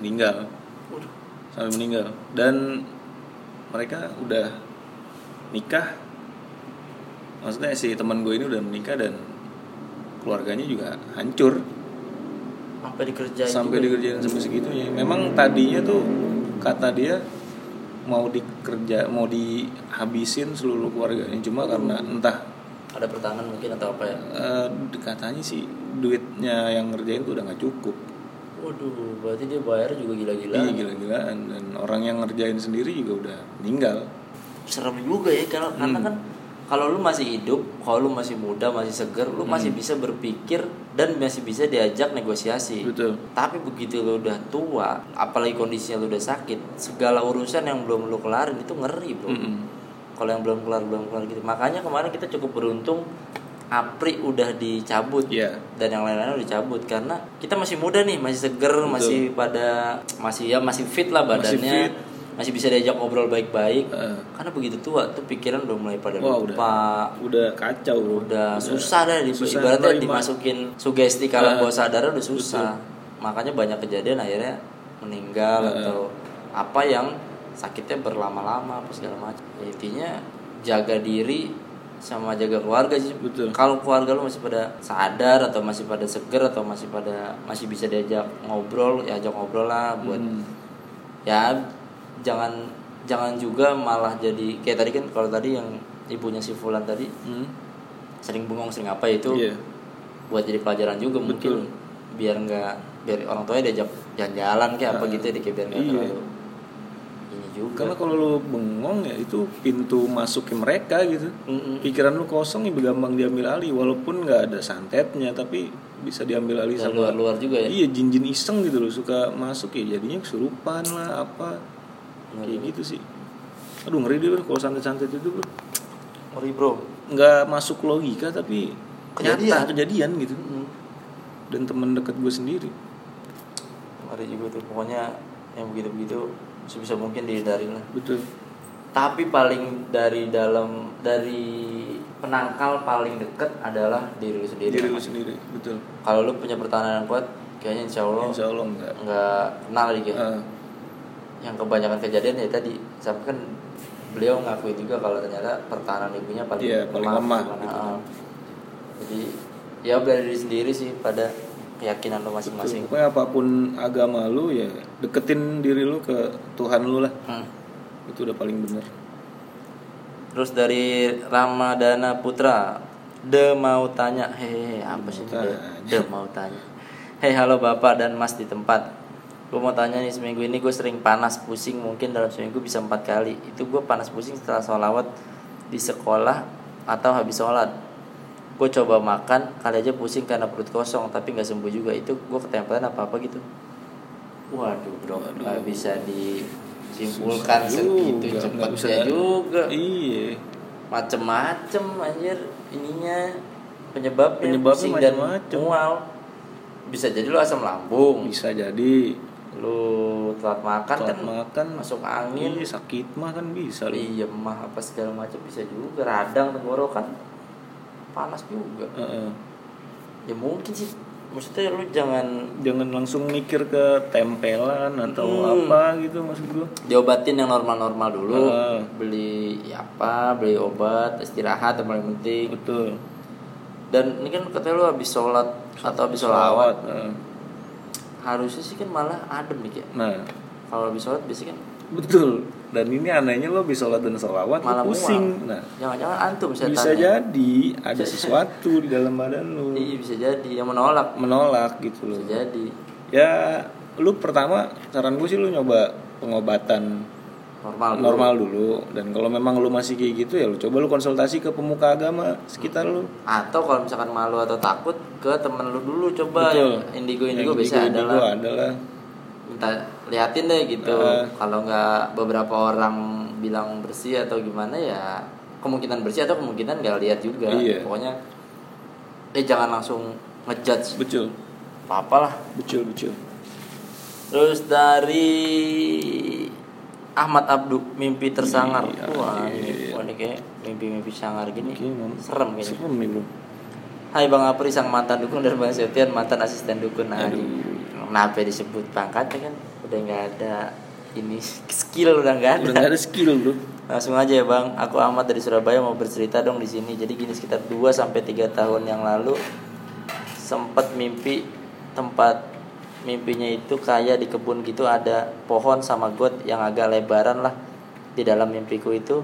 Speaker 2: meninggal,
Speaker 1: Waduh.
Speaker 2: sampai meninggal. Dan mereka udah nikah. Maksudnya si teman gue ini udah menikah dan keluarganya juga hancur
Speaker 1: sampai dikerjain
Speaker 2: sampai
Speaker 1: juga?
Speaker 2: dikerjain sampai segitunya memang tadinya tuh kata dia mau dikerja mau dihabisin seluruh keluarganya cuma karena entah
Speaker 1: ada pertahanan mungkin atau apa ya
Speaker 2: eh, katanya sih duitnya yang ngerjain tuh udah nggak cukup
Speaker 1: waduh berarti dia bayar juga gila-gila
Speaker 2: iya gila-gilaan dan orang yang ngerjain sendiri juga udah meninggal
Speaker 1: serem juga ya
Speaker 2: Hmm.
Speaker 1: kalau karena kan kalau lu masih hidup, kalau lu masih muda, masih seger, lu
Speaker 2: Hmm.
Speaker 1: masih bisa berpikir dan masih bisa diajak negosiasi.
Speaker 2: betul
Speaker 1: Tapi begitu lu udah tua, apalagi kondisinya lu udah sakit, segala urusan yang belum lu kelarin itu ngeri, Bro.
Speaker 2: Hmm.
Speaker 1: Kalau yang belum kelar belum kelar gitu. Makanya kemarin kita cukup beruntung Apri udah dicabut
Speaker 2: Iya.
Speaker 1: dan yang lain-lain udah dicabut karena kita masih muda nih, masih seger, masih pada masih ya masih fit lah
Speaker 2: Masih
Speaker 1: badannya.
Speaker 2: fit.
Speaker 1: masih bisa diajak ngobrol baik-baik
Speaker 2: Eh,
Speaker 1: karena begitu tua tuh pikiran udah mulai pada
Speaker 2: Wah,
Speaker 1: lupa
Speaker 2: udah kacau
Speaker 1: udah,
Speaker 2: bro.
Speaker 1: susah dah di
Speaker 2: susah
Speaker 1: ibaratnya
Speaker 2: nerima.
Speaker 1: dimasukin sugesti kalau
Speaker 2: Ah,
Speaker 1: bawah sadar udah susah makanya banyak kejadian akhirnya meninggal
Speaker 2: Ah.
Speaker 1: atau apa yang sakitnya berlama-lama apa segala macam Ya, intinya jaga diri sama jaga keluarga sih
Speaker 2: Betul.
Speaker 1: kalau keluarga lu masih pada sadar atau masih pada seger atau masih pada masih bisa diajak ngobrol ya ajak ngobrol lah buat
Speaker 2: Hmm.
Speaker 1: ya jangan jangan juga malah jadi kayak tadi kan kalau tadi yang ibunya si Fulan tadi
Speaker 2: Hmm.
Speaker 1: sering bengong sering apa itu
Speaker 2: Iya.
Speaker 1: buat jadi pelajaran juga
Speaker 2: Betul.
Speaker 1: mungkin biar nggak biar orang tuanya diajak jalan-jalan kayak apa
Speaker 2: Ah,
Speaker 1: gitu ya kayak biar nggak
Speaker 2: iya.
Speaker 1: terlalu ini juga
Speaker 2: karena kalau lu bengong ya itu pintu masuk ke mereka gitu
Speaker 1: Mm-mm.
Speaker 2: pikiran lu kosong ya gampang diambil alih walaupun nggak ada santetnya tapi bisa diambil alih
Speaker 1: Bisa
Speaker 2: sama
Speaker 1: luar-luar juga ya
Speaker 2: iya jin-jin iseng gitu loh suka masuk ya jadinya kesurupan lah apa
Speaker 1: Iya,
Speaker 2: kayak gitu sih aduh ngeri deh bro kalau santet-santet itu bro
Speaker 1: Sorry, bro
Speaker 2: nggak masuk logika tapi
Speaker 1: Kejadian.
Speaker 2: nyata kejadian gitu dan temen deket gue sendiri
Speaker 1: hari juga tuh pokoknya yang begitu-begitu sebisa mungkin dihindari lah
Speaker 2: betul
Speaker 1: tapi paling dari dalam dari penangkal paling deket adalah diri lu sendiri
Speaker 2: diri gue sendiri betul
Speaker 1: kalau lu punya pertahanan yang kuat kayaknya insya Allah
Speaker 2: insya allah enggak
Speaker 1: nggak kenal lagi ya.
Speaker 2: Eh,
Speaker 1: yang kebanyakan kejadian ya tadi sampai kan beliau ngakui juga kalau ternyata pertahanan ibunya paling
Speaker 2: Iya, paling lemah,
Speaker 1: gimana,
Speaker 2: gitu.
Speaker 1: ah. jadi ya bela diri sendiri sih pada keyakinan lu masing-masing
Speaker 2: Pokoknya apapun agama lu ya deketin diri lu ke Tuhan lu lah.
Speaker 1: Hmm.
Speaker 2: Itu udah paling bener.
Speaker 1: terus dari Ramadana Putra De mau tanya hehehe apa sih ini De?
Speaker 2: Mau tanya.
Speaker 1: De mau tanya Hei halo bapak dan mas di tempat Gue mau tanya nih seminggu ini gue sering panas pusing Mungkin dalam seminggu bisa empat kali Itu gue panas pusing setelah sholawat di sekolah atau habis sholat Gue coba makan kali aja pusing karena perut kosong Tapi gak sembuh juga Itu gue ketempelan apa-apa gitu Waduh bro nggak bisa di simpulkan
Speaker 2: Susah
Speaker 1: segitu
Speaker 2: juga, nggak bisa.
Speaker 1: cepetnya juga
Speaker 2: Iya.
Speaker 1: macem-macem anjir ininya penyebabnya
Speaker 2: Penyebabnya
Speaker 1: pusing dan
Speaker 2: macem-macem.
Speaker 1: mual bisa jadi lu asam lambung
Speaker 2: Bisa jadi
Speaker 1: lu telat makan
Speaker 2: telat
Speaker 1: kan
Speaker 2: makan
Speaker 1: masuk angin
Speaker 2: Iya, sakit mah kan bisa loh.
Speaker 1: iya mah apa segala macam bisa juga radang tenggorokan panas juga
Speaker 2: Heeh.
Speaker 1: ya mungkin sih maksudnya lu jangan
Speaker 2: Jangan langsung mikir ke tempelan atau
Speaker 1: Hmm.
Speaker 2: apa gitu maksud gua.
Speaker 1: diobatin yang normal-normal dulu
Speaker 2: Heeh.
Speaker 1: beli ya apa beli obat istirahat yang paling penting
Speaker 2: Betul.
Speaker 1: dan ini kan katanya lu habis sholat atau habis sholawat
Speaker 2: Salawat. heeh.
Speaker 1: harusnya sih kan malah adem nih ya
Speaker 2: Nah,
Speaker 1: kalau habis sholat biasanya kan
Speaker 2: betul. Dan ini anehnya lo bisa sholat dan sholawat
Speaker 1: malah
Speaker 2: lo pusing.
Speaker 1: mual
Speaker 2: Nah,
Speaker 1: jangan-jangan antum setan
Speaker 2: bisa
Speaker 1: ya.
Speaker 2: jadi ada sesuatu di dalam badan lo
Speaker 1: iya bisa jadi yang menolak
Speaker 2: menolak gitu
Speaker 1: bisa
Speaker 2: loh.
Speaker 1: jadi
Speaker 2: Ya, lu pertama saran gue sih lu nyoba pengobatan
Speaker 1: normal gitu. dulu.
Speaker 2: normal dulu dan kalau memang lu masih kayak gitu ya lu coba lu konsultasi ke pemuka agama sekitar lu.
Speaker 1: atau kalau misalkan malu atau takut ke temen lu dulu coba
Speaker 2: Betul.
Speaker 1: yang indigo
Speaker 2: Yang
Speaker 1: indigo biasa
Speaker 2: indigo
Speaker 1: adalah
Speaker 2: adalah
Speaker 1: minta liatin deh gitu
Speaker 2: Eh.
Speaker 1: kalau nggak beberapa orang bilang bersih atau gimana ya kemungkinan bersih atau kemungkinan nggak lihat juga
Speaker 2: Iya.
Speaker 1: pokoknya eh jangan langsung ngejudge
Speaker 2: becul,
Speaker 1: apa apalah
Speaker 2: becul, becul.
Speaker 1: terus dari Ahmad Abdu mimpi tersangar
Speaker 2: Iya,
Speaker 1: wah ini
Speaker 2: iya.
Speaker 1: wah, ini kayak mimpi-mimpi sangar gini
Speaker 2: Oke, Mam.
Speaker 1: serem gini
Speaker 2: Serem nih lu.
Speaker 1: Hai Bang Apri sang mantan dukun dan Bang Septian mantan asisten dukun nah,
Speaker 2: Aduh.
Speaker 1: Kenapa disebut pangkatnya kan udah nggak ada ini skill udah nggak ada.
Speaker 2: Udah gak ada skill lu.
Speaker 1: Langsung aja ya Bang, aku amat dari Surabaya mau bercerita dong di sini. Jadi gini sekitar 2 sampai 3 tahun yang lalu sempat mimpi tempat mimpinya itu kayak di kebun gitu ada pohon sama got yang agak lebaran lah di dalam mimpiku itu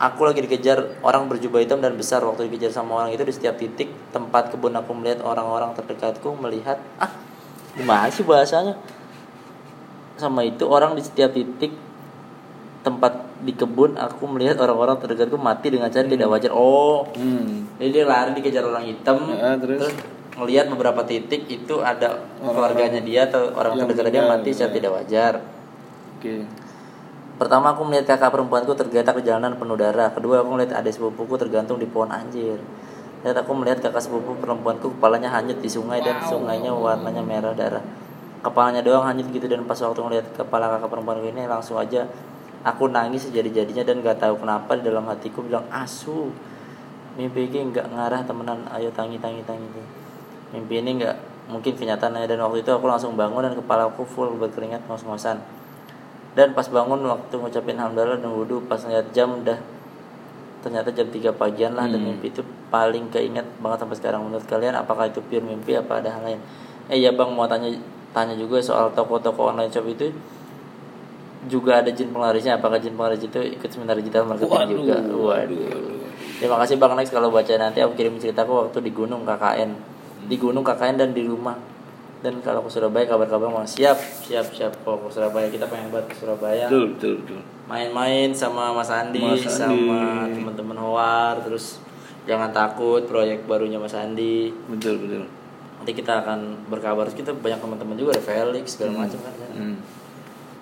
Speaker 1: aku lagi dikejar orang berjubah hitam dan besar waktu dikejar sama orang itu di setiap titik tempat kebun aku melihat orang-orang terdekatku melihat ah gimana sih bahasanya sama itu orang di setiap titik tempat di kebun aku melihat orang-orang terdekatku mati dengan cara tidak wajar oh
Speaker 2: Hmm.
Speaker 1: jadi dia lari dikejar orang hitam
Speaker 2: Ya, terus?
Speaker 1: terus ngelihat beberapa titik itu ada
Speaker 2: Orang-orang
Speaker 1: keluarganya dia atau orang
Speaker 2: yang
Speaker 1: terdekatnya dia
Speaker 2: meninggal,
Speaker 1: mati secara
Speaker 2: ya.
Speaker 1: tidak wajar
Speaker 2: Oke.
Speaker 1: Pertama aku melihat kakak perempuanku tergeletak di jalanan penuh darah. Kedua aku melihat adik sepupuku tergantung di pohon anjir. Dan aku melihat kakak sepupu perempuanku kepalanya hanyut di sungai dan sungainya warnanya merah darah. Kepalanya doang hanyut gitu dan pas waktu melihat kepala kakak perempuanku ini langsung aja aku nangis sejadi-jadinya dan gak tahu kenapa di dalam hatiku bilang asu. Mimpi ini nggak ngarah temenan, ayo tangi tangi tangi. Mimpi ini nggak mungkin kenyataannya dan waktu itu aku langsung bangun dan kepalaku full berkeringat ngos-ngosan dan pas bangun waktu ngucapin alhamdulillah dan wudhu pas ngeliat jam udah ternyata jam 3 pagian lah dan mimpi itu paling keinget banget sampai sekarang menurut kalian apakah itu pure mimpi apa ada hal lain eh ya bang mau tanya tanya juga soal toko-toko online shop itu juga ada jin penglarisnya apakah jin penglaris itu ikut seminar digital marketing
Speaker 2: Waduh,
Speaker 1: juga
Speaker 2: waduh,
Speaker 1: waduh terima kasih bang Lex kalau baca nanti aku kirim ceritaku waktu di gunung KKN di gunung KKN dan di rumah dan kalau ke Surabaya kabar-kabar mau siap siap siap kalau ke Surabaya kita pengen buat ke Surabaya
Speaker 2: Betul, betul, betul.
Speaker 1: main-main sama Mas Andi,
Speaker 2: Mas Andi.
Speaker 1: sama teman-teman Hoar, terus jangan takut proyek barunya Mas Andi.
Speaker 2: Betul, betul.
Speaker 1: Nanti kita akan berkabar, Terus kita banyak teman-teman juga ada Felix segala macam kan.
Speaker 2: Hmm.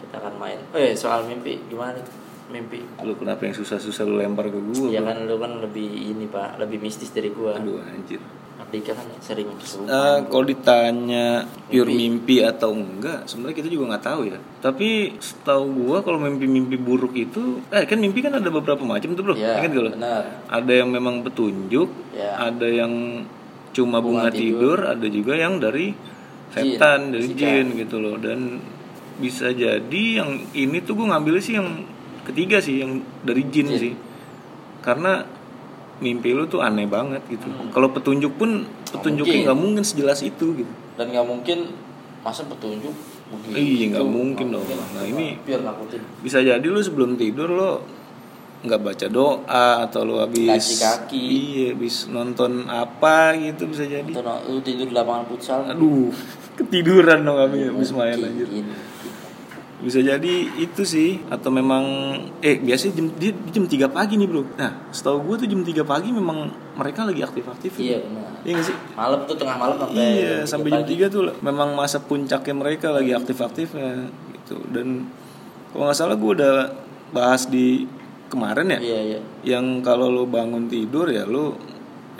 Speaker 1: Kita akan main. Eh soal mimpi gimana nih? Mimpi.
Speaker 2: Lu kenapa yang susah-susah lu lempar ke gua?
Speaker 1: Ya
Speaker 2: Bang?
Speaker 1: kan lu kan lebih ini pak, lebih mistis dari gua.
Speaker 2: Aduh, anjir.
Speaker 1: Andika kan sering kesurupan.
Speaker 2: Eh, kalau ditanya pure
Speaker 1: Mimpi.
Speaker 2: mimpi atau enggak, sebenarnya kita juga nggak tahu ya. Tapi setahu gua kalau mimpi-mimpi buruk itu, eh kan mimpi kan ada beberapa macam tuh bro,
Speaker 1: Ya,
Speaker 2: ingat gak lo?
Speaker 1: benar.
Speaker 2: Ada yang memang petunjuk,
Speaker 1: Ya.
Speaker 2: ada yang cuma bunga, tidur, ada juga yang dari setan, dari jin gitu loh. Dan bisa jadi yang ini tuh gua ngambil sih yang ketiga sih, yang dari jin, sih, karena mimpi lu tuh aneh banget gitu. Kalau petunjuk pun petunjuknya nggak mungkin sejelas itu gitu.
Speaker 1: Dan nggak mungkin masa petunjuk begitu.
Speaker 2: Iya nggak mungkin dong. Nah ini
Speaker 1: Biar ngakutin.
Speaker 2: bisa jadi lu sebelum tidur lo nggak baca doa atau lu
Speaker 1: Laci
Speaker 2: habis
Speaker 1: kaki.
Speaker 2: iya habis nonton apa gitu bisa jadi.
Speaker 1: Atau no- nah, lu tidur di lapangan futsal.
Speaker 2: Aduh ketiduran dong kami habis main aja.
Speaker 1: Mungkin.
Speaker 2: Bisa jadi itu sih atau memang eh biasanya jam dia jam 3 pagi nih bro. Nah setahu gue tuh jam 3 pagi memang mereka lagi aktif-aktif.
Speaker 1: Iya benar.
Speaker 2: Iya nggak sih?
Speaker 1: Malam tuh tengah malam sampai
Speaker 2: Iya,
Speaker 1: tiga
Speaker 2: sampai jam
Speaker 1: pagi.
Speaker 2: 3 tuh memang masa puncaknya mereka lagi aktif-aktifnya gitu. Dan Kalau nggak salah gue udah bahas di kemarin ya.
Speaker 1: Iya iya.
Speaker 2: Yang kalau lo bangun tidur ya lo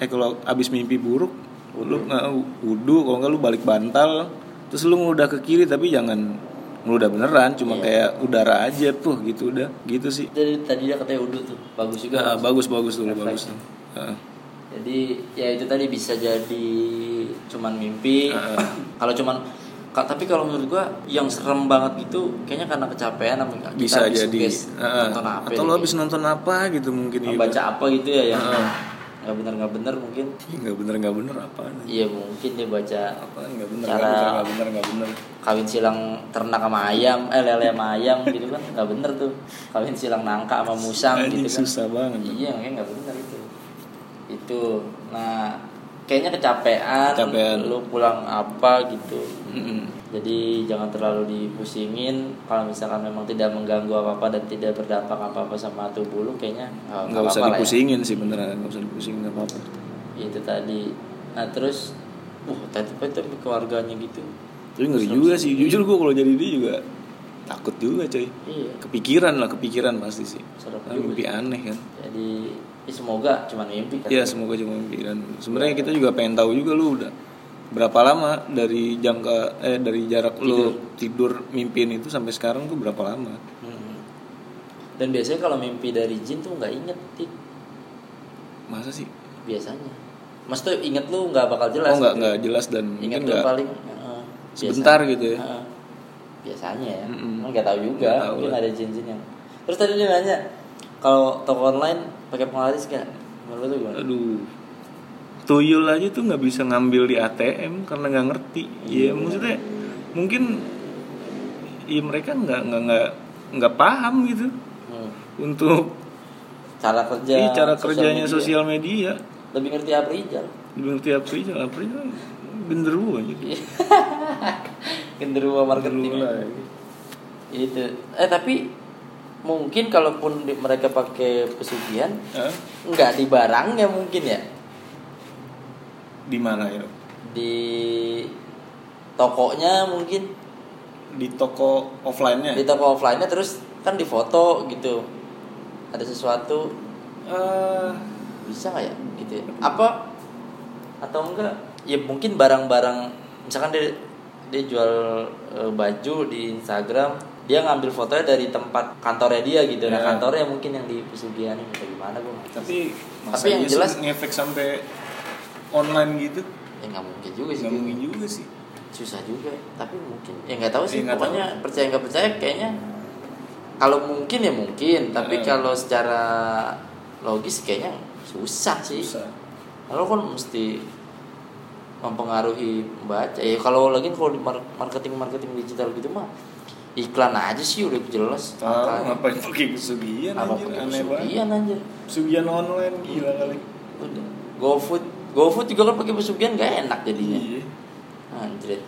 Speaker 2: eh kalau abis mimpi buruk lo
Speaker 1: Iya.
Speaker 2: nggak wudhu kalau nggak lo balik bantal terus lo udah ke kiri tapi jangan udah beneran cuma
Speaker 1: Iya.
Speaker 2: kayak udara aja tuh gitu udah gitu sih
Speaker 1: Tadi tadi dia katanya udu tuh bagus juga.
Speaker 2: Ah, bagus bagus tuh
Speaker 1: Refleks.
Speaker 2: bagus tuh Ah.
Speaker 1: Jadi ya itu tadi bisa jadi cuman mimpi.
Speaker 2: Heeh.
Speaker 1: kalau cuman ka- tapi kalau menurut gua yang serem banget gitu kayaknya karena kecapean sama kita
Speaker 2: bisa
Speaker 1: habis
Speaker 2: jadi
Speaker 1: nugas,
Speaker 2: ah,
Speaker 1: nonton apa gitu.
Speaker 2: atau lo habis nonton apa gitu mungkin gitu.
Speaker 1: baca apa gitu ya yang
Speaker 2: Heeh.
Speaker 1: nggak benar nggak benar mungkin.
Speaker 2: Ih, nggak bener nggak bener apa
Speaker 1: Iya mungkin dia baca
Speaker 2: apa nggak bener nggak
Speaker 1: Cara-
Speaker 2: bener nggak bener nggak bener
Speaker 1: kawin silang ternak sama ayam, eh lele sama ayam gitu kan nggak bener tuh. Kawin silang nangka sama musang
Speaker 2: Anjing,
Speaker 1: gitu kan.
Speaker 2: susah banget
Speaker 1: Iya makanya nggak bener itu. Itu, nah kayaknya kecapean,
Speaker 2: Kecapean.
Speaker 1: lu pulang apa gitu.
Speaker 2: Mm-mm.
Speaker 1: Jadi jangan terlalu dipusingin kalau misalkan memang tidak mengganggu apa-apa dan tidak berdampak apa-apa sama tubuh lu kayaknya nggak
Speaker 2: nggak usah
Speaker 1: apa-apa lah ya.
Speaker 2: dipusingin sih beneran nggak usah dipusingin nggak apa-apa
Speaker 1: Itu tadi. Nah terus, uh tadi tapi keluarganya gitu.
Speaker 2: tapi ngeri juga sih jujur gue kalau jadi dia juga takut juga coy
Speaker 1: Iya.
Speaker 2: kepikiran lah kepikiran pasti sih
Speaker 1: Serem
Speaker 2: Karena
Speaker 1: juga
Speaker 2: mimpi aneh kan
Speaker 1: Jadi ya semoga cuman mimpi kan.
Speaker 2: ya semoga cuma mimpi dan sebenarnya kita juga pengen tahu juga lu udah berapa lama dari jangka eh dari jarak lu tidur mimpiin itu sampai sekarang tuh berapa lama
Speaker 1: Hmm. Dan biasanya kalau mimpi dari jin tuh nggak inget Tik.
Speaker 2: masa sih
Speaker 1: biasanya. Maksudnya inget lu nggak bakal jelas.
Speaker 2: oh nggak
Speaker 1: gitu.
Speaker 2: nggak jelas dan
Speaker 1: Inget
Speaker 2: mungkin
Speaker 1: lu
Speaker 2: nggak
Speaker 1: paling eh, biasa.
Speaker 2: sebentar gitu ya
Speaker 1: Eh, biasanya ya.
Speaker 2: Mm-mm.
Speaker 1: Emang nggak tahu juga.
Speaker 2: Nggak tahu
Speaker 1: Mungkin
Speaker 2: lah.
Speaker 1: ada jin-jin yang. Terus tadi dia nanya kalau toko online pakai penglaris nggak? Menurut lu gimana?
Speaker 2: aduh tuyul aja tuh nggak bisa ngambil di ATM karena nggak ngerti
Speaker 1: Iya,
Speaker 2: ya maksudnya mungkin ya mereka nggak nggak nggak nggak paham gitu
Speaker 1: Hmm.
Speaker 2: untuk
Speaker 1: Cara kerja.
Speaker 2: ih, cara
Speaker 1: sosial
Speaker 2: kerjanya
Speaker 1: media.
Speaker 2: sosial media
Speaker 1: Lebih ngerti apa Rijal?
Speaker 2: belum tiap sih jalan April genderuwo aja gitu.
Speaker 1: Genderuwo marketing.
Speaker 2: genderuwo
Speaker 1: ya.
Speaker 2: lah
Speaker 1: Itu. Eh tapi mungkin kalaupun di- mereka pakai pesugihan
Speaker 2: Hah?
Speaker 1: nggak di barangnya mungkin ya
Speaker 2: di mana ya
Speaker 1: di tokonya mungkin
Speaker 2: di toko offline nya
Speaker 1: di toko offline-nya terus kan di foto gitu ada sesuatu
Speaker 2: Eh,
Speaker 1: bisa nggak ya gitu ya? apa atau enggak ya mungkin barang-barang misalkan dia dia jual eh, baju di Instagram dia ngambil fotonya dari tempat kantornya dia gitu nah
Speaker 2: Ya.
Speaker 1: kantornya mungkin yang di pesugihan atau gimana gue
Speaker 2: tapi
Speaker 1: Tapi yang
Speaker 2: iya sih
Speaker 1: jelas-
Speaker 2: ngefek sampai online gitu
Speaker 1: ya nggak mungkin juga sih
Speaker 2: nggak mungkin juga sih
Speaker 1: susah juga tapi mungkin ya nggak tahu sih
Speaker 2: Ya, nggak
Speaker 1: pokoknya percaya nggak percaya kayaknya kalau mungkin ya mungkin tapi
Speaker 2: Eh.
Speaker 1: kalau secara logis kayaknya susah sih
Speaker 2: susah
Speaker 1: kalau kan mesti mempengaruhi pembaca ya kalau lagi kalau di marketing marketing digital gitu mah iklan aja sih udah jelas
Speaker 2: Tahu
Speaker 1: angkanya.
Speaker 2: Ah, ngapain pakai kesugihan
Speaker 1: apa
Speaker 2: anjir
Speaker 1: pakai
Speaker 2: aneh banget.
Speaker 1: pesugihan Iya, anjir
Speaker 2: Kesugihan online gila kali.
Speaker 1: udah GoFood GoFood juga kan pakai pesugihan gak enak jadinya
Speaker 2: Iya.
Speaker 1: Anjrit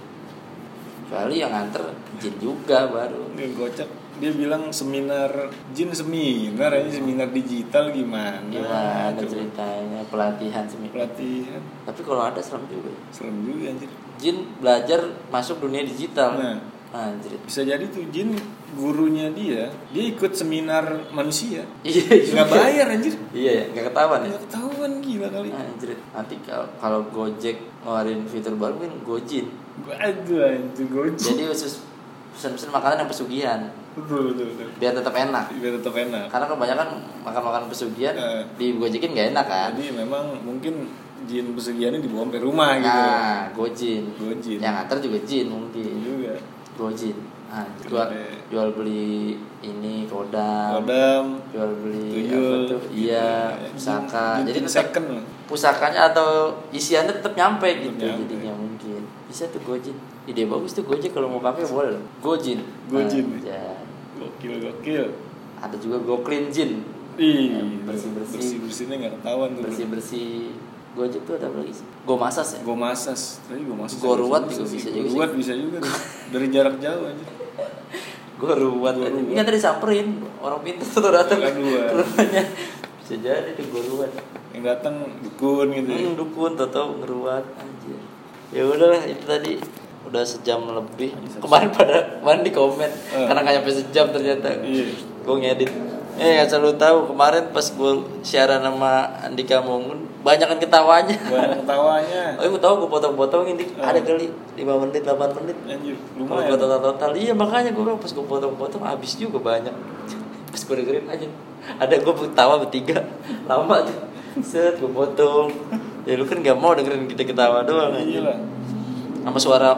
Speaker 1: Kecuali yang nganter izin juga baru
Speaker 2: Dia gocek. Dia bilang seminar jin seminar aja seminar digital gimana?
Speaker 1: Gimana
Speaker 2: Coba.
Speaker 1: ceritanya pelatihan semi
Speaker 2: Pelatihan
Speaker 1: Tapi kalau ada serem juga ya.
Speaker 2: serem juga anjir.
Speaker 1: Jin belajar masuk dunia digital
Speaker 2: Nah.
Speaker 1: Anjrit
Speaker 2: Bisa jadi tuh jin gurunya dia, dia ikut seminar manusia.
Speaker 1: Iya
Speaker 2: Nggak
Speaker 1: juga.
Speaker 2: bayar anjir.
Speaker 1: Iya ya, nggak ketahuan ya
Speaker 2: Nggak ketahuan gila kali.
Speaker 1: Anjrit Nanti kalau, kalau Gojek ngeluarin fitur baru kan Gojin
Speaker 2: Gua- Aduh anjir gocek.
Speaker 1: Jadi khusus pesan-pesan makanan yang pesugihan
Speaker 2: Betul betul betul.
Speaker 1: Biar tetap enak
Speaker 2: Biar tetap enak.
Speaker 1: Karena kebanyakan makan-makan pesugihan
Speaker 2: Eh.
Speaker 1: di Gojekin nggak enak kan
Speaker 2: Jadi memang mungkin jin pesugihannya dibawa sampai rumah gitu.
Speaker 1: Nah, Gojin
Speaker 2: Gojin. Iya
Speaker 1: Yang nganter juga Jin mungkin
Speaker 2: juga.
Speaker 1: Gojin ah,
Speaker 2: Keren
Speaker 1: jual,
Speaker 2: deh.
Speaker 1: jual beli ini kodam
Speaker 2: Iya. Kodam,
Speaker 1: jual beli apa
Speaker 2: tuyul,
Speaker 1: tuh
Speaker 2: gitu.
Speaker 1: iya
Speaker 2: Ya,
Speaker 1: pusaka
Speaker 2: jin-
Speaker 1: jadi
Speaker 2: jin
Speaker 1: tetap
Speaker 2: second lah.
Speaker 1: pusakanya atau isiannya tetap nyampe gitu
Speaker 2: nyampe.
Speaker 1: jadinya mungkin bisa tuh Gojin ide bagus tuh Gojek kalau mau pakai boleh loh. Gojin
Speaker 2: Gojin.
Speaker 1: Anjay.
Speaker 2: Gokil gokil.
Speaker 1: ada juga Goklin Jin
Speaker 2: Ih,
Speaker 1: Bersih-bersih.
Speaker 2: bersih bersihnya Iya. nggak ketahuan tuh.
Speaker 1: bersih bersih Gojek tuh ada apa lagi sih Go Masas ya
Speaker 2: Gue masas, tadi gue masas.
Speaker 1: Goruwat
Speaker 2: Gua
Speaker 1: juga
Speaker 2: sih.
Speaker 1: bisa juga
Speaker 2: Goruwat
Speaker 1: sih.
Speaker 2: bisa juga tuh. dari jarak jauh aja.
Speaker 1: gue ruwet
Speaker 2: Gua
Speaker 1: aja.
Speaker 2: ruwet.
Speaker 1: Ini kan tadi samperin orang pintar tuh datang
Speaker 2: Kan gua.
Speaker 1: ke rumahnya. Bisa jadi tuh gue ruwet.
Speaker 2: Yang datang dukun gitu. ya.
Speaker 1: Hmm, dukun tau tau ngeruat anjir. Ya udahlah itu tadi udah sejam lebih kemarin pada kemarin di komen karena nggak nyampe sejam ternyata
Speaker 2: Eh. Iya.
Speaker 1: gue ngedit eh nggak selalu tahu kemarin pas gue siaran sama Andika Mongun banyak kan ketawanya
Speaker 2: Banyak ketawanya.
Speaker 1: oh gue tahu gue potong-potongin Dik. ada kali 5 menit 8 menit
Speaker 2: Oh. Anjir,
Speaker 1: Kalau
Speaker 2: lumayan.
Speaker 1: gua total total iya makanya gue pas gue potong-potong habis juga banyak. Pas gue dengerin aja ada gue ketawa bertiga lama tuh. Set gue potong. Ya lu kan gak mau dengerin kita ketawa doang aja.
Speaker 2: Iya lah.
Speaker 1: Sama suara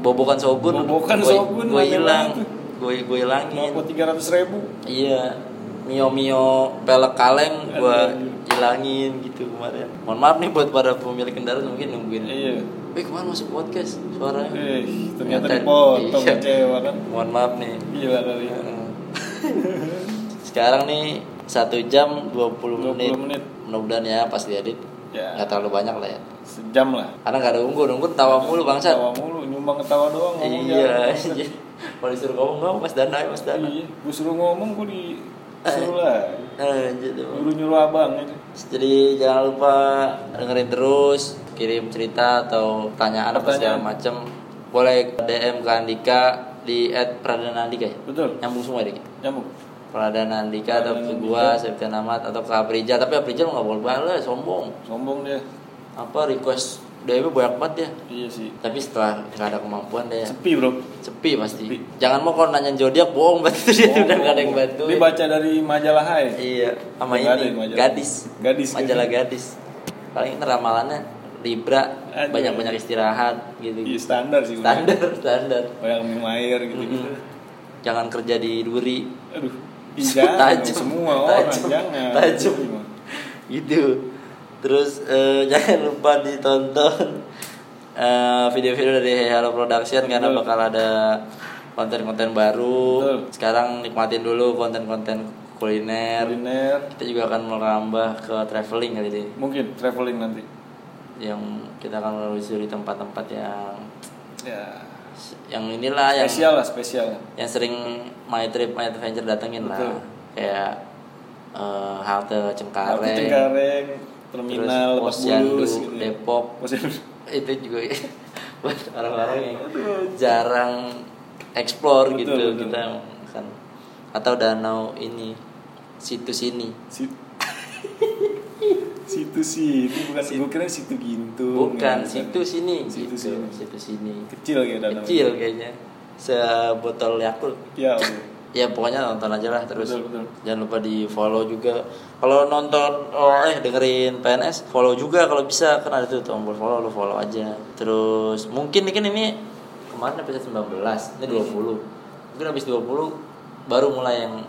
Speaker 1: bobokan Sogun.
Speaker 2: Bobokan Shogun,
Speaker 1: Gue
Speaker 2: ada
Speaker 1: hilang.
Speaker 2: banget
Speaker 1: Gue gue
Speaker 2: Mampu
Speaker 1: hilangin.
Speaker 2: 300 ribu.
Speaker 1: Iya. Mio Mio pelek kaleng gue
Speaker 2: Aduh.
Speaker 1: hilangin gitu kemarin. Mohon maaf nih buat para pemilik kendaraan mungkin nungguin.
Speaker 2: Iya.
Speaker 1: Eh kemarin masuk podcast suaranya.
Speaker 2: Eh, ternyata
Speaker 1: Ternyata-
Speaker 2: dipotong
Speaker 1: iya.
Speaker 2: kecewa kan.
Speaker 1: Mohon maaf nih. Hmm.
Speaker 2: Gila kali.
Speaker 1: Sekarang nih satu jam 20 menit.
Speaker 2: 20 menit.
Speaker 1: Mudah-mudahan ya pas diedit
Speaker 2: Ya.
Speaker 1: nggak terlalu banyak lah ya.
Speaker 2: Sejam lah.
Speaker 1: Karena nggak ada unggul, unggul tawa mulu bangsat.
Speaker 2: Ketawa mulu, nyumbang ketawa doang
Speaker 1: Iya.
Speaker 2: jarang.
Speaker 1: iya. Kalau disuruh ngomong ngomong Mas Dana, Mas Dana.
Speaker 2: Iya, gue suruh ngomong gue disuruh lah.
Speaker 1: Eh, gitu.
Speaker 2: Nyuruh nyuruh abang aja.
Speaker 1: Jadi jangan lupa dengerin terus, kirim cerita atau pertanyaan apa segala
Speaker 2: Pertanyaan.
Speaker 1: macam. Boleh DM ke Andika di @pradanandika ya.
Speaker 2: Betul.
Speaker 1: Nyambung semua deh.
Speaker 2: Nyambung.
Speaker 1: Pradana Andika atau ke gua Septian Ahmad atau ke Aprija tapi Aprija nggak boleh balas sombong
Speaker 2: Sombong dia.
Speaker 1: apa request DM banyak banget ya
Speaker 2: Iya sih.
Speaker 1: tapi setelah nggak ada kemampuan deh
Speaker 2: Sepi, Bro.
Speaker 1: sepi pasti
Speaker 2: Sepi.
Speaker 1: jangan mau kalau nanya zodiak bohong berarti itu dia udah nggak ada yang bantu
Speaker 2: Dia baca dari majalah Hai.
Speaker 1: iya sama
Speaker 2: Nggak ada yang
Speaker 1: ini
Speaker 2: majalah.
Speaker 1: gadis
Speaker 2: Gadis. Iya.
Speaker 1: majalah gadis paling itu ramalannya Libra
Speaker 2: Aduh.
Speaker 1: banyak banyak istirahat
Speaker 2: Iya,
Speaker 1: gitu
Speaker 2: standar sih. Bro.
Speaker 1: standar standar
Speaker 2: Kayak minum air gitu.
Speaker 1: Mm-mm. jangan kerja di duri
Speaker 2: Aduh. Ih, jangan
Speaker 1: Tajam.
Speaker 2: semua orang
Speaker 1: Tajam.
Speaker 2: jangan.
Speaker 1: Tajam.
Speaker 2: Iya, Bang.
Speaker 1: gitu terus eh, jangan lupa ditonton eh, video-video dari Hey Hello Production karena
Speaker 2: Betul.
Speaker 1: bakal ada konten-konten baru
Speaker 2: Betul.
Speaker 1: sekarang nikmatin dulu konten-konten kuliner
Speaker 2: Kuliner.
Speaker 1: kita juga akan merambah ke traveling kali ini
Speaker 2: Mungkin traveling nanti.
Speaker 1: yang kita akan menelusuri tempat-tempat yang
Speaker 2: Ya.
Speaker 1: yang inilah yang
Speaker 2: Spesial lah, spesial.
Speaker 1: yang sering my trip my adventure datengin
Speaker 2: Betul.
Speaker 1: lah kayak eh, halte Cengkareng,
Speaker 2: Tapi Cengkareng, terminal,
Speaker 1: terus
Speaker 2: Lebak
Speaker 1: Posyandu,
Speaker 2: Bulus gitu. ya.
Speaker 1: Depok
Speaker 2: Posyandu.
Speaker 1: itu juga ya. buat orang-orang yang jarang explore
Speaker 2: Betul,
Speaker 1: gitu
Speaker 2: betul.
Speaker 1: kita kan atau danau ini situs ini
Speaker 2: Sit- situ sih itu bukan gue kira situ gintung
Speaker 1: bukan
Speaker 2: ya,
Speaker 1: situs ini
Speaker 2: situ
Speaker 1: gitu
Speaker 2: sini
Speaker 1: situs ini
Speaker 2: kecil kayak danau
Speaker 1: kecil kayaknya sebotol Yakult
Speaker 2: ya Allah.
Speaker 1: ya pokoknya nonton aja lah terus
Speaker 2: Betul, betul.
Speaker 1: jangan lupa di follow juga kalau nonton oh, eh dengerin PNS follow juga kalau bisa kan ada tuh tombol follow lu follow aja terus mungkin mungkin ini kemarin episode 19
Speaker 2: Iya.
Speaker 1: ini 20 mungkin habis 20 baru mulai yang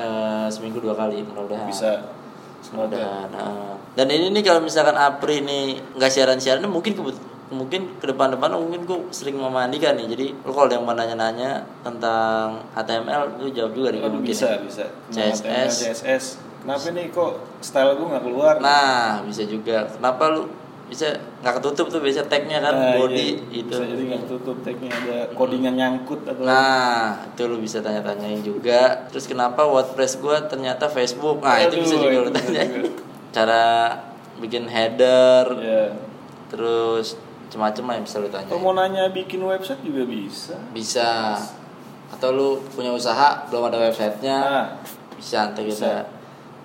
Speaker 1: eh, seminggu dua kali mudah-mudahan
Speaker 2: bisa semoga
Speaker 1: mudah-mudahan eh. dan ini nih kalau misalkan Apri nih nggak siaran-siaran ini mungkin kebut- mungkin ke depan-depan mungkin gue sering memandikan nih jadi lu kalau ada yang mau nanya-nanya tentang HTML lu jawab juga nih
Speaker 2: aduh
Speaker 1: mungkin ya.
Speaker 2: bisa bisa Cuma
Speaker 1: CSS.
Speaker 2: HTML, CSS kenapa nih kok style gue nggak keluar
Speaker 1: Nah, bisa juga. Kenapa lu bisa nggak ketutup tuh biasa tagnya kan
Speaker 2: Nah,
Speaker 1: body
Speaker 2: iya.
Speaker 1: itu.
Speaker 2: bisa jadi nggak tutup tagnya ada codingan nyangkut atau
Speaker 1: Nah, itu lu bisa tanya-tanyain juga. Terus kenapa WordPress gua ternyata Facebook? Nah, itu
Speaker 2: Aduh,
Speaker 1: bisa juga lu
Speaker 2: itu bisa
Speaker 1: tanyain.
Speaker 2: juga.
Speaker 1: Cara bikin header,
Speaker 2: ya
Speaker 1: terus macam-macam lah yang bisa lu
Speaker 2: atau
Speaker 1: tanya.
Speaker 2: mau nanya bikin website juga bisa
Speaker 1: Bisa. Atau lu punya usaha belum ada websitenya,
Speaker 2: nah
Speaker 1: bisa nanti kita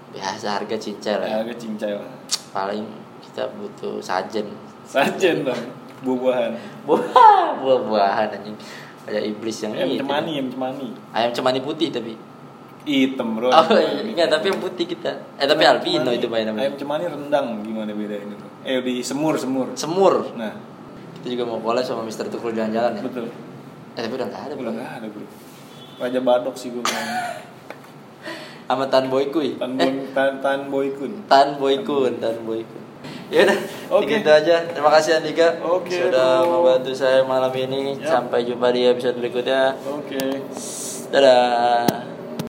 Speaker 1: biasa harga cincel ya.
Speaker 2: harga cincai lah
Speaker 1: Paling kita butuh sajen.
Speaker 2: sajen dong buah-buahan
Speaker 1: buah buah-buahan anjing ada iblis yang
Speaker 2: ayam
Speaker 1: itu.
Speaker 2: cemani ayam cemani
Speaker 1: ayam cemani putih tapi
Speaker 2: hitam
Speaker 1: oh
Speaker 2: bro Ayam cemani.
Speaker 1: enggak tapi yang putih kita eh tapi
Speaker 2: Ayam
Speaker 1: albino
Speaker 2: cemani.
Speaker 1: itu main namanya
Speaker 2: Ayam cemani Eh, rendang gimana bedain itu? Eh di semur semur.
Speaker 1: semur
Speaker 2: Nah,
Speaker 1: kita juga mau collab sama Mister Tukul jalan-jalan ya
Speaker 2: betul.
Speaker 1: eh tapi udah nggak ada
Speaker 2: Udah
Speaker 1: belum
Speaker 2: nggak ada bro. Raja Badok sih gue bilang.
Speaker 1: sama Tan Boy Kui
Speaker 2: Tan
Speaker 1: eh
Speaker 2: Boy Tan, Tan Boy Kun.
Speaker 1: Tan Boy Kun Tan Boy Kun ya udah
Speaker 2: Oke.
Speaker 1: gitu aja terima kasih Andika
Speaker 2: Oke,
Speaker 1: sudah
Speaker 2: bro.
Speaker 1: membantu saya malam ini
Speaker 2: Yap.
Speaker 1: sampai jumpa di episode berikutnya
Speaker 2: Oke.
Speaker 1: dadah